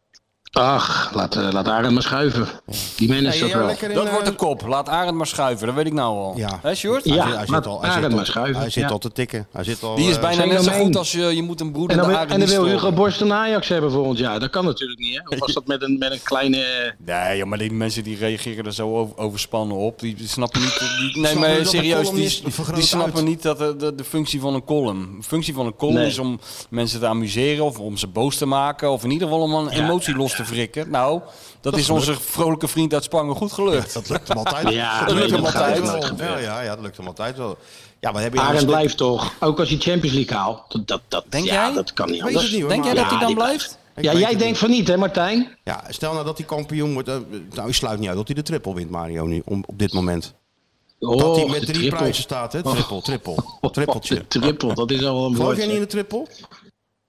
S11: Ach, laat, eh, laat Arend maar schuiven. Die manage dat wel.
S3: Dat wordt de kop. Laat Arend maar schuiven. Dat weet ik nou al.
S2: Ja.
S3: Hè, Sjoerd?
S11: Ja,
S2: hij
S11: maar
S2: zit al,
S11: Arend
S2: hij zit
S11: maar
S2: al,
S11: schuiven,
S2: Hij zit
S11: ja.
S2: al te tikken. Hij zit al,
S3: Die is
S2: eh,
S3: bijna net zo
S11: fenomeen.
S3: goed als eh, je, je moet een broeder
S11: En dan, wil-
S3: de Arend
S11: en dan wil
S3: niet
S11: Hugo
S3: storen.
S11: Borst een Ajax hebben volgend jaar. Dat kan natuurlijk niet, hè? Of was dat met een, met een kleine... eh,
S3: Nee, joh, maar die mensen die reageren er zo over- overspannen op. Die, die snappen niet. Die, nee,
S2: Snappen
S3: maar
S2: dat de
S3: serieus,
S2: columnist
S3: die,
S2: vergroot
S3: die snappen
S2: uit.
S3: niet dat de, de, de functie van een column. De functie van een column
S11: Nee.
S3: is om mensen te amuseren of om ze boos te maken. Of in ieder geval om een emotie los te frikken. Nou, dat, is onze vrolijke vriend uit Spangen goed gelukt.
S2: Dat lukt hem altijd.
S11: Ja,
S2: dat
S11: nee,
S2: lukt hem
S11: dat gaat
S2: altijd
S11: nooit
S2: wel. Ja,
S11: gebeuren.
S2: ja, ja, dat lukt hem altijd wel. Ja, maar heb je nou
S11: Arend
S2: een-
S11: blijft toch, ook als hij Champions League haalt. Dat, dat, dat,
S3: Denk
S11: ja,
S3: jij?
S11: dat kan niet
S2: Weet het
S11: anders.
S2: niet, hoor,
S3: Denk jij
S2: maar-
S3: dat hij
S11: Ja,
S3: dan
S11: die-
S3: blijft?
S2: Ik
S11: ja,
S2: weet
S11: jij
S2: het
S11: denkt van niet, hè Martijn?
S2: Ja, stel nou dat hij kampioen wordt. eh, nou, ik sluit niet uit dat hij de triple wint, Mario, nu, om, op dit moment. dat hij
S11: Och,
S2: met
S11: Oh, de
S2: drie
S11: triple.
S2: prijzen staat, hè? Triple, triple. Trippeltje.
S11: De triple, dat is al een
S2: Geloof
S11: woord.
S2: jij
S11: hè.
S2: niet in de triple?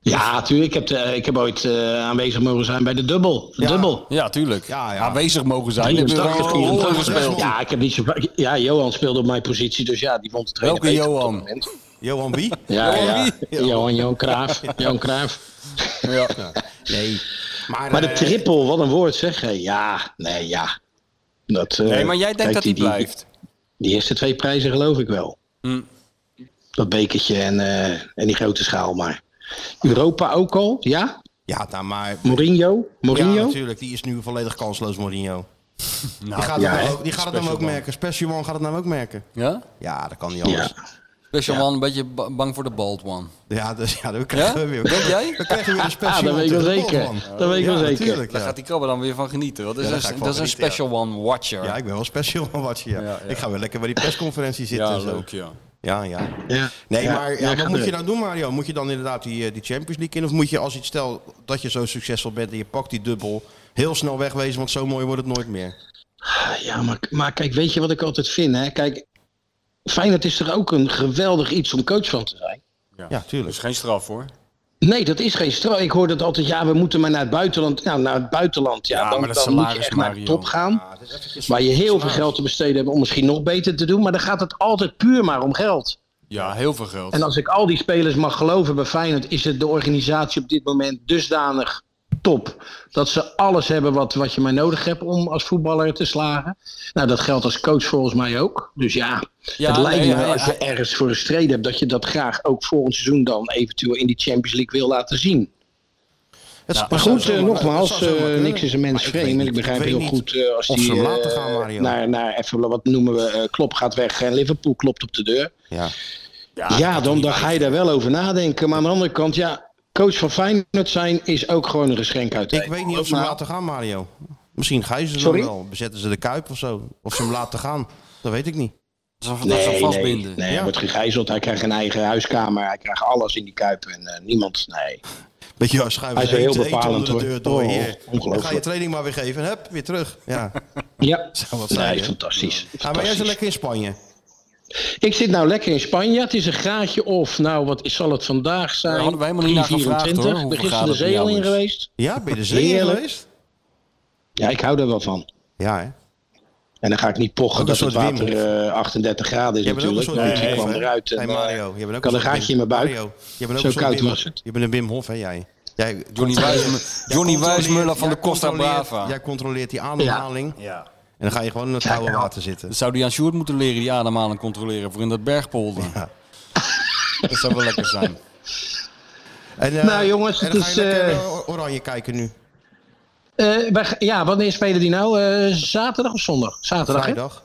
S11: Ja, tuurlijk. Ik heb, de- ik heb ooit eh, aanwezig mogen zijn bij de dubbel. De
S2: Ja.
S11: dubbel.
S3: Ja, tuurlijk.
S2: Ja, ja.
S3: Aanwezig mogen zijn. Heb je wel
S11: 83,
S3: een rol
S11: 84.
S3: gespeeld?
S11: Ja, ik heb niet zo vaak- Ja, Johan speelde op mijn positie, dus ja, die vond het trainer
S3: Welke
S11: beter op dat
S3: Johan?
S11: moment.
S2: Johan wie?
S11: Ja,
S3: Johan
S11: ja.
S2: wie?
S11: Johan, Johan Cruijff. Johan Cruijff.
S2: Ja. Nee. Maar,
S11: Maar de
S2: eh,
S11: triple, wat een woord zeg. hè. Ja, nee, ja. Dat, eh,
S3: Nee, maar jij denkt
S11: kijk,
S3: dat hij
S11: die- die-
S3: blijft. Hm.
S11: Die eerste twee prijzen geloof ik wel. Dat bekertje en, eh, en die grote schaal, maar... Europa ook al, ja?
S2: Ja, nou, maar...
S11: Mourinho?
S2: Ja,
S11: Mourinho?
S2: natuurlijk. Die is nu volledig kansloos, Mourinho.
S3: Nou,
S2: die gaat,
S11: ja,
S2: het, nou
S11: hè?
S2: ook, die gaat het nou
S3: Special
S2: ook
S3: man.
S2: merken. Special One gaat het nou ook merken.
S3: Ja?
S2: Ja, dat kan niet anders. Ja,
S3: Special man, een beetje ba- bang voor de bald one.
S2: dus, ja dan krijgen we weer...
S3: Denk jij?
S2: Dan krijgen we weer een special
S11: Ah, dat
S2: one
S11: weet ik wel
S2: tegen
S11: zeker.
S2: Botman.
S11: Dat weet ik
S2: ja,
S11: wel zeker.
S2: natuurlijk,
S3: Daar
S2: ja.
S3: gaat die krabber dan weer van genieten. want Dat is,
S2: Ja, daar ga
S3: een,
S2: ik van
S3: dat is een
S2: genieten,
S3: special one watcher.
S2: Ja, ik ben wel special one watcher, ja.
S3: Ja, ja.
S2: Ik ga weer lekker bij die persconferentie zitten.
S3: Ja,
S2: en zo.
S3: leuk, ja.
S2: Ja, ja.
S11: Ja.
S2: Nee,
S11: Ja,
S2: maar
S11: ja,
S2: ja, wat
S11: gaat
S2: moet je
S11: erin.
S2: nou doen, Mario? Moet je dan inderdaad die, eh, die Champions League in? Of moet je, als je het stel dat je zo succesvol bent en je pakt die dubbel, heel snel wegwezen, want zo mooi wordt het nooit meer.
S11: Ah, Ja, maar, maar kijk, weet je wat ik altijd vind? Hè? Kijk, Feyenoord is er ook een geweldig iets om coach van te zijn.
S2: Ja,
S3: Dat
S2: tuurlijk.
S3: is geen straf hoor.
S11: Nee, dat is geen straf. Ik hoor dat altijd, ja, we moeten maar naar het buitenland. Nou, naar het buitenland, ja,
S3: Ja,
S11: dan,
S3: maar dat
S11: dan moet je
S3: salaris,
S11: echt naar de
S3: Mario.
S11: top gaan. waar je heel veel geld te besteden hebt om misschien nog beter te doen. Maar dan gaat het altijd puur maar om geld.
S3: Ja, heel veel geld.
S11: En als ik al die spelers mag geloven bij Feyenoord, is het de organisatie op dit moment dusdanig top. Dat ze alles hebben wat, wat je maar nodig hebt om als voetballer te slagen. Nou, dat geldt als coach volgens mij ook. Dus ja,
S3: Ja,
S11: het lijkt
S3: nee,
S11: me
S3: hij-
S11: als je ergens voor gestreden hebt, dat je dat graag ook volgend seizoen dan eventueel in die Champions League wil laten zien.
S2: Het-
S3: Nou,
S2: het
S11: Maar
S2: zou
S11: goed, eh,
S2: zomaar- het
S11: nogmaals,
S2: zou zomaar
S11: eh,
S2: kunnen.
S11: niks is een mens
S2: Maar weet
S11: vreemd. En
S2: niet-
S11: ik begrijp
S2: weet
S11: heel
S2: niet
S11: goed eh, als
S2: of
S11: die
S2: ze hem laten
S11: eh,
S2: gaan, Mario.
S11: naar, naar even, wat noemen we, eh Klop gaat weg en Liverpool klopt op de deur.
S2: Ja.
S11: Ja, dan, dan ga je daar wel over nadenken. Maar aan de andere kant, ja, coach van Feyenoord zijn is ook gewoon een geschenk uit. de
S2: Ik
S11: hemel.
S2: weet niet of ze hem
S11: Maar-
S2: laten gaan, Mario. Misschien gaan ze
S11: Sorry?
S2: dan wel. Bezetten ze de Kuip of zo. Of ze hem laten gaan. Dat weet ik niet.
S3: Dat
S2: dat is een
S11: Nee,
S2: vastbinden.
S11: nee,
S2: Ja.
S11: hij wordt gegijzeld. Hij krijgt een eigen huiskamer. Hij krijgt alles in die kuip. En eh, niemand, nee.
S2: Beetje ja, schuiven
S11: Hij is
S2: ze
S11: wel
S2: eten-
S11: heel
S2: eten
S11: bepalend,
S2: onder de
S11: hoor.
S2: deur door
S11: Oh,
S2: hier. Dan ga je
S11: ongelooflijk.
S2: training maar weer geven en hup, weer terug. Ja,
S11: Ja,
S2: zou wat
S11: Nee,
S2: zijn. hè?
S11: fantastisch.
S2: Ja, maar jij
S11: Fantastisch.
S2: zit lekker in Spanje.
S11: Ik zit nou lekker in Spanje. Het is een graadje of. Nou, wat is- zal het vandaag zijn?
S3: Daar hadden wij helemaal niet naar gevraagd, hoor,
S11: 24.
S3: hoeveel
S11: Ben gisteren
S3: graden
S11: de
S3: het
S11: zee
S3: bij
S11: al
S3: jou
S11: in
S3: is.
S11: geweest?
S2: Ja, ben je de zee in
S11: Heerlijk.
S2: geweest?
S11: Ja, ik hou er wel van.
S2: Ja, hè?
S11: En dan ga ik niet pochen
S2: Ook
S11: dat
S2: een
S11: het
S2: soort
S11: water eh, 38 graden is
S2: Jij bent ook een
S11: natuurlijk.
S2: soort
S11: Nee,
S2: Wim
S11: ik
S2: Hof,
S11: kwam
S2: hè?
S11: eruit en
S2: Hey,
S11: eh,
S2: Mario, je bent ook
S11: ik had
S2: een
S11: een
S2: soort
S11: gaatje in
S2: Wim-
S11: mijn buik.
S2: Mario, je bent ook
S11: Zo
S2: een soort
S11: koud
S2: Wim-
S11: was het.
S2: Je bent een Wim Hof, hè jij? jij
S3: Johnny Wijsmuller- Johnny Wijsmuller van de Costa Brava.
S2: Jij controleert die ademhaling.
S8: Ja.
S2: En dan ga je gewoon in het koude water zitten.
S3: Dat zou die aan Sjoerd moeten leren, die ademhaling controleren voor in dat bergpolder. Dat zou wel lekker zijn.
S2: En, eh,
S11: Nou, jongens,
S2: en
S11: het
S2: dan ga je
S11: is,
S2: lekker
S11: eh,
S2: eh, oranje kijken nu.
S11: Eh, wij ga- ja, wanneer spelen die nou? Eh, zaterdag of zondag? Zaterdag, hè?
S2: Vrijdag.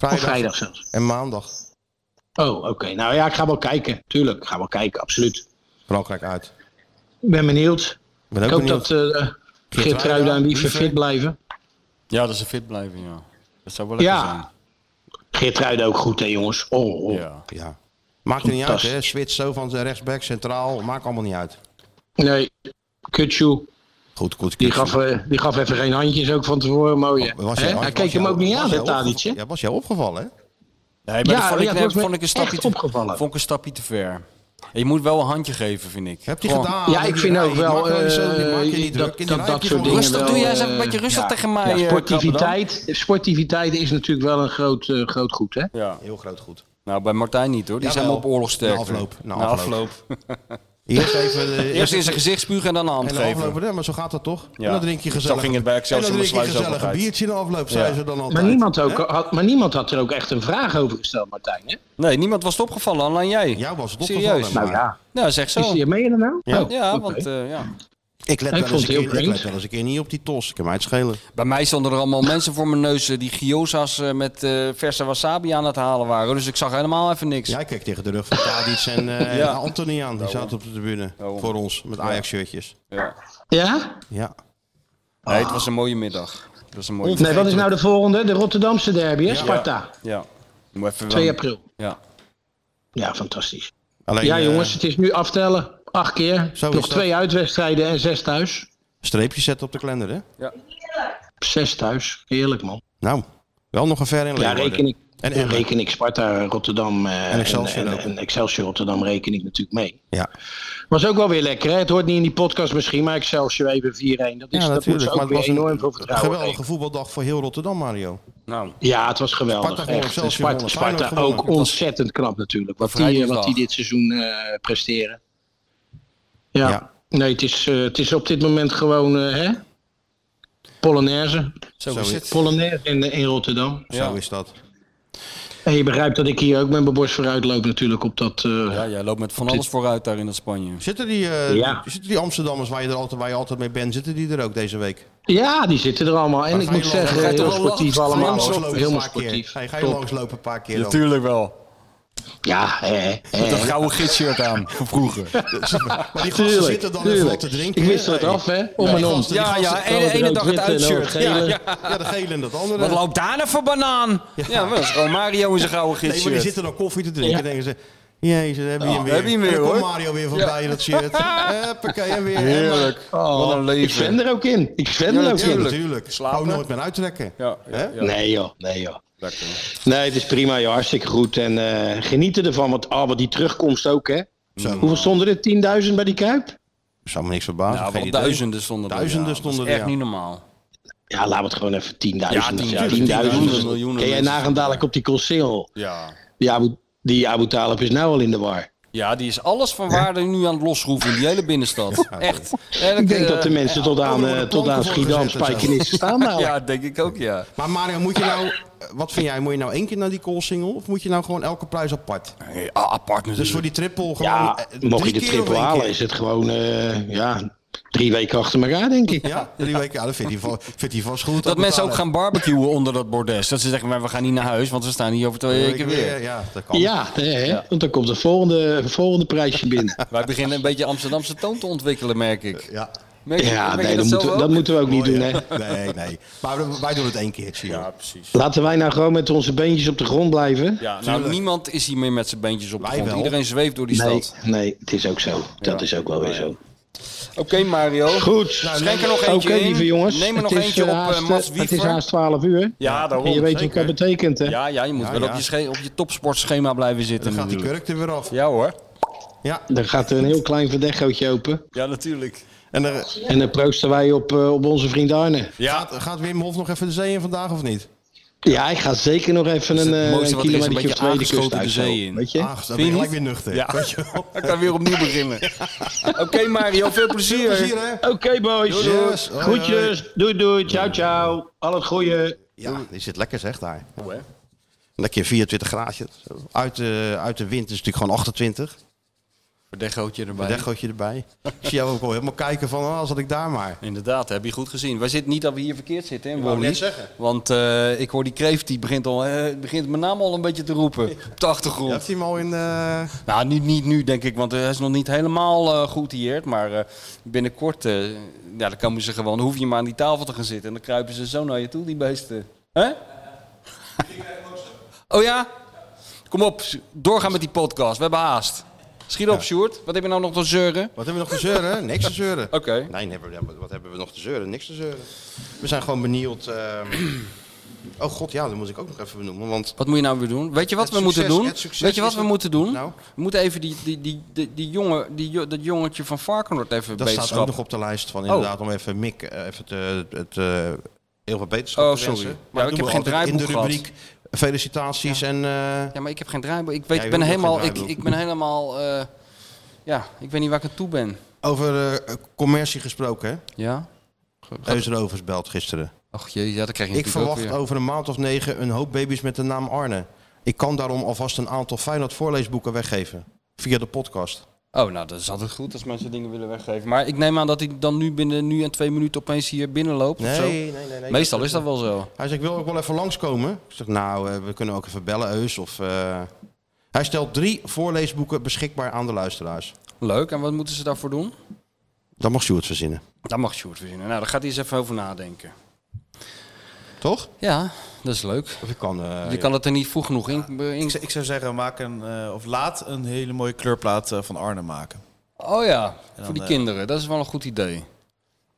S11: Of vrijdag zelfs.
S2: En maandag.
S11: Oh, oké. Nou ja, ik ga wel kijken. Tuurlijk, ik ga wel kijken, absoluut.
S2: Frankrijk uit.
S11: Ik ben benieuwd.
S2: Ben ook
S11: ik hoop
S2: benieuwd.
S11: dat eh Geert Ruida en Wiever fit blijven.
S3: Ja, dat ze fit blijven, ja. Dat zou wel lekker zijn.
S11: Ja. Geert ook goed, hè, jongens? Oh, oh.
S3: Ja.
S2: Ja. Maakt er niet uit,
S11: Fantastisch.
S2: hè? Switch zo van rechtsback, centraal. Maakt allemaal niet uit.
S11: Nee, Kutsu.
S2: Goed, goed.
S11: Die
S2: Kutsu.
S11: gaf, eh, die gaf even geen handjes ook van tevoren. Mooi. hè?
S2: Oh, Was
S11: Hè?
S2: jou-
S11: Hij
S2: was
S11: keek hem
S2: jou-
S11: ook niet
S2: was
S11: aan, dat
S2: jou opgevallen?
S11: Tadic. hè?
S2: Ja, was jou opgevallen, hè?
S3: Nee, maar
S11: Ja,
S3: dat vond ik, nee,
S11: ja, dat was me
S3: vond ik een
S11: echt
S3: stapje te,
S11: opgevallen.
S3: Vond ik een stapje te ver. Je moet wel een handje geven, vind ik.
S2: Heb je
S3: Gewoon-
S2: gedaan?
S11: Ja, ik vind ook wel.
S2: Maak je niet zo-
S11: eh,
S2: maak je niet druk.
S11: dat-
S2: In de
S11: dat-
S2: rij heb
S11: dat
S2: je
S11: soort
S2: gewoon
S11: dingen.
S3: Rustig,
S11: wel,
S3: doe jij eens
S11: eh,
S3: even een beetje rustig
S11: ja.
S3: tegen mij, eh,
S11: Ja, sportiviteit,
S3: Krabbe
S11: sportiviteit is natuurlijk wel een groot, eh, groot goed, hè?
S3: Ja.
S2: Heel groot goed.
S3: Nou, bij Martijn niet hoor. Die zijn
S2: Jawel.
S3: op oorlogsterk.
S2: Na afloop. Na
S3: Na
S2: afloop.
S3: afloop.
S2: Eerst even... de-
S3: Eerst in zijn gezicht spugen en dan een hand
S2: En de
S3: geven.
S2: afloop, hè, maar zo gaat dat toch?
S3: Ja.
S2: En dan drink je
S3: Zo
S2: gezellig...
S3: ging het bij Excelsior
S2: En dan drink je
S3: Sluis ook
S2: gezellig een
S3: altijd.
S2: biertje in de afloop, zei
S3: Ja.
S2: ze dan altijd.
S11: Maar niemand, ook,
S2: Hè?
S11: had, maar niemand had er ook echt een vraag over gesteld, Martijn. Hè?
S3: Nee, niemand was het opgevallen, alleen jij.
S2: Jou was het opgevallen.
S3: Serieus.
S11: Nou
S2: maar-
S11: ja,
S3: Nou, zeg
S11: is
S3: zo.
S11: die mee dan nou?
S2: Ja.
S11: Oh,
S3: Ja,
S11: oké.
S3: want eh, ja.
S2: Ik let,
S11: Ik
S2: wel eens,
S11: vond
S2: een
S11: het heel
S2: keer, ik
S11: vreemd.
S2: let wel eens een keer niet op die tos. Ik kan mij het schelen.
S3: Bij mij stonden er allemaal mensen voor mijn neus eh, die gyoza's eh, met eh, verse wasabi aan het halen waren. Dus ik zag helemaal even niks.
S2: Jij keek tegen de rug van Tadic en eh,
S3: Ja.
S2: en Anthony aan. Die zaten op de tribune voor ons met Ajax-shirtjes.
S3: Ja.
S11: Ja?
S2: Ja.
S3: Nee, het was een mooie middag. Het was een mooie
S11: Nee, wat is nou de volgende? De Rotterdamse derby, hè? Sparta.
S3: Ja. Moet even wel-
S11: 2 april.
S3: Ja.
S11: Ja, fantastisch.
S2: Alleen,
S11: Ja,
S2: eh,
S11: jongens, het is nu aftellen. Acht keer.
S2: Zo is
S11: Nog
S2: dat.
S11: twee uitwedstrijden en zes thuis.
S2: streepjes zetten op de kalender, hè?
S11: Zes thuis. Heerlijk, man.
S2: Nou, wel nog een ver in
S11: Ja,
S2: Leeuwarden.
S11: reken ik.
S2: En
S11: En,
S2: Emmen.
S11: reken ik Sparta, Rotterdam eh, en,
S2: Excelsior
S11: en,
S2: ook.
S11: en Excelsior Rotterdam reken ik natuurlijk mee.
S2: Ja,
S11: Was ook wel weer lekker. Hè? Het hoort niet in die podcast misschien, maar Excelsior even 4-1. Dat, is,
S2: ja
S11: dat moet ze
S2: natuurlijk.
S11: ook
S2: Maar het
S11: weer
S2: was een
S11: enorm veel vertrouwen
S2: geweldige
S11: geven.
S2: voetbaldag voor heel Rotterdam, Mario.
S3: Nou,
S11: Ja, het was geweldig.
S2: Sparta gewonnen,
S11: echt.
S2: Excelsior
S11: Sparta,
S2: gewonnen,
S11: Sparta
S2: Feyenoord
S11: ook
S2: gewonnen.
S11: ontzettend knap natuurlijk. Wat die, eh,
S3: Vrijdingsdag.
S11: wat die dit seizoen eh, presteren. Ja.
S2: Ja.
S11: Nee, het is, eh, het is op dit moment gewoon... eh, hè? Polonaise.
S3: Zo,
S2: Zo
S3: is
S2: is-
S3: het.
S11: Polonaise in, eh, in Rotterdam.
S3: Ja.
S2: Zo is dat.
S11: En je begrijpt dat ik hier ook met mijn borst vooruit loop natuurlijk op dat... eh,
S3: Ja, jij loopt met van alles vooruit daar in dat Spanje.
S2: Zitten die, eh,
S11: Ja.
S2: zitten die Amsterdammers waar je, er altijd, waar je altijd mee bent, zitten die er ook deze week?
S11: Ja, die zitten er allemaal. En
S2: Maar
S11: ik
S2: ga
S11: moet
S2: je langs-
S11: zeggen,
S2: ga je
S11: heel
S2: toch wel
S11: sportief
S2: langs-
S11: allemaal.
S2: ga je
S11: hoor.
S2: langslopen een
S11: Helemaal
S2: paar keer?
S11: sportief.
S2: Ga je, ga je
S11: Top.
S2: langslopen een paar keer dan?
S3: Natuurlijk wel.
S11: Ja, hè,
S3: Met dat
S11: hè.
S3: gouden gidshirt aan, van vroeger.
S2: Maar die gasten
S11: Tuurlijk,
S2: zitten dan even wat
S11: tuurlijk.
S2: te drinken.
S11: Ik wist
S2: hè?
S11: dat
S2: Hey.
S11: af, hè? Om en om.
S2: gasten-
S3: Ja, ja, ene, ene dag het uitshirt. Ja, ja.
S2: Ja, de gele en dat andere.
S3: Wat loopt daar nou voor banaan? Ja, maar dat is gewoon Mario in zijn gouden
S2: Nee, maar
S3: gidshirt.
S2: die zitten dan koffie te drinken.
S11: Ja.
S2: denken ze, jezus, daar heb je hem weer.
S3: heb je hem weer,
S2: en dan komt
S3: hoor.
S2: Mario weer voorbij in dat shirt. Huppakee, en weer.
S3: Heerlijk.
S11: Oh,
S3: Wat een
S11: Ik
S3: leven.
S11: ben er ook in. Ik ben
S3: Ja,
S11: er ook
S2: Ja,
S11: in.
S2: natuurlijk.
S3: Slapen.
S2: Hou nooit meer uittrekken.
S3: Ja, ja, ja.
S11: Nee joh, nee joh.
S3: Lekker.
S11: Nee, het is prima joh, hartstikke goed. En eh, genieten ervan, want ah, wat die terugkomst ook hè.
S2: Zo.
S11: Hoeveel stonden er? 10.000 bij die Kuip?
S2: Zou me niks verbazen.
S3: Nou,
S2: geen
S3: wel
S2: idee.
S3: duizenden stonden er.
S2: Duizenden
S3: ja. Dat is
S2: stonden er,
S3: Echt
S2: ja.
S3: niet normaal.
S11: Ja, laten we het gewoon even 10.000. Ja,
S3: 10.000,
S11: 10.000.
S3: miljoenen
S11: Kun jij
S3: mensen.
S11: nagaan dadelijk op die Colsingel?
S3: Ja.
S11: Die Abu, die Abu Talib is nou al in de war.
S3: Ja, die is alles van waarde nu aan het losroeven in die hele binnenstad. Echt.
S11: Ik denk dat de mensen tot aan,
S2: overal
S11: eh,
S2: worden
S11: tot aan
S2: planken voor
S11: Schiedam,
S2: gezet en zo.
S11: Spijkenissen staan nou.
S3: Ja, denk ik ook, ja.
S2: Maar Mario, moet je nou... eh, Wat vind jij? Moet je nou één keer naar die call single? Of moet je nou gewoon elke prijs apart?
S3: Nee, ah, apart
S2: Dus voor
S3: natuurlijk.
S2: die triple gewoon...
S11: Ja,
S2: eh,
S11: mocht je
S2: drie
S11: de
S2: keer
S11: triple
S2: of één
S11: halen,
S2: keer?
S11: is het gewoon eh, ja, drie weken achter elkaar, denk ik.
S2: Ja, drie weken. Ja, dat vindt hij, va- vindt hij vast goed.
S3: Dat mensen ook
S2: betalen.
S3: gaan barbecuen onder dat bordes. Dat ze zeggen, maar we gaan niet naar huis, want we staan hier over twee weken weer.
S2: Ja, dat kan.
S11: Ja, hè, want dan komt het volgende, volgende prijsje binnen.
S3: Wij beginnen een beetje Amsterdamse toon te ontwikkelen, merk ik.
S2: Ja.
S3: Merk je-
S11: ja,
S3: merk je
S11: nee,
S3: dat
S11: dat,
S3: zelf
S11: moeten,
S3: ook?
S11: dat moeten we ook niet doen, hè?
S2: Nee, nee. Maar we- wij doen het één keertje. Ja, precies.
S11: Laten wij nou gewoon met onze beentjes op de grond blijven.
S3: Ja, nou, niemand is hier meer met zijn beentjes op de grond.
S11: wel.
S3: Iedereen zweeft door die
S11: nee,
S3: stad.
S11: nee, het is ook zo. Dat is ook wel weer zo.
S3: Oké, Mario.
S11: Goed.
S3: Nou, Schenk er nog eentje
S11: Oké,
S3: in.
S11: lieve jongens.
S3: Neem er nog
S11: het is,
S3: eentje op
S11: eh,
S3: eh,
S11: haast,
S3: Mats
S11: Het is
S3: Wiever.
S11: haast 12 uur.
S3: Ja, daarom.
S11: En je weet
S3: zeker.
S11: wat dat betekent, hè?
S3: Ja, ja, je moet
S11: Ja,
S3: wel
S11: ja.
S3: Op, je, sche- op je topsportschema blijven zitten. Dan gaat die kurk er weer af. Ja hoor.
S11: Dan gaat er een heel klein verdechootje open.
S3: Ja, natuurlijk.
S2: En,
S11: En dan proosten wij op, eh, op onze vriend Arne.
S2: Gaat, gaat Wim Hof nog even de zee in vandaag of niet?
S11: Ja, ik ga zeker nog even
S3: Dus
S11: een, eh, een kilometer of twee de kust uit. Weet je?
S2: Ah, dan ben je gelijk weer nuchter.
S3: Ja.
S2: Weet je wel.
S3: Dan kan je weer opnieuw beginnen. Oké Mario, veel plezier.
S2: Veel plezier, hè?
S11: Oké, boys.
S2: Doei, doei. Yes. Hoi,
S11: Groetjes. Doei, doei. Ciao, ciao. Al het goeie.
S2: Ja, die zit lekker zeg daar.
S3: Hoe, Oh, hè?
S2: Lekker 24 graadje. Uit de, uit de wind is natuurlijk gewoon 28.
S3: Verdechootje erbij.
S2: Verdechootje erbij. Ik zie jou ook al helemaal kijken van, ah, zat ik daar maar.
S3: Inderdaad, heb je goed gezien. Wij zitten niet dat we hier verkeerd zitten, hè,
S2: wou
S3: Wally?
S2: net zeggen.
S3: Want eh, ik hoor die kreeft, die begint, al, eh, begint mijn naam al een beetje te roepen op de achtergrond.
S2: Ja, had hij hem al in... eh,
S3: Nou, niet, niet nu, denk ik, want eh, hij is nog niet helemaal eh goed hieerd. Maar eh, binnenkort, eh, ja, dan komen ze gewoon, dan hoef je maar aan die tafel te gaan zitten. En dan kruipen ze zo naar je toe, die beesten. Hè? Oh ja? Kom op, doorgaan met die podcast. We hebben haast. Schiet op, Sjoerd. Wat heb je nou nog te zeuren?
S2: Wat hebben we nog te zeuren? Niks te zeuren.
S3: Oké.
S2: Nee, nee, wat- wat hebben we nog te zeuren? Niks te zeuren. We zijn gewoon benieuwd. ehm, Oh god, ja, dat moet ik ook nog even benoemen. Want
S3: Wat moet je nou weer doen? Weet je wat
S2: Het
S3: we moeten
S2: succes-
S3: doen?
S2: het succes
S3: Weet je wat
S2: is Nou?
S3: we
S2: een-
S3: moeten doen? We moeten even die, die, die, die, die jongen, die, jo- dat jongetje van Varkenoord even
S2: dat staat ook
S3: beterschap.
S2: nog op de lijst van
S3: Oh.
S2: inderdaad om even Mick eh, even te, het, eh, heel veel beterschap
S3: Oh,
S2: te
S3: sorry.
S2: wensen.
S3: Ja,
S2: dat
S3: ik
S2: doen we
S3: heb geen
S2: altijd in de
S3: draaiboek
S2: rubriek felicitaties en eh,
S3: Ja, maar ik heb geen draaiboek. Ik, weet,
S2: Ja, je
S3: ik, ben
S2: hebt ook
S3: helemaal,
S2: geen
S3: ik,
S2: draaiboek.
S3: ik ben helemaal... eh, ja, ik weet niet waar ik aan toe ben.
S2: over eh, commercie gesproken. Hè?
S3: Ja.
S2: Reuzenrovers belt gisteren.
S3: Ach jee, ja, dat krijg je
S2: Ik
S3: natuurlijk ook
S2: verwacht
S3: weer.
S2: over een maand of negen een hoop baby's met de naam Arne. Ik kan daarom alvast een aantal Feyenoord voorleesboeken weggeven. Via de podcast.
S3: Oh, nou, dat is altijd goed als mensen dingen willen weggeven. Maar ik neem aan dat hij dan nu binnen nu en twee minuten opeens hier binnenloopt of
S2: Nee,
S3: zo.
S2: nee, nee, nee.
S3: Meestal is dat wel zo.
S2: Hij zei, ik wil ook wel even langskomen. Ik zeg, nou, eh, we kunnen ook even bellen, Eus. Of, eh." Hij stelt drie voorleesboeken beschikbaar aan de luisteraars.
S3: Leuk, en wat moeten ze daarvoor doen?
S2: Dat mag Sjoerd verzinnen.
S3: Daar mag Sjoerd verzinnen. Nou, daar gaat hij eens even over nadenken.
S2: Toch?
S3: Ja, dat is leuk.
S2: Of je kan, eh,
S3: je kan het er niet vroeg genoeg in.
S12: Ik, zou- ik zou zeggen, maak een, eh, of laat een hele mooie kleurplaat eh, van Arne maken.
S3: Oh ja,
S12: dan,
S3: voor die
S12: eh,
S3: kinderen. Dat is wel een goed idee.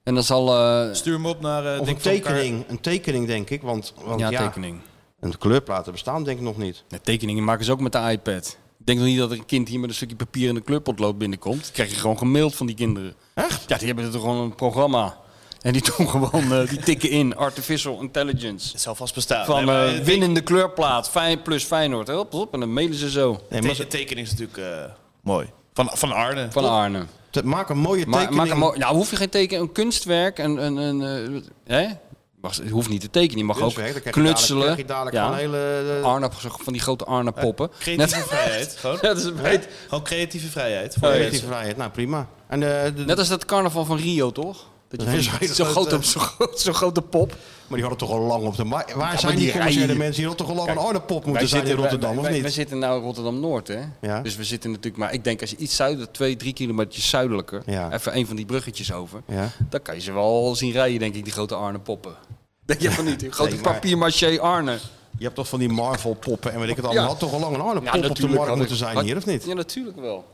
S3: En dan zal... eh,
S12: Stuur hem op naar... eh,
S2: Of
S12: Dick
S2: een
S12: van Elkaar.
S2: tekening. Een tekening, denk ik. Want, want
S3: ja,
S2: ja,
S3: tekening.
S2: En kleurplaten bestaan denk ik nog niet.
S3: Ja, tekeningen maken ze ook met de iPad. Ik denk nog niet dat er een kind hier met een stukje papier in de kleurpotlood binnenkomt. Dat krijg je gewoon gemaild van die kinderen. Echt? Ja, die hebben er gewoon een programma. En die doen gewoon, eh, die tikken in. Artificial Intelligence. Het
S12: zal vast bestaan.
S3: Van
S12: Nee, maar,
S3: eh,
S12: eh,
S3: winnende kleurplaat, Fijn plus Feyenoord. Hop, hop, en dan mailen ze zo.
S12: Te- tekening is natuurlijk eh, mooi. Van, van Arne.
S3: Van Arne.
S2: Te- maak een mooie
S3: Maar,
S2: tekening.
S3: maak een mooi- nou, hoef je geen teken, een kunstwerk, een, een, een eh, hè? Mag, het hoeft niet te tekenen, je mag
S2: Kunstwerk, dan
S3: ook
S2: krijg je dadelijk-
S3: knutselen.
S2: krijg je dadelijk gewoon hele, eh,
S3: Arne, van die grote Arne poppen.
S12: Creatieve vrijheid. Gewoon.
S3: Net als bij het-
S12: Gewoon creatieve vrijheid.
S3: Oh, ja.
S2: Creatieve vrijheid, nou prima. En, eh, de-
S3: Net als dat carnaval van Rio, toch? Dat
S2: Dat is
S3: je van-
S2: een hele
S3: zo'n
S2: grote-
S3: grote, zo'n groot- zo'n grote pop.
S2: Maar die hadden toch al lang op de markt. Waar
S3: maar
S2: zijn
S3: die
S2: die commerciële
S3: rijden.
S2: mensen? Die hadden toch al lang
S3: Kijk,
S2: een Arnhem-pop moeten
S3: Wij
S2: zijn
S3: zitten-
S2: in Rotterdam,
S3: wij-
S2: of
S3: wij-
S2: niet?
S3: Wij zitten nou in Rotterdam-Noord, hè?
S2: Ja.
S3: Dus we zitten natuurlijk... Maar ik denk, als je iets zuider, twee, drie kilometer zuidelijker...
S2: Ja.
S3: even een van die bruggetjes over...
S2: Ja.
S3: dan kan je ze wel zien rijden, denk ik, die grote Arne-poppen. Denk je van niet? Die grote
S2: Nee, maar-
S3: papier-maché Arne.
S2: Je hebt toch van die Marvel-poppen en weet ik het allemaal.
S3: Ja.
S2: Had toch al lang een
S3: Ja,
S2: Arnhem-pop op de
S3: natuurlijk had
S2: markt
S3: ik-
S2: moeten zijn
S3: had-
S2: hier, of niet?
S3: Ja, natuurlijk wel.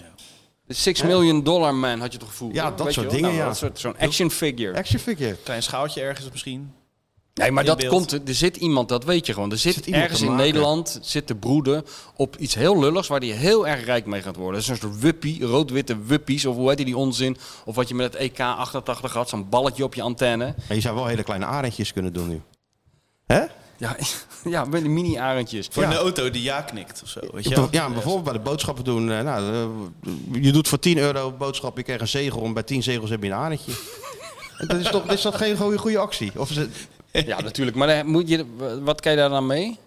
S3: De 6 million dollar man had je toch gevoeld?
S2: Ja,
S3: hè?
S2: dat
S3: Weet je
S2: soort
S3: wel?
S2: dingen,
S3: Nou,
S2: ja.
S3: dat soort- Zo'n action figure.
S2: Action figure.
S12: Klein schaaltje ergens misschien.
S3: Nee, maar
S12: In
S3: dat
S12: beeld.
S3: komt, er er zit iemand, dat weet je gewoon. Er zit,
S12: iemand
S3: ergens
S12: te
S3: in
S12: maken.
S3: Nederland zit te broeden op iets heel lulligs waar die heel erg rijk mee gaat worden. Dat is een soort wuppie, rood-witte wuppies of hoe heet die, die onzin. Of wat je met het EK88 had, zo'n balletje op je antenne.
S2: Maar je zou wel hele kleine arendjes kunnen doen nu. Hè?
S3: Ja, ja met die mini-arendjes.
S12: Voor
S3: Ja.
S12: een auto die ja knikt of zo. Weet je
S2: Ja,
S12: wel?
S2: bijvoorbeeld bij de boodschappen doen. eh, Nou, eh, je doet voor 10 euro boodschap, je krijgt een zegel. En bij 10 zegels heb je een arendje. dat is, toch, is dat geen goede, goede actie? Of is het,
S3: Ja, natuurlijk. Maar dan moet je, wat kan je daar dan mee?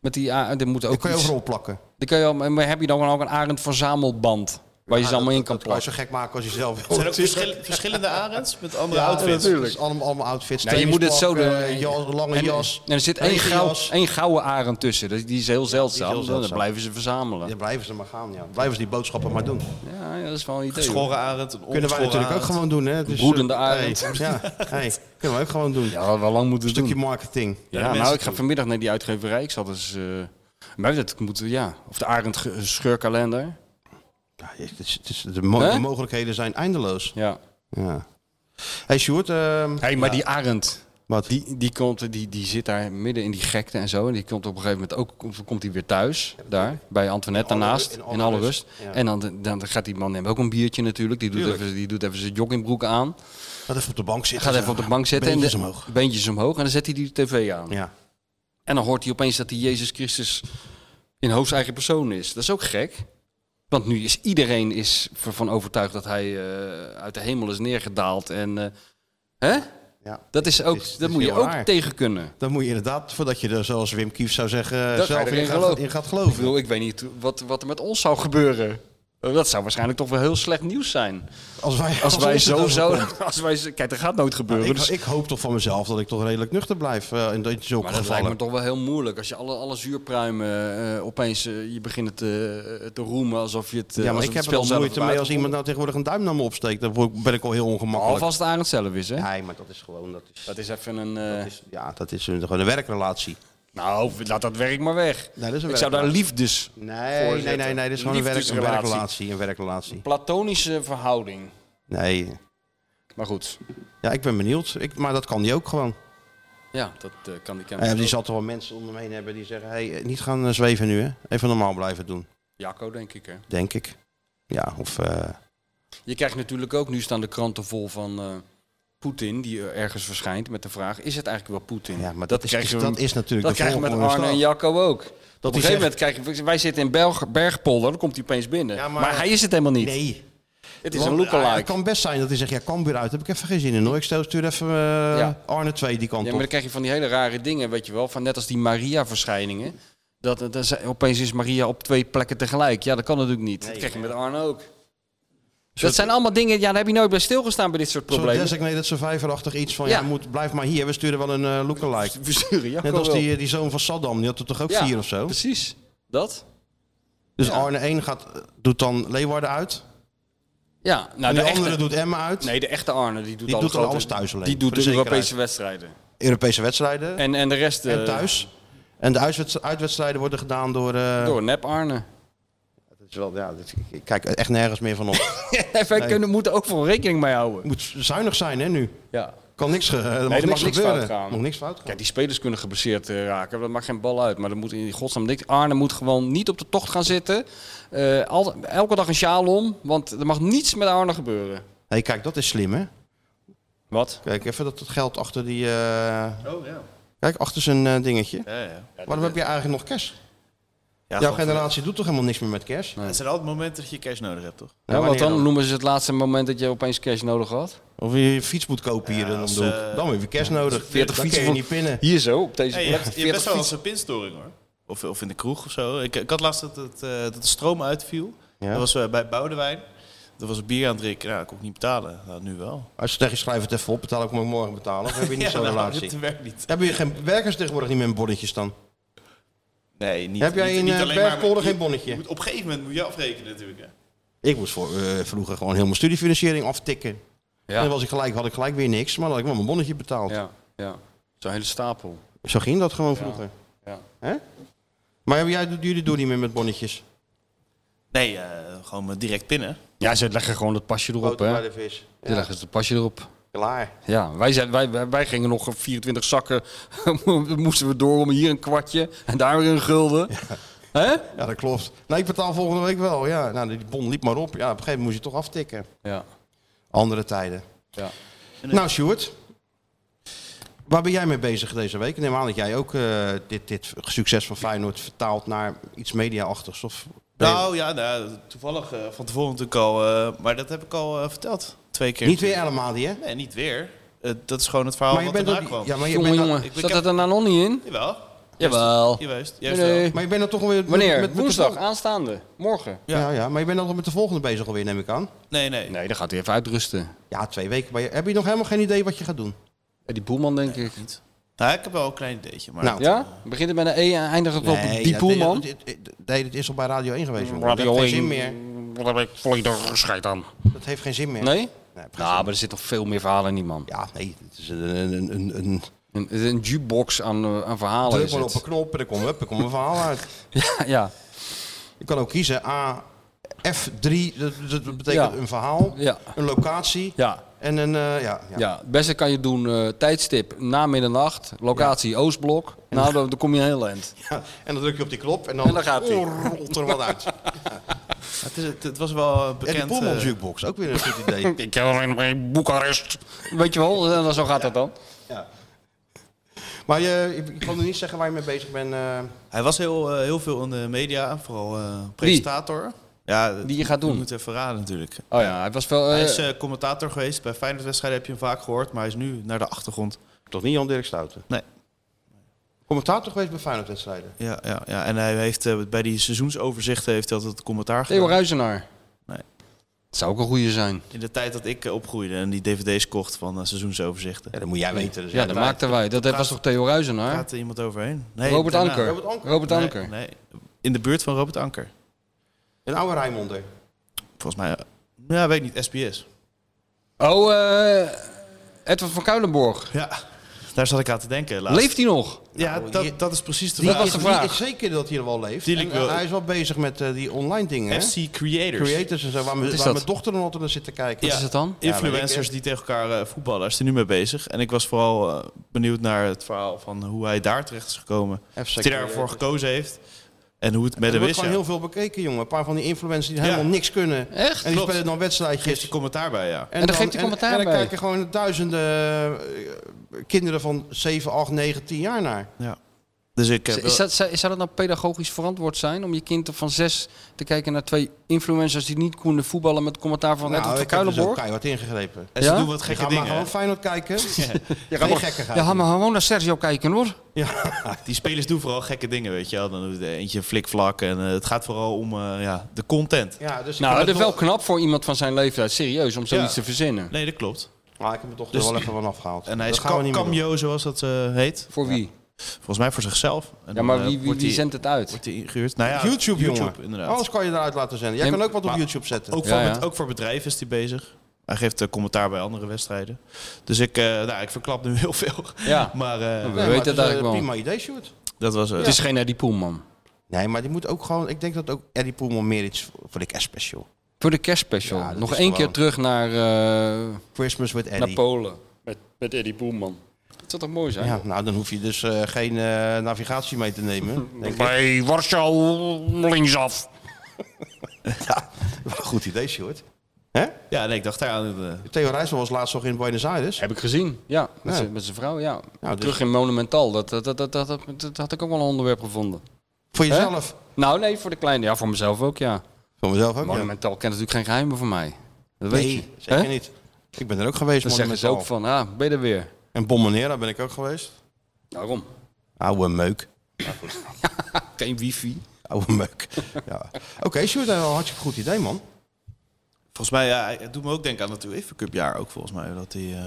S3: Met die, a- er moet ook
S2: kan je
S3: iets-
S2: overal plakken.
S3: Dan kan je, al- maar heb je dan ook een arend verzamelband? Waar je ze allemaal in kan
S2: Kan je zo
S3: plakken.
S2: gek maken als je zelf wilt.
S4: Er zijn ook verschil- verschillende arends met andere
S2: Ja,
S4: outfits.
S2: natuurlijk. Dus allemaal, allemaal outfits.
S3: Nee, Nou, je moet het zo doen.
S2: trainingspak, eh, jas, lange
S3: en,
S2: jas.
S3: En er zit één,
S2: regenjas.
S3: gauw, één gouden arend tussen. Dat- Die is heel zeldzaam.
S2: heel zeldzaam.
S3: Dan blijven ze verzamelen.
S2: Ja, blijven ze maar gaan, ja. Blijven ze die boodschappen maar doen.
S3: Ja, ja, dat is wel een idee.
S4: Geschoren
S3: hoor.
S4: arend, een
S2: Kunnen wij
S4: ongeschoren
S2: natuurlijk ook
S4: arend.
S2: gewoon doen, hè? Dus,
S3: Broedende
S2: eh,
S3: arend.
S2: hey, ja, hey, kunnen we ook gewoon doen.
S3: Ja, wel lang moeten
S2: Een stukje
S3: doen.
S2: marketing.
S3: Ja,
S2: Naar de
S3: nou,
S2: mensen
S3: ik ga
S2: toe.
S3: vanmiddag naar die uitgeverij. Ik zat dus... eh maar dat moet, ja. Of de arend ge- eh, scheurkalender.
S2: Ja, het is, het is, de, mo-
S3: Hè?
S2: de mogelijkheden zijn eindeloos.
S3: Ja.
S2: ja. Hey Sjoerd, ehm,
S3: Hé, maar
S2: ja,
S3: die Arend.
S2: Wat?
S3: Die, die, komt, die, die zit daar midden in die gekte en zo. En die komt op een gegeven moment ook komt, komt hij weer thuis. daar, bij Antoinette
S2: alle-
S3: daarnaast. In alle, rust.
S2: ja.
S3: En dan, dan gaat die man neemt ook een biertje natuurlijk. Die doet,
S2: Tuurlijk.
S3: even, die doet even zijn joggingbroek aan.
S2: Gaat even op de bank zitten.
S3: Gaat
S2: zo.
S3: even op de bank zitten.
S2: Beentjes
S3: en de-
S2: omhoog.
S3: Beentjes omhoog. En dan zet hij die tv aan.
S2: Ja.
S3: En dan hoort hij opeens dat hij Jezus Christus in hoogst eigen persoon is. Dat is ook gek. Want nu is iedereen is ervan overtuigd dat hij eh, uit de hemel is neergedaald. En, eh, hè?
S2: Ja.
S3: Dat, is ook,
S2: Het is- het
S3: dat
S2: is
S3: moet je
S2: heel
S3: ook
S2: raar.
S3: tegen kunnen.
S2: Dan moet je inderdaad, voordat je er, zoals Wim Kief zou zeggen,
S3: Daar ga
S2: zelf
S3: je
S2: in
S3: erin
S2: gaat,
S3: geloven.
S2: in gaat
S3: Ik
S2: geloven.
S3: bedoel, ik weet niet wat, wat er met ons zou gebeuren. Eh, Dat zou waarschijnlijk toch wel heel slecht nieuws zijn.
S2: Als wij,
S3: Als, wij
S2: ons het
S3: zo
S2: overkomt.
S3: zouden... Als wij, zo- kijk, dat gaat nooit gebeuren.
S2: Ik,
S3: dus-
S2: ik hoop toch van mezelf dat ik toch redelijk nuchter blijf eh, in dat zulke
S3: maar dat lijkt me
S2: gevallen.
S3: toch wel heel moeilijk. Als je alle, alle zuurpruimen eh, opeens... eh, je begint het eh, te roemen alsof je het... eh,
S2: Ja, maar
S3: alsof
S2: ik
S3: het
S2: heb
S3: spel
S2: er al
S3: zelf
S2: moeite
S3: hebt
S2: mee als iemand nou
S3: uitgevonden.
S2: tegenwoordig een duim naar me opsteekt. Dan word ik- ben ik al heel ongemakkelijk.
S3: Alvast de arend zelf is, hè?
S2: Nee, maar dat is gewoon... Dat is,
S3: Dat is even een... eh,
S2: ja, dat is een, gewoon een werkrelatie.
S3: Nou, laat dat werk maar weg.
S2: Nee, dat is een
S3: ik zou daar dus-
S2: werkrelatie.
S3: liefdes...
S2: Nee, nee, nee, nee, dit is gewoon een, werk, een
S3: Liefdesrelatie.
S2: werkrelatie. Een werkrelatie.
S3: Platonische verhouding.
S2: Nee,
S3: Maar goed,
S2: ja, ik ben benieuwd. Ik, maar dat kan die ook gewoon.
S3: ja, dat eh, kan die kennis
S2: Eh, die
S3: ook.
S2: zal toch wel mensen om hem heen hebben die zeggen... Hey, eh, niet gaan eh, zweven nu, hè. Even normaal blijven doen,
S3: Jacco, denk ik, hè?
S2: denk ik. Ja, of... eh,
S3: Je krijgt natuurlijk ook, nu staan de kranten vol van eh, Poetin, die er ergens verschijnt met de vraag, is het eigenlijk wel Poetin?
S2: ja, maar dat,
S3: Dat
S2: is,
S3: krijgen
S2: is-
S3: we-
S2: dat is natuurlijk
S3: dat
S2: de
S3: krijg je met
S2: volgende
S3: Arne en
S2: stap.
S3: Jacco ook. Op
S2: die
S3: een gegeven moment krijgen we, wij zitten in Belg, Bergpolder, dan komt hij opeens binnen.
S2: Ja, maar-
S3: maar, hij is het helemaal niet.
S2: Nee.
S3: Het is een
S2: Want, ah, Het
S3: lookalike.
S2: kan best zijn dat hij zegt, ja, kan weer uit. Heb ik even geen zin in, hoor. Ik stel, stuur even eh,
S3: Ja.
S2: Arne 2 die kant
S3: Ja,
S2: op.
S3: maar dan krijg je van die hele rare dingen, weet je wel, van net als die Maria-verschijningen. Dat, dat, is- opeens is Maria op twee plekken tegelijk. Ja, dat kan natuurlijk niet. dat krijg je met Arne ook. Dat zijn allemaal dingen, ja, daar heb je nooit bij stilgestaan bij dit soort
S2: Zo'n
S3: problemen.
S2: designated survivor-achtig iets van, ja,
S3: Ja.
S2: moet, blijf maar hier. We sturen wel een eh lookalike.
S3: We sturen Jacco
S2: Net als
S3: wel.
S2: die, eh, die zoon van Saddam, die had er toch ook
S3: Ja,
S2: vier of zo?
S3: Precies. Dat?
S2: Dus Arne 1 gaat, doet dan Leeuwarden uit.
S3: Ja, nou,
S2: en
S3: de,
S2: de, andere
S3: echte,
S2: doet Emma uit.
S3: nee, de echte Arne die doet,
S2: Die
S3: alle
S2: doet dan
S3: grote-
S2: alles thuis alleen,
S3: Die
S2: voor
S3: doet
S2: de
S3: de
S2: zekerheid.
S3: Europese wedstrijden.
S2: Europese wedstrijden en,
S3: En, en de rest eh,
S2: thuis. En de uitwedst- uitwedstrijden worden gedaan door... eh,
S3: door nep Arne.
S2: Het is wel, ja, dit- ik kijk echt nergens meer van op.
S3: En wij
S2: Nee.
S3: kunnen, moeten ook voor rekening mee houden.
S2: moet zuinig zijn, hè, nu.
S3: Ja.
S2: Kan niks, ge- er mag
S3: mag
S2: niks
S3: niks
S2: gebeuren.
S3: fout gaan.
S2: Mag niks fout gaan.
S3: Kijk, die spelers kunnen geblesseerd eh, raken. Dat maakt geen bal uit. Maar dan moet in godsnaam niks. Arne moet gewoon niet op de tocht gaan zitten. Eh, al- elke dag een sjaal om. Want er mag niets met Arne gebeuren.
S2: hey, kijk, dat is slim, hè.
S3: Wat?
S2: Kijk even dat het geld achter die... eh, Kijk, achter zijn eh, dingetje.
S12: Ja, ja.
S2: Waarom heb je eigenlijk nog cash?
S12: Ja,
S2: Jouw
S12: gewoon-
S2: generatie doet toch helemaal niks meer met cash?
S12: Het zijn altijd momenten dat je cash nodig hebt, toch?
S3: Ja, want
S2: wanneer
S3: dan
S2: dan?
S3: noemen ze het laatste moment dat je opeens cash nodig had.
S2: Of je je fiets moet kopen hier en
S12: als,
S2: dan,
S12: eh,
S2: dan weer cash nodig.
S3: 40
S2: dan kun
S3: fietsen
S2: je
S3: voor-
S2: niet pinnen.
S3: Hier zo, op deze
S12: Hey, je
S3: plek.
S12: hebt, je hebt
S3: 40
S12: best wel eens
S3: fietsen.
S12: een pinstoring hoor. Of, of in de kroeg of zo. Ik, ik had laatst dat, het, eh, dat de stroom uitviel.
S2: Ja.
S12: Dat was eh, bij Boudewijn. Dat was een bier aan het drinken. Nou, dat kon ik niet betalen. Nou, nu wel.
S2: Als je tegen je schrijft het even op, betaal ik me morgen betalen. Of heb je niet zo'n
S12: nou,
S2: relatie?
S12: Dat werkt niet.
S2: Hebben jullie geen werkers tegenwoordig niet meer in bonnetjes dan?
S12: Nee, niet.
S2: Heb jij
S12: niet-
S2: in,
S12: niet
S2: eh,
S12: alleen maar-
S2: Bergpolder
S12: je-
S2: geen bonnetje?
S12: je moet- op een gegeven moment moet je afrekenen natuurlijk. Hè.
S2: Ik moest voor, eh, vroeger gewoon heel mijn studiefinanciering aftikken. En dan was ik gelijk, had ik gelijk weer niks, maar dan had ik wel mijn bonnetje betaald.
S3: Ja, ja. Zo'n hele stapel.
S2: Zo ging dat gewoon vroeger.
S3: Ja.
S2: Hè? Maar hebben jij, jullie doen niet meer met bonnetjes?
S12: Nee, eh, gewoon eh, direct pinnen.
S3: Ja, ze leggen gewoon het pasje erop,
S2: Boter
S3: hè?
S2: bij
S3: Ze
S2: de vis. Ja,
S3: leggen het pasje erop.
S2: klaar.
S3: Ja, wij, zijn, wij, wij, wij gingen nog 24 zakken. moesten we door om hier een kwartje en daar weer een gulden. Hè?
S2: Ja, dat klopt. Nee, ik betaal volgende week wel. Ja, nou, die bon liep maar op. Ja, op een gegeven moment moest je toch aftikken.
S3: Ja.
S2: Andere tijden.
S3: Ja.
S2: Nou, Sjoerd. Waar ben jij mee bezig deze week? Ik neem aan dat jij ook eh, dit, dit succes van Feyenoord vertaalt naar iets media-achtigs. Of ben je-
S12: Nou ja, nou, toevallig eh, van tevoren natuurlijk al. eh, maar dat heb ik al eh, verteld. Twee keer.
S2: niet weer helemaal die, hè?
S12: Nee, niet weer. Eh, dat is gewoon het verhaal
S2: Maar je
S12: wat
S2: bent
S12: erna
S2: ook-
S12: kwam.
S2: ja, maar je
S3: Jongen,
S2: bent-
S3: jongen.
S12: ik- ik
S3: Zat
S12: heb-
S3: dat er nou nog niet in?
S12: Jawel.
S3: Jawel.
S4: Juist,
S3: juist Nee, nee. wel.
S2: Maar je bent dan toch alweer... met-
S3: Wanneer?
S2: met- met de
S3: Woensdag,
S2: volgende-
S3: aanstaande. Morgen.
S2: Ja. Ja, maar je bent dan toch met de volgende bezig alweer, neem ik aan?
S4: Nee, nee.
S3: Nee, dan gaat hij even uitrusten.
S2: Ja, twee weken. Maar je- heb je nog helemaal geen idee wat je gaat doen?
S3: Die boelman, denk ik.
S4: Nou, ik heb wel een klein ideetje. Maar
S2: Nou.
S3: Ja? Begint het met een E en eindigt het op
S2: Nee,
S3: die
S2: dat-
S3: boelman?
S2: dit- dit- Nee, dat is al bij Radio 1 geweest. jongen.
S3: Radio
S2: dat heeft
S3: 1.
S2: geen zin meer.
S3: Wat heb ik volledig scheid aan.
S2: Dat heeft geen zin meer.
S3: Nee?
S2: Nee,
S3: Nou, maar er zit nog veel meer verhalen in die man.
S2: Ja, nee. Het is een, een, een, een,
S3: een, een jukebox aan, eh, aan verhalen.
S2: Druk
S3: Oh, is
S2: maar op
S3: het.
S2: een knop en dan komt hup, dan komt een verhaal uit.
S3: ja, ja.
S2: Je kan ook kiezen A, F3, dat, dat betekent
S3: Ja.
S2: een verhaal,
S3: Ja.
S2: een locatie
S3: Ja.
S2: en een... eh, ja, ja.
S3: Ja, het beste kan je doen eh, tijdstip na middernacht, locatie Oostblok. Nou, dan, dan kom je een heel eind.
S2: En dan druk je op die knop en dan,
S3: En dan gaat die.
S2: Oh, rolt er wat uit.
S4: Het, is, het, het was wel een
S2: en die
S4: bekend...
S2: Poelman
S4: eh,
S2: jukebox, ook weer een goed idee.
S3: Ik heb alleen mijn Boekarest. Weet je wel, eh, zo gaat dat dan.
S2: Ja. Maar je, je kan nu niet zeggen waar je mee bezig bent. eh.
S4: Hij was heel, eh, heel veel in de media, vooral eh, presentator. Ja,
S3: Die je gaat
S4: Je
S3: doen.
S4: moet even raden natuurlijk.
S3: Oh ja, hij was wel... eh,
S4: Hij is eh, commentator geweest. Bij Feyenoord-wedstrijden heb je hem vaak gehoord, maar hij is nu naar de achtergrond.
S2: Toch niet Jan-Dirk Stouten?
S4: Nee.
S2: Commentator geweest bij Feyenoord-wedstrijden.
S4: Ja, ja, ja. en hij heeft eh, bij die seizoensoverzichten heeft hij altijd commentaar gedaan.
S3: Theo Ruizenaar.
S4: Nee.
S3: Het zou ook een goede zijn.
S4: In de tijd dat ik eh, opgroeide en die dvd's kocht van eh, seizoensoverzichten.
S2: Ja, dat moet jij weten. Dus
S3: Ja, dat maakten wij. Dat was toch Theo Ruizenaar?
S4: Gaat er iemand overheen?
S3: Robert
S4: daarna.
S3: Anker. Robert Anker. Robert
S4: Nee,
S3: Anker.
S4: Nee, in de buurt van Robert Anker.
S2: Een oude Rijmonder.
S4: Volgens mij, eh, ja, weet ik niet, SBS.
S3: Oh, eh Edward van Kuilenborg.
S4: Ja, daar zat ik aan te denken laatst.
S3: Leeft hij nog?
S4: Ja,
S2: Nou,
S4: dat,
S2: je-
S4: dat is precies de
S3: Die
S4: vraag.
S3: was de vraag.
S2: Ik weet zeker dat hij er wel leeft.
S4: Die
S2: En,
S4: ik wil.
S2: eh, hij is wel bezig met eh, die online dingen. hè?
S4: FC Creators.
S2: Creators en zo, waar, mijn-
S3: is
S2: waar
S3: dat?
S2: mijn dochter dan altijd naar zit te kijken.
S3: Wat is het dan?
S2: Ja, weet
S4: Influencers
S2: ik,
S4: die tegen elkaar eh, voetballen, daar is hij nu mee bezig. En ik was vooral eh, benieuwd naar het verhaal van hoe hij daar terecht is gekomen. Of hij daarvoor
S2: Creators.
S4: gekozen heeft en hoe het met
S2: Er
S4: hem
S2: wordt
S4: is.
S2: gewoon
S4: ja.
S2: heel veel bekeken, jongen. Een paar van die influencers die
S4: Ja.
S2: helemaal niks kunnen.
S3: Echt?
S2: En die
S4: Klopt.
S2: spelen dan wedstrijdjes.
S4: Geeft hij commentaar bij, ja.
S3: En dan geeft hij commentaar
S2: en, en dan
S3: bij.
S2: kijken gewoon duizenden eh, kinderen van 7, 8, 9, 10 jaar naar.
S4: ja. Dus ik heb
S3: Z- Is dat, zou zou dat nou pedagogisch verantwoord zijn om je kind van zes te kijken naar twee influencers die niet konden voetballen met commentaar van Edward
S2: ik
S3: van
S2: heb dus ook
S3: Kuilenborg?
S2: keihard ingegrepen.
S4: en ze
S3: Ja?
S4: doen wat
S2: Ik
S4: gekke
S2: ga maar
S4: dingen. hè.
S2: gewoon Feyenoord kijken. Ja,
S3: maar-
S2: Geen gekkigheid.
S3: Ja, ga maar gewoon naar Sergio kijken hoor.
S4: Die spelers doen vooral gekke dingen, weet je wel. Dan doet eentje een flikvlak en eh, het gaat vooral om eh, ja, de content.
S2: Ja, dus ik
S3: Nou,
S2: heb
S3: dat is
S2: het
S3: wel
S2: nog-
S3: knap voor iemand van zijn leeftijd, serieus, om
S4: Ja.
S3: zoiets te verzinnen.
S4: Nee, dat klopt.
S2: Ah, ik heb mijn dochter
S4: Dus-
S2: wel even van afgehaald.
S4: En hij
S2: Dat
S4: is
S2: gaan we
S4: ka-
S2: niet meer doen.
S4: cameo, zoals dat eh, heet.
S3: Voor wie?
S4: Volgens mij voor zichzelf. En
S3: Ja,
S4: dan,
S3: maar
S4: eh,
S3: wie, wie,
S4: wordt
S3: wie
S4: hij-
S3: zendt het uit?
S4: Wordt hij ingehuurd? Nou ja,
S2: YouTube, jongen.
S4: inderdaad.
S2: Alles kan je eruit laten zenden. Jij
S3: Nee,
S2: kan ook wat op
S4: maar-
S2: YouTube zetten.
S4: Ook,
S3: Ja,
S4: voor
S3: ja.
S4: met- ook voor bedrijven is hij bezig. Hij geeft eh, commentaar bij andere wedstrijden. Dus ik, eh, nou, ik verklap nu heel veel.
S3: Ja.
S4: Maar eh,
S3: We
S2: Nee, maar
S3: weten
S2: is
S3: het
S2: een
S3: eigenlijk wel.
S2: prima idee, Sjoerd.
S4: dat was eh,
S3: Het is geen Eddie Poelman.
S2: Nee, maar die moet ook gewoon... Ik denk dat ook Eddie Poelman meer iets voor- voor de kerstspecial.
S3: Voor de kerstspecial.
S2: Ja, dat
S3: Nog
S2: is
S3: één keer
S2: gewoon-
S3: terug naar, eh,
S2: Christmas with
S3: naar
S2: Eddie.
S3: Polen. Met, met Eddie Poelman. Dat zou toch mooi zijn?
S2: ja, nou, dan hoef je dus eh, geen eh, navigatie mee te nemen. Denk ik.
S3: Bij Warschau linksaf.
S2: Ja, wat een goed idee, Sjoerd.
S4: Ja, nee, ik dacht daar aan. eh,
S2: Theo Rijssel was laatst nog in Buenos Aires.
S3: Heb ik gezien, ja. Met
S2: Ja.
S3: zijn- met zijn vrouw, ja.
S2: Ja, dus-
S3: Terug in Monumental. Dat, dat, dat, dat, dat, dat- dat had ik ook wel een onderwerp gevonden.
S2: Voor jezelf.
S3: Nou, nee, voor de kleine. Ja, voor mezelf ook, ja.
S2: Voor mezelf ook, ja.
S3: Monumental kent natuurlijk geen geheimen van mij. Dat weet je.
S2: Nee, zeker
S3: Hè?
S2: niet. Ik ben er ook geweest.
S3: Dan zeggen ze
S2: Monumental.
S3: ook van, ah, ben je er weer?
S2: En Bombonera ben ik ook geweest.
S3: Daarom.
S2: Oude meuk.
S3: Geen wifi.
S2: Oude meuk. ja. Oké, Sjoerd, dat is wel een hartstikke goed idee, man.
S4: volgens mij, ja, het doet me ook denken aan het UEFA Cup jaar ook, volgens mij. Dat, die, eh,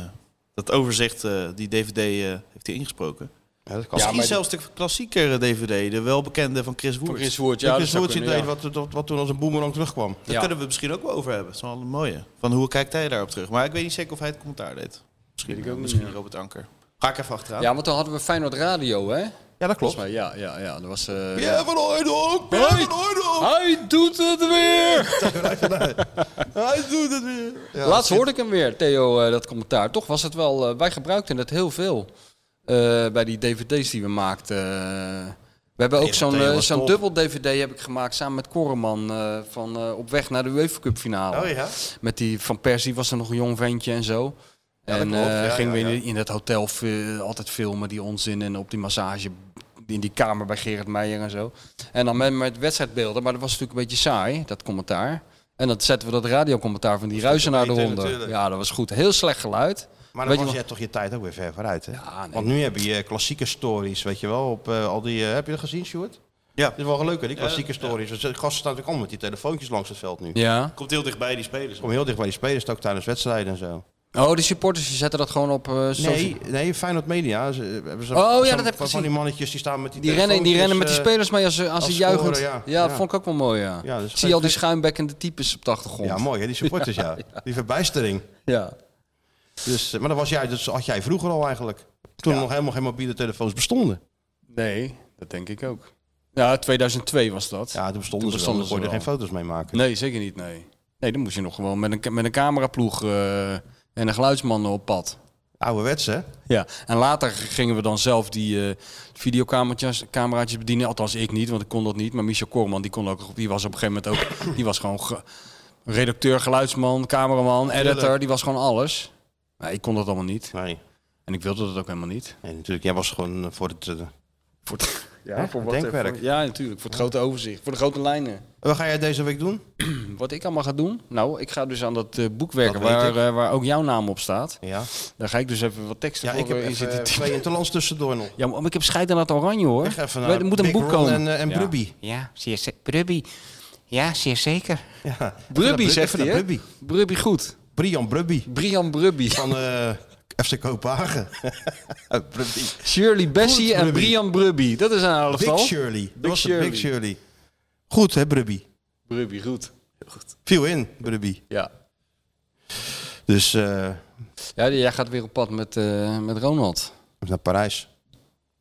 S4: dat overzicht, eh, die DVD, eh, heeft hij ingesproken.
S2: Ja, dat kan.
S4: Misschien
S3: maar-
S4: zelfs de klassiekere DVD, de welbekende van Chris Woert.
S3: Voor Chris Woert, ja.
S2: Ja,
S3: dat
S2: Chris
S3: zou
S2: Woertz
S3: kunnen,
S2: idee
S3: ja.
S2: wat, wat, wat toen als een boemerang terugkwam.
S4: Daar
S3: Ja.
S4: kunnen we het misschien ook wel over hebben. Dat is wel een mooie. Van hoe kijkt hij daarop terug? Maar ik weet niet zeker of hij het commentaar deed. Misschien,
S12: eh,
S3: Weet ik ook niet,
S4: misschien
S3: ja.
S4: Robert Anker. Ga ik even achteraan.
S3: Ja, want dan hadden we Feyenoord Radio, hè?
S2: Ja, dat
S3: Volgens
S2: klopt.
S3: mij, ja, ja, ja. Dat was... eh,
S2: Ja, van Hooydonk! Pierre
S3: Hoi.
S2: van
S12: Ah.
S2: Hooydonk!
S3: Hij doet het weer!
S2: Hij doet het weer! Ja,
S3: Laatst hoorde ik hem weer, Theo, eh, dat commentaar. Toch was het wel... eh, wij gebruikten het heel veel eh, bij die dvd's die we maakten. we hebben ook
S2: Theo,
S3: zo'n
S2: Theo
S3: eh,
S2: was
S3: zo'n
S2: top.
S3: dubbel dvd heb ik gemaakt samen met Koreman eh, van eh, op weg naar de UEFA Cup finale.
S4: Oh ja?
S3: Met die van Persie was er nog een jong ventje en zo.
S2: dat
S3: en
S2: klopt.
S3: eh,
S2: Ja,
S3: gingen
S2: ja,
S3: we
S2: ja.
S3: in, in dat hotel ve- altijd filmen, die onzin. En op die massage, in die kamer bij Gerard Meijer en zo. En dan met, met wedstrijdbeelden, maar dat was natuurlijk een beetje saai, dat commentaar. En dan zetten we dat radiocommentaar van die ruizenaar
S2: beter
S3: eronder.
S2: natuurlijk.
S3: Ja, dat was goed. Heel slecht geluid.
S2: Maar
S3: Weet
S2: dan
S3: je
S2: was
S3: nog-
S2: je toch je tijd ook weer ver vooruit, hè? Want nu heb je eh, klassieke stories, weet je wel. Op, eh, al die, eh, heb je dat gezien, Stuart?
S4: Ja.
S2: Dat is wel leuk, hè, die
S4: Ja,
S2: klassieke
S4: ja.
S2: stories. Dus de gasten staan natuurlijk allemaal met die telefoontjes langs het veld nu.
S3: Eh, Ja.
S4: Komt heel dichtbij die spelers.
S2: Kom heel dicht bij die spelers, ook tijdens wedstrijden en zo.
S3: Oh, de supporters die zetten dat gewoon op eh social-
S2: Nee, nee, Feyenoord Media. Ze, eh, hebben ze,
S3: Oh, ja,
S2: zo'n-
S3: dat heb ik
S2: van-
S3: gezien.
S2: Van die mannetjes die staan met die
S3: Die rennen, die rennen met die
S2: telefoontjes, eh,
S3: spelers mee als ze, als ze
S2: als
S3: juichen.
S2: scoren,
S3: ja,
S2: ja,
S3: dat
S2: ja.
S3: vond ik ook wel mooi, ja.
S2: Ja, dus
S3: Zie je al die schuimbekkende types op de achtergrond.
S2: Ja, mooi hè, die supporters, ja. Die verbijstering.
S3: Ja.
S2: Dus, eh, maar dat, was jij, dat had jij vroeger al eigenlijk. Toen er nog helemaal geen mobiele telefoons bestonden.
S3: Nee, dat denk ik ook. Ja, 2002 was dat.
S2: Ja, toen bestonden, ze wel. Daar kon je er geen foto's mee maken.
S3: Nee, zeker niet, nee. Nee, dan moest je nog gewoon met een, met een cameraploeg eh, en een geluidsman op pad.
S2: Ouderwets, hè?
S3: Ja, en later gingen we dan zelf die eh videocameraatjes cameraatjes bedienen. Althans, ik niet, want ik kon dat niet. Maar Michel Korman, die, kon ook, die was op een gegeven moment ook... die was gewoon ge- redacteur, geluidsman, cameraman, editor.
S2: Tuurlijk.
S3: Die was gewoon alles. Maar ik kon dat allemaal niet.
S2: Nee.
S3: En ik wilde dat ook helemaal niet.
S2: Nee, natuurlijk. Jij was gewoon eh, voor het... eh,
S3: Voor het
S2: Hè? denkwerk.
S3: ja, natuurlijk. Voor het grote overzicht. Voor de grote lijnen.
S2: Wat ga jij deze week doen?
S3: Wat ik allemaal ga doen? Nou, ik ga dus aan dat eh, boek werken
S2: Dat weet
S3: waar,
S2: ik.
S3: eh, waar ook jouw naam op staat.
S2: Ja.
S3: Daar ga ik dus even wat teksten
S2: Ja,
S3: voor
S2: ik heb
S3: eh, in
S2: even,
S3: zitten
S2: eh,
S3: typen.
S2: twee interlands tussendoor nog.
S3: Ja, maar ik heb scheid aan dat oranje hoor.
S2: Echt even
S3: We-
S2: naar
S3: er moet een
S2: Big
S3: boek
S2: Ron
S3: komen.
S2: en, eh, en Brubby.
S3: Ja, zeer ze- Brubby. Ja, zeer zeker.
S2: Ja.
S3: Brubby
S2: Even
S3: zegt
S2: naar
S3: hij, hè?
S2: Brubby.
S3: Brubby goed.
S2: Brian Brubby.
S3: Brian Brubby.
S2: Van eh, FC Kopenhagen. Oh, Brubby.
S3: Shirley Bessie
S2: Goed,
S3: en
S2: Brubby.
S3: Brian Brubby. Dat is een
S2: Big
S3: elftal.
S2: Shirley. Dat was het,
S3: Shirley.
S2: Big Shirley. Goed, hè, Brubby?
S3: Brubby, goed.
S2: Viel in, Brubby.
S3: Ja.
S2: Dus eh,
S3: ja, jij gaat weer op pad met, eh, met Ronald.
S2: naar Parijs.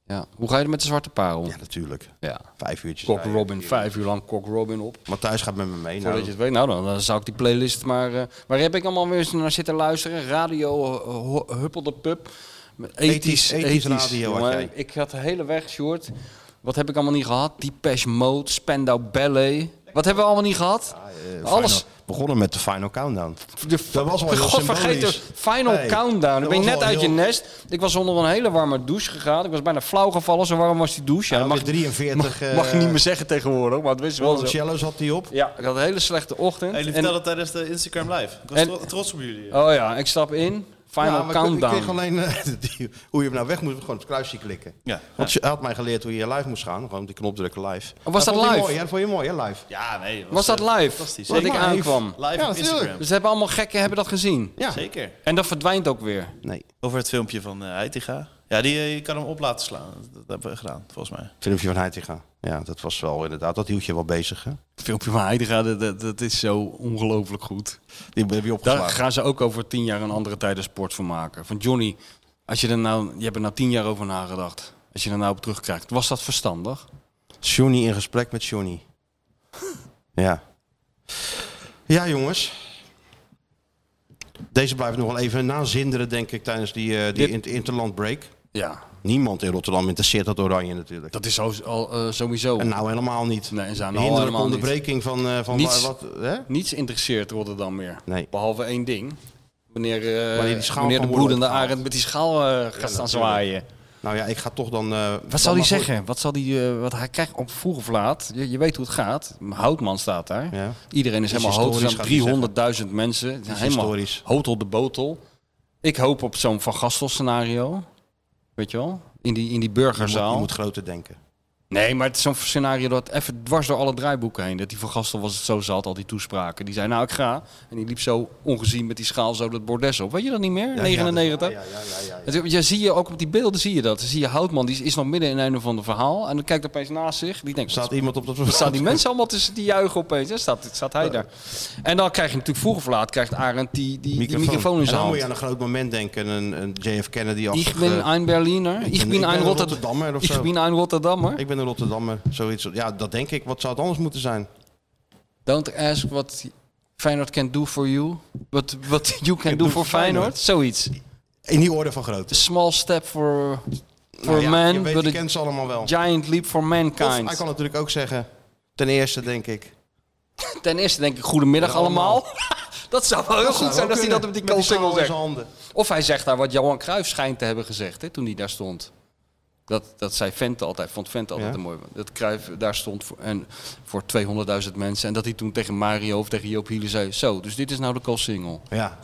S3: Ja. Hoe ga je er met de zwarte parel?
S2: Ja, natuurlijk.
S3: Ja.
S2: Vijf uurtjes.
S3: Cock
S2: rijden.
S3: Robin, vijf uur lang Cock Robin op.
S2: Matthijs gaat met me mee.
S3: Voordat
S2: Nou,
S3: je het weet, nou dan, dan zou ik die playlist maar... eh, waar heb ik allemaal weer eens naar zitten luisteren? Radio, eh, ho- Huppel de Pup. Ethisch,
S2: Ethisch- ethisch radio had jij.
S3: Ik had de hele weg, Sjoerd. Wat heb ik allemaal niet gehad? Depeche Mode, Spandau Ballet. Wat hebben we allemaal niet gehad?
S2: eh,
S3: Alles.
S2: final- begonnen met de Final Countdown.
S3: De,
S2: Dat was wel heel
S3: God, vergeet
S2: symbolisch.
S3: het. Final
S2: Nee,
S3: Countdown. Dan
S2: dat
S3: ben
S2: was
S3: je net
S2: wel
S3: uit je
S2: heel-
S3: nest. Ik was onder een hele warme douche gegaan. Ik was bijna flauw gevallen. Zo warm was die douche. Ja,
S2: Ja,
S3: dat mag,
S2: 43.
S3: mag,
S2: eh,
S3: mag je niet meer zeggen tegenwoordig. Maar het wist wel zo.
S2: Monticello zat hij op.
S3: Ja, ik had een hele slechte ochtend.
S12: Hey, jullie
S3: En-
S12: vertelden tijdens de Instagram live. Ik was
S3: En-
S12: tro- trots op jullie.
S3: Oh ja, ik stap in. Final
S2: Ja, maar ik-
S3: countdown.
S2: Ik kreeg alleen eh, die- hoe je hem nou weg moet, gewoon het kruisje klikken.
S12: Ja.
S2: Want je had mij geleerd hoe je live moest gaan. Gewoon die knop drukken live.
S3: Oh, was dat
S2: vond je
S3: live?
S2: Mooi, ja, dat vond je mooi, hè, live.
S12: Ja, nee.
S3: was dat
S12: eh,
S3: live?
S12: Fantastisch.
S3: Dat ik
S12: Zeker.
S3: aankwam.
S12: Live
S2: Ja,
S12: op
S2: natuurlijk.
S12: Instagram.
S3: Dus hebben allemaal gekken hebben dat gezien.
S2: Ja,
S12: Zeker.
S3: En dat verdwijnt ook weer.
S2: nee.
S12: Over het filmpje van eh Heitinga. Ja, die, eh, je kan hem op laten slaan. Dat, dat hebben we gedaan, volgens mij.
S2: Filmpje van Heitinga. Ja, dat was wel inderdaad. Dat hield je wel bezig, hè?
S3: Het filmpje van Heidega, dat, dat, dat is zo ongelooflijk goed.
S2: Die heb je
S3: Daar
S2: opgeslagen.
S3: gaan ze ook over tien jaar een andere tijden sport van maken. Van Johnny, als je, er nou, je hebt er nou tien jaar over nagedacht. Als je er nou op terugkijkt, was dat verstandig?
S2: Johnny in gesprek met Johnny. ja. Ja, jongens. Deze blijft nog wel even nazinderen, denk ik, tijdens die, eh, die
S3: Dit-
S2: inter- interland break.
S3: Ja,
S2: Niemand in Rotterdam interesseert dat oranje natuurlijk.
S3: dat is zo, al, eh, sowieso.
S2: En nou helemaal niet.
S3: nee, en ze aan
S2: De
S3: de hal
S2: hinderlijke
S3: helemaal niet.
S2: onderbreking van, eh, van
S3: Niets.
S2: wa- wat... Hè?
S3: Niets interesseert Rotterdam meer.
S2: Nee.
S3: Behalve één ding. Wanneer, eh,
S2: Wanneer die schaal
S3: wanneer
S2: van
S3: de
S2: worden
S3: broedende
S2: opgehaald.
S3: arend met die schaal eh, gaat staan zwaaien.
S2: Nou ja, ik ga toch dan... eh, dan
S3: Wat zal hij
S2: maar voor-
S3: zeggen? Wat zal hij, eh, wat hij krijgt op vroeg of laat. Je, je weet hoe het gaat. Houtman staat daar.
S2: Ja.
S3: Iedereen is
S2: Iets
S3: helemaal hout. Er
S2: historisch gaat hij
S3: zijn 300.000 mensen. Het is helemaal
S2: historisch.
S3: hotel de botel. Ik hoop op zo'n Van Gastel scenario. Weet je wel? In die, in die
S2: Je moet,
S3: burgerzaal.
S2: je moet groter denken.
S3: Nee, maar het is zo'n scenario dat even dwars door alle draaiboeken heen. Dat die Van Gastel was het zo zat, al die toespraken. Die zei, nou ik ga. En die liep zo ongezien met die schaal zo dat bordes op. Weet je dat niet meer? 99?
S2: Ja, ja, ja, ja, ja.
S3: Het- Ja, zie je ook op die beelden zie je dat. Dan zie je Houtman, die is nog midden in een of ander verhaal. En dan kijkt opeens naast zich. Die denkt,
S2: Staat
S3: wat
S2: iemand op dat...
S3: wat staan die mensen allemaal tussen die juichen opeens? Dan staat, staat hij daar. En dan krijg je natuurlijk vroeg of laat, krijgt Arendt die, die, die microfoon in
S2: En
S3: zijn
S2: dan moet
S3: hand.
S2: je aan een groot moment denken. Een, een JF Kennedy
S3: Ik
S2: achtige
S3: ben een Berliner, ik
S2: ben-
S3: ben
S2: ik ben
S3: een
S2: een
S3: Rotterdammer.
S2: Rotterdammer of
S3: Ik
S2: zo.
S3: ben een Rotterdammer.
S2: Ik ben een Rotterdammer, zoiets. Ja, dat denk ik. Wat zou het anders moeten zijn?
S3: Don't ask what Feyenoord can do for you. What, what you can do for Feyenoord. Zoiets.
S2: In die orde van grootte.
S3: A small step for, for
S2: Nou ja, je
S3: man,
S2: weet,
S3: but
S2: je
S3: a
S2: kent ze allemaal wel.
S3: giant leap for
S2: Of hij
S3: mankind.
S2: kan natuurlijk ook zeggen, ten eerste denk ik.
S3: Ten eerste denk ik, goedemiddag allemaal. Dat zou wel heel
S2: Dat zou
S3: goed zijn
S2: wel
S3: als hij
S2: "Nou, kunnen,
S3: dat op die
S2: met
S3: koolsingel
S2: schaal in
S3: zegt.
S2: zijn handen.
S3: Of hij zegt daar wat Johan Cruijff schijnt te hebben gezegd hè, toen hij daar stond. Dat, dat zei Vente altijd, vond Vente altijd
S2: Ja.
S3: een mooi. Dat Cruijff daar stond voor, en, voor 200.000 mensen. En dat hij toen tegen Mario of tegen Joop Hielen zei... Zo, dus dit is nou de koolsingel.
S2: Ja.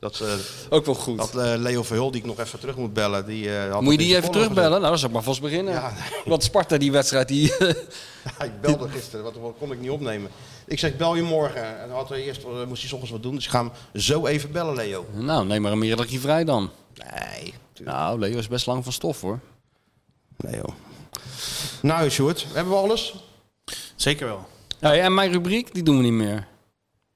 S2: Dat ze,
S3: Ook wel goed.
S2: Dat eh, Leo Verhul, die ik nog even terug moet bellen. Die, eh, had
S3: Moet
S2: dat
S3: je die
S2: in zijn
S3: even
S2: column
S3: terugbellen?
S2: gezet.
S3: Nou, dat zou ik maar vast beginnen. Want Sparta, die wedstrijd, die...
S2: Ik belde gisteren, want dat kon ik niet opnemen. Ik zeg, bel je morgen. En dan had hij eerst, eh, moest hij 's ochtends wat doen. Dus ik ga hem zo even bellen, Leo.
S3: nou, neem maar een middagje vrij dan.
S2: Nee.
S3: Nou, Leo is best lang van stof, hoor.
S2: Leo. Nou, Sjoerd, hebben we alles?
S12: Zeker wel.
S3: Nou ja, en mijn rubriek, die doen we niet meer.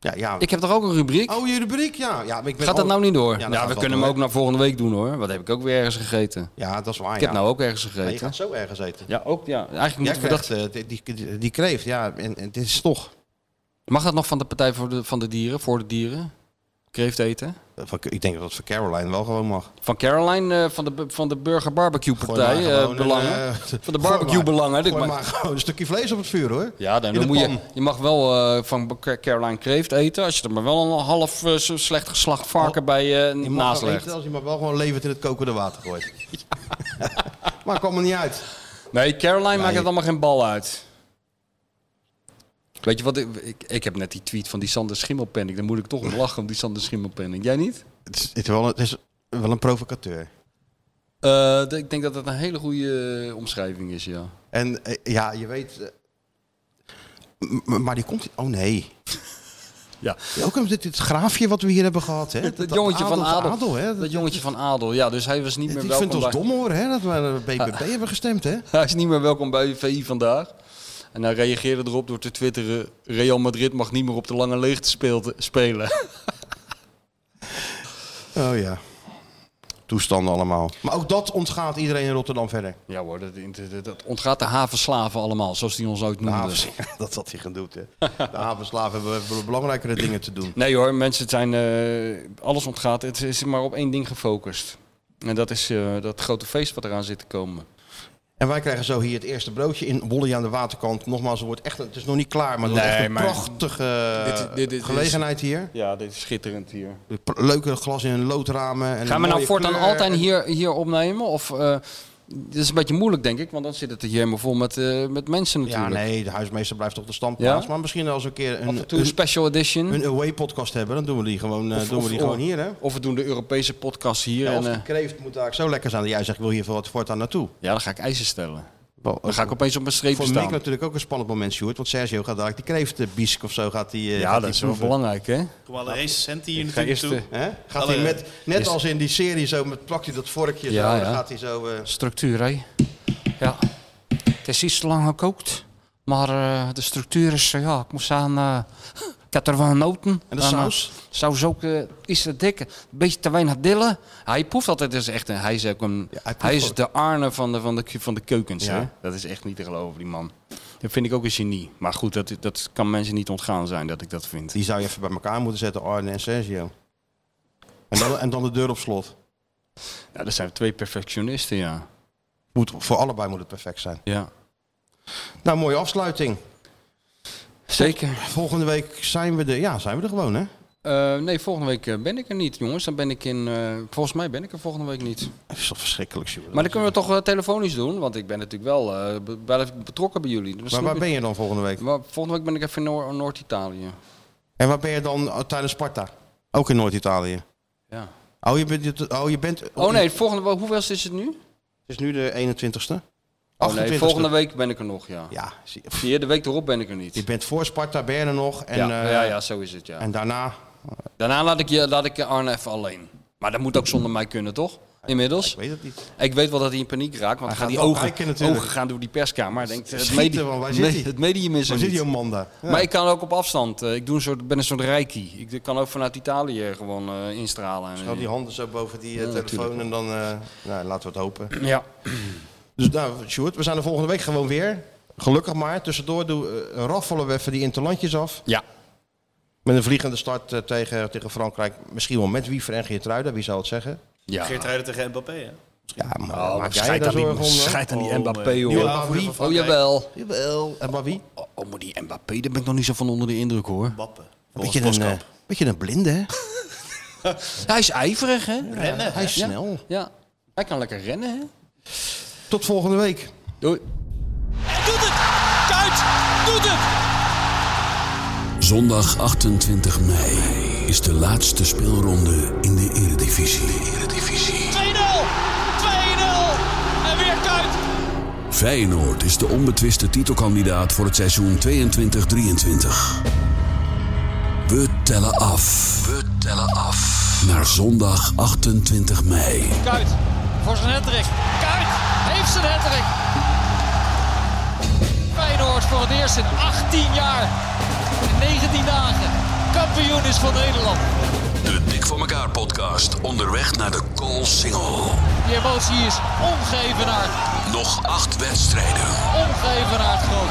S2: Ja, ja.
S3: Ik heb toch ook een rubriek?
S2: Oh, je rubriek? Ja. ja maar ik ben
S3: gaat dat
S2: al-
S3: nou niet door?
S2: dat
S3: Ja,
S2: gaat
S3: we
S2: wel
S3: kunnen
S2: door.
S3: hem ook naar volgende week doen, hoor. Wat heb ik ook weer ergens gegeten?
S2: Ja, dat is waar,
S3: Ik heb
S2: ja.
S3: nou ook ergens
S2: Nee, je
S3: gegeten.
S2: gaat zo ergens eten.
S3: Ja, ook, ja. Eigenlijk
S2: Jij
S3: moeten we dat...
S2: krijgt, eh, die, die, die kreeft, ja. En, en dit is toch...
S3: Mag dat nog van de Partij voor de, van de Dieren, voor de dieren? Kreeft eten?
S2: Van- Ik denk dat het voor Caroline wel gewoon mag.
S3: Van Caroline, eh, van, de, van de Burger Barbecue Partij,
S2: Gooi maar
S3: eh,
S2: gewoon een,
S3: belangen.
S2: eh,
S3: van de
S2: gooi
S3: barbecue belangen.
S2: maar-
S3: Ik
S2: Gooi
S3: ma-
S2: maar gewoon een stukje vlees op het vuur, hoor.
S3: Ja, dan,
S2: In de
S3: moet je,
S2: pan.
S3: je mag wel eh, van Caroline Kreeft eten, als je er maar wel een half eh, zo slecht geslacht varken bij eh
S2: Oh. Je mag
S3: naast
S2: wel
S3: legt.
S2: eten als je maar wel gewoon levend in het kokende water gooit. maar kwam er niet uit.
S3: Nee, Caroline maakt
S2: je-
S3: het allemaal geen bal uit. Weet je wat, ik, ik, ik heb net die tweet van die Sander Schimmelpenning. Daar moet ik toch om lachen, om die Sander Schimmelpenning. Jij niet?
S2: Het is, het is wel, een- het is wel een provocateur.
S3: Eh, d- ik denk dat dat een hele goede eh, omschrijving is, ja.
S2: En eh, ja, je weet... eh, m- m- maar die komt... Oh nee.
S3: Ja.
S2: Ook een- dit, dit graafje wat we hier hebben gehad. Hè?
S3: Dat, jongetje van Adel.
S2: hè?
S3: dat jongetje van Adel, ja. Dus hij was niet meer
S2: Ik
S3: welkom
S2: vind het ons
S3: bij-
S2: dom hoor, hè? dat we naar de
S3: Ah.
S2: BBB hebben gestemd. Hè?
S3: Hij is niet meer welkom bij VI vandaag. En hij reageerde erop door te twitteren... Real Madrid mag niet meer op de lange leegte speelt- spelen.
S2: Oh ja. Toestanden allemaal. Maar ook dat ontgaat iedereen in Rotterdam verder.
S3: ja hoor, dat, dat- dat ontgaat de havenslaven allemaal, zoals die ons ooit
S2: De
S3: noemden.
S2: havens, dat had hij gedoet. Hè. De havenslaven hebben wel belangrijkere dingen te doen.
S3: Nee hoor, mensen, het zijn, eh, alles ontgaat. Het is maar op één ding gefocust. En dat is eh, dat grote feest wat eraan zit te komen.
S2: En wij krijgen zo hier het eerste broodje in Wolle aan de waterkant. Nogmaals, het, wordt echt, een- het is nog niet klaar, maar het wordt
S3: Nee,
S2: echt een
S3: maar-
S2: prachtige
S3: Dit- dit- dit is-
S2: gelegenheid hier.
S3: Ja, dit is schitterend hier.
S2: Pr- Leuke glas in loodramen. En
S3: Gaan we
S2: een
S3: nou
S2: mooie
S3: voortaan
S2: kleur.
S3: altijd hier, hier opnemen? Of, eh dit is een beetje moeilijk, denk ik, want dan zit het hier helemaal vol met, eh, met mensen
S2: Ja,
S3: natuurlijk.
S2: nee, de huismeester blijft op de standplaats.
S3: Ja?
S2: Maar misschien als we een keer
S3: Af
S2: een,
S3: en toe een special edition.
S2: een away-podcast hebben, dan doen we die gewoon, eh, doen we die gewoon hier. Hè?
S3: Of we doen de Europese podcast hier.
S2: Ja,
S3: en,
S2: of die
S3: eh,
S2: kreeft moet daar zo lekker zijn dat jij zegt, ik wil hier voor wat voortaan naartoe.
S3: ja, dan ga ik eisen stellen.
S2: Wel, eh,
S3: Dan ga ik opeens op mijn streepje
S2: Voor
S3: staan.
S2: Mick natuurlijk ook een spannend moment, Sjoerd. Want Sergio gaat dadelijk die kreeftbiesk of zo gaat die, eh, gaat
S3: ja,
S2: die
S3: dat is wel
S2: proeven.
S3: belangrijk, hè?
S12: Kom alle race cent hier
S3: Ik ga
S12: natuurlijk
S3: eerst,
S12: toe.
S3: eh,
S2: Hè? Gaat
S12: Alle-
S2: hij met, net
S3: is-
S2: als in die serie, zo met, plakt hij dat vorkje
S3: Ja,
S2: zo, en
S3: ja.
S2: dan gaat hij zo... eh,
S3: Structuur, hè? Ja. Het is iets te lang gekookt. Maar eh, de structuur is, eh, ja, ik moet zeggen, eh, ik heb er wel genoten.
S2: En de
S3: eh,
S2: saus?
S3: saus ook eh, iets te dik. Een beetje te weinig dillen. Hij proeft altijd, dus echt een, hij is ook een,
S2: hij
S3: hij,
S2: proeft
S3: is
S2: ook.
S3: de Arne van de, van de, van de keukens,
S2: Ja.
S3: hè? Dat is echt niet te geloven, die man. Dat vind ik ook een genie. Maar goed, dat, dat kan mensen niet ontgaan zijn dat ik dat vind.
S2: die zou je even bij elkaar moeten zetten, Arne en Sergio. En dan, en dan de deur op slot.
S3: Nou, dat zijn twee perfectionisten, ja.
S2: Moet, voor allebei moet het perfect zijn.
S3: Ja.
S2: Nou, mooie afsluiting.
S3: Zeker.
S2: Volgende week zijn we er, ja, zijn we er gewoon, hè?
S3: Eh, nee, volgende week eh, ben ik er niet, jongens. Dan ben ik in. eh, volgens mij ben ik er volgende week niet.
S2: Dat is toch verschrikkelijk, Sjoerd.
S3: Maar dan kunnen we toch eh, telefonisch doen, want ik ben natuurlijk wel eh, be- blijf ik betrokken bij jullie. Dus
S2: Maar
S3: dan
S2: waar
S3: moet
S2: ben
S3: ik-
S2: je dan volgende week?
S3: Maar volgende week ben ik even in Noor- Noord-Italië.
S2: En waar ben je dan eh, tijdens Sparta? Ook in Noord-Italië.
S3: Ja.
S2: Oh, je bent... Oh, je bent
S3: Oh nee, volgende week. Hoeveel is het nu?
S2: Het is nu de 21ste.
S3: Oh, nee,
S2: 28e.
S3: volgende week ben ik er nog, ja.
S2: Ja, zie- pff,
S3: Zie je, de week erop ben ik er niet.
S2: je bent voor Sparta, ben je er nog. En,
S3: ja,
S2: eh,
S3: ja, ja, zo is het, ja.
S2: en daarna...
S3: Daarna laat ik, je, laat ik Arne even alleen. Maar dat moet ook zonder mij kunnen, toch? Inmiddels.
S2: Ik weet het niet.
S3: Ik weet wel dat hij in paniek raakt, want
S2: Hij
S3: gaan
S2: gaat
S3: die
S2: wel
S3: ogen,
S2: kijken natuurlijk.
S3: ogen gaan door die perskamer. Hij denkt, het,
S2: Schieten,
S3: medi-
S2: want waar zit
S3: me-
S2: hij?
S3: het medium is er
S2: Waar zit
S3: niet.
S2: die Amanda? Ja.
S3: Maar ik kan ook op afstand. eh, Ik doe een soort, ben een soort reiki. Ik kan ook vanuit Italië gewoon eh, instralen.
S2: Schuil die handen zo boven die eh,
S3: Ja,
S2: telefoon en dan... eh, nou, laten we het hopen.
S3: Ja.
S2: Dus nou, Sjoerd, we zijn er volgende week gewoon weer. Gelukkig maar. Tussendoor doen, eh, raffelen we even die interlandjes af.
S3: Ja.
S2: Met een vliegende start eh, tegen, tegen Frankrijk. Misschien wel met Wiever en Geertruida, wie zou het zeggen?
S3: Ja.
S12: Geert Ruijden tegen Mbappé, hè?
S2: Ja, maar
S3: Oh,
S2: maak jij
S3: scheid
S2: daar
S3: aan die,
S2: zorgen om? hè?
S3: scheid aan die
S12: Oh,
S3: Mbappé,
S12: nee.
S3: hoor.
S12: Nieuwe aanvoerder van
S3: Oh,
S12: Frankrijk.
S3: jawel.
S2: Jawel. En maar wie?
S3: Oh, oh, maar die Mbappé, daar ben ik nog niet zo van onder de indruk, hoor.
S12: Bappen.
S2: Beetje een, eh, beetje een blinde, hè?
S3: Hij is ijverig, hè?
S12: Rennen,
S2: Hij is
S3: Ja.
S2: snel.
S3: Ja. Hij kan lekker rennen, hè?
S2: Tot volgende week.
S3: Doei.
S10: Zondag 28 mei. is de laatste speelronde in de Eredivisie.
S13: 2-0 en weer Kuit.
S10: Feyenoord is de onbetwiste titelkandidaat voor het seizoen 22-23. We tellen af. We tellen af. Naar zondag 28 mei.
S13: Kuit voor zijn hattrick. Kuit heeft zijn hattrick. Feyenoord voor het eerst in 18 jaar en 19 dagen kampioen is van Nederland.
S10: De Dik voor elkaar podcast onderweg naar de goal single.
S13: Die emotie is ongevenaard.
S10: Nog acht wedstrijden.
S13: Ongevenaard groot.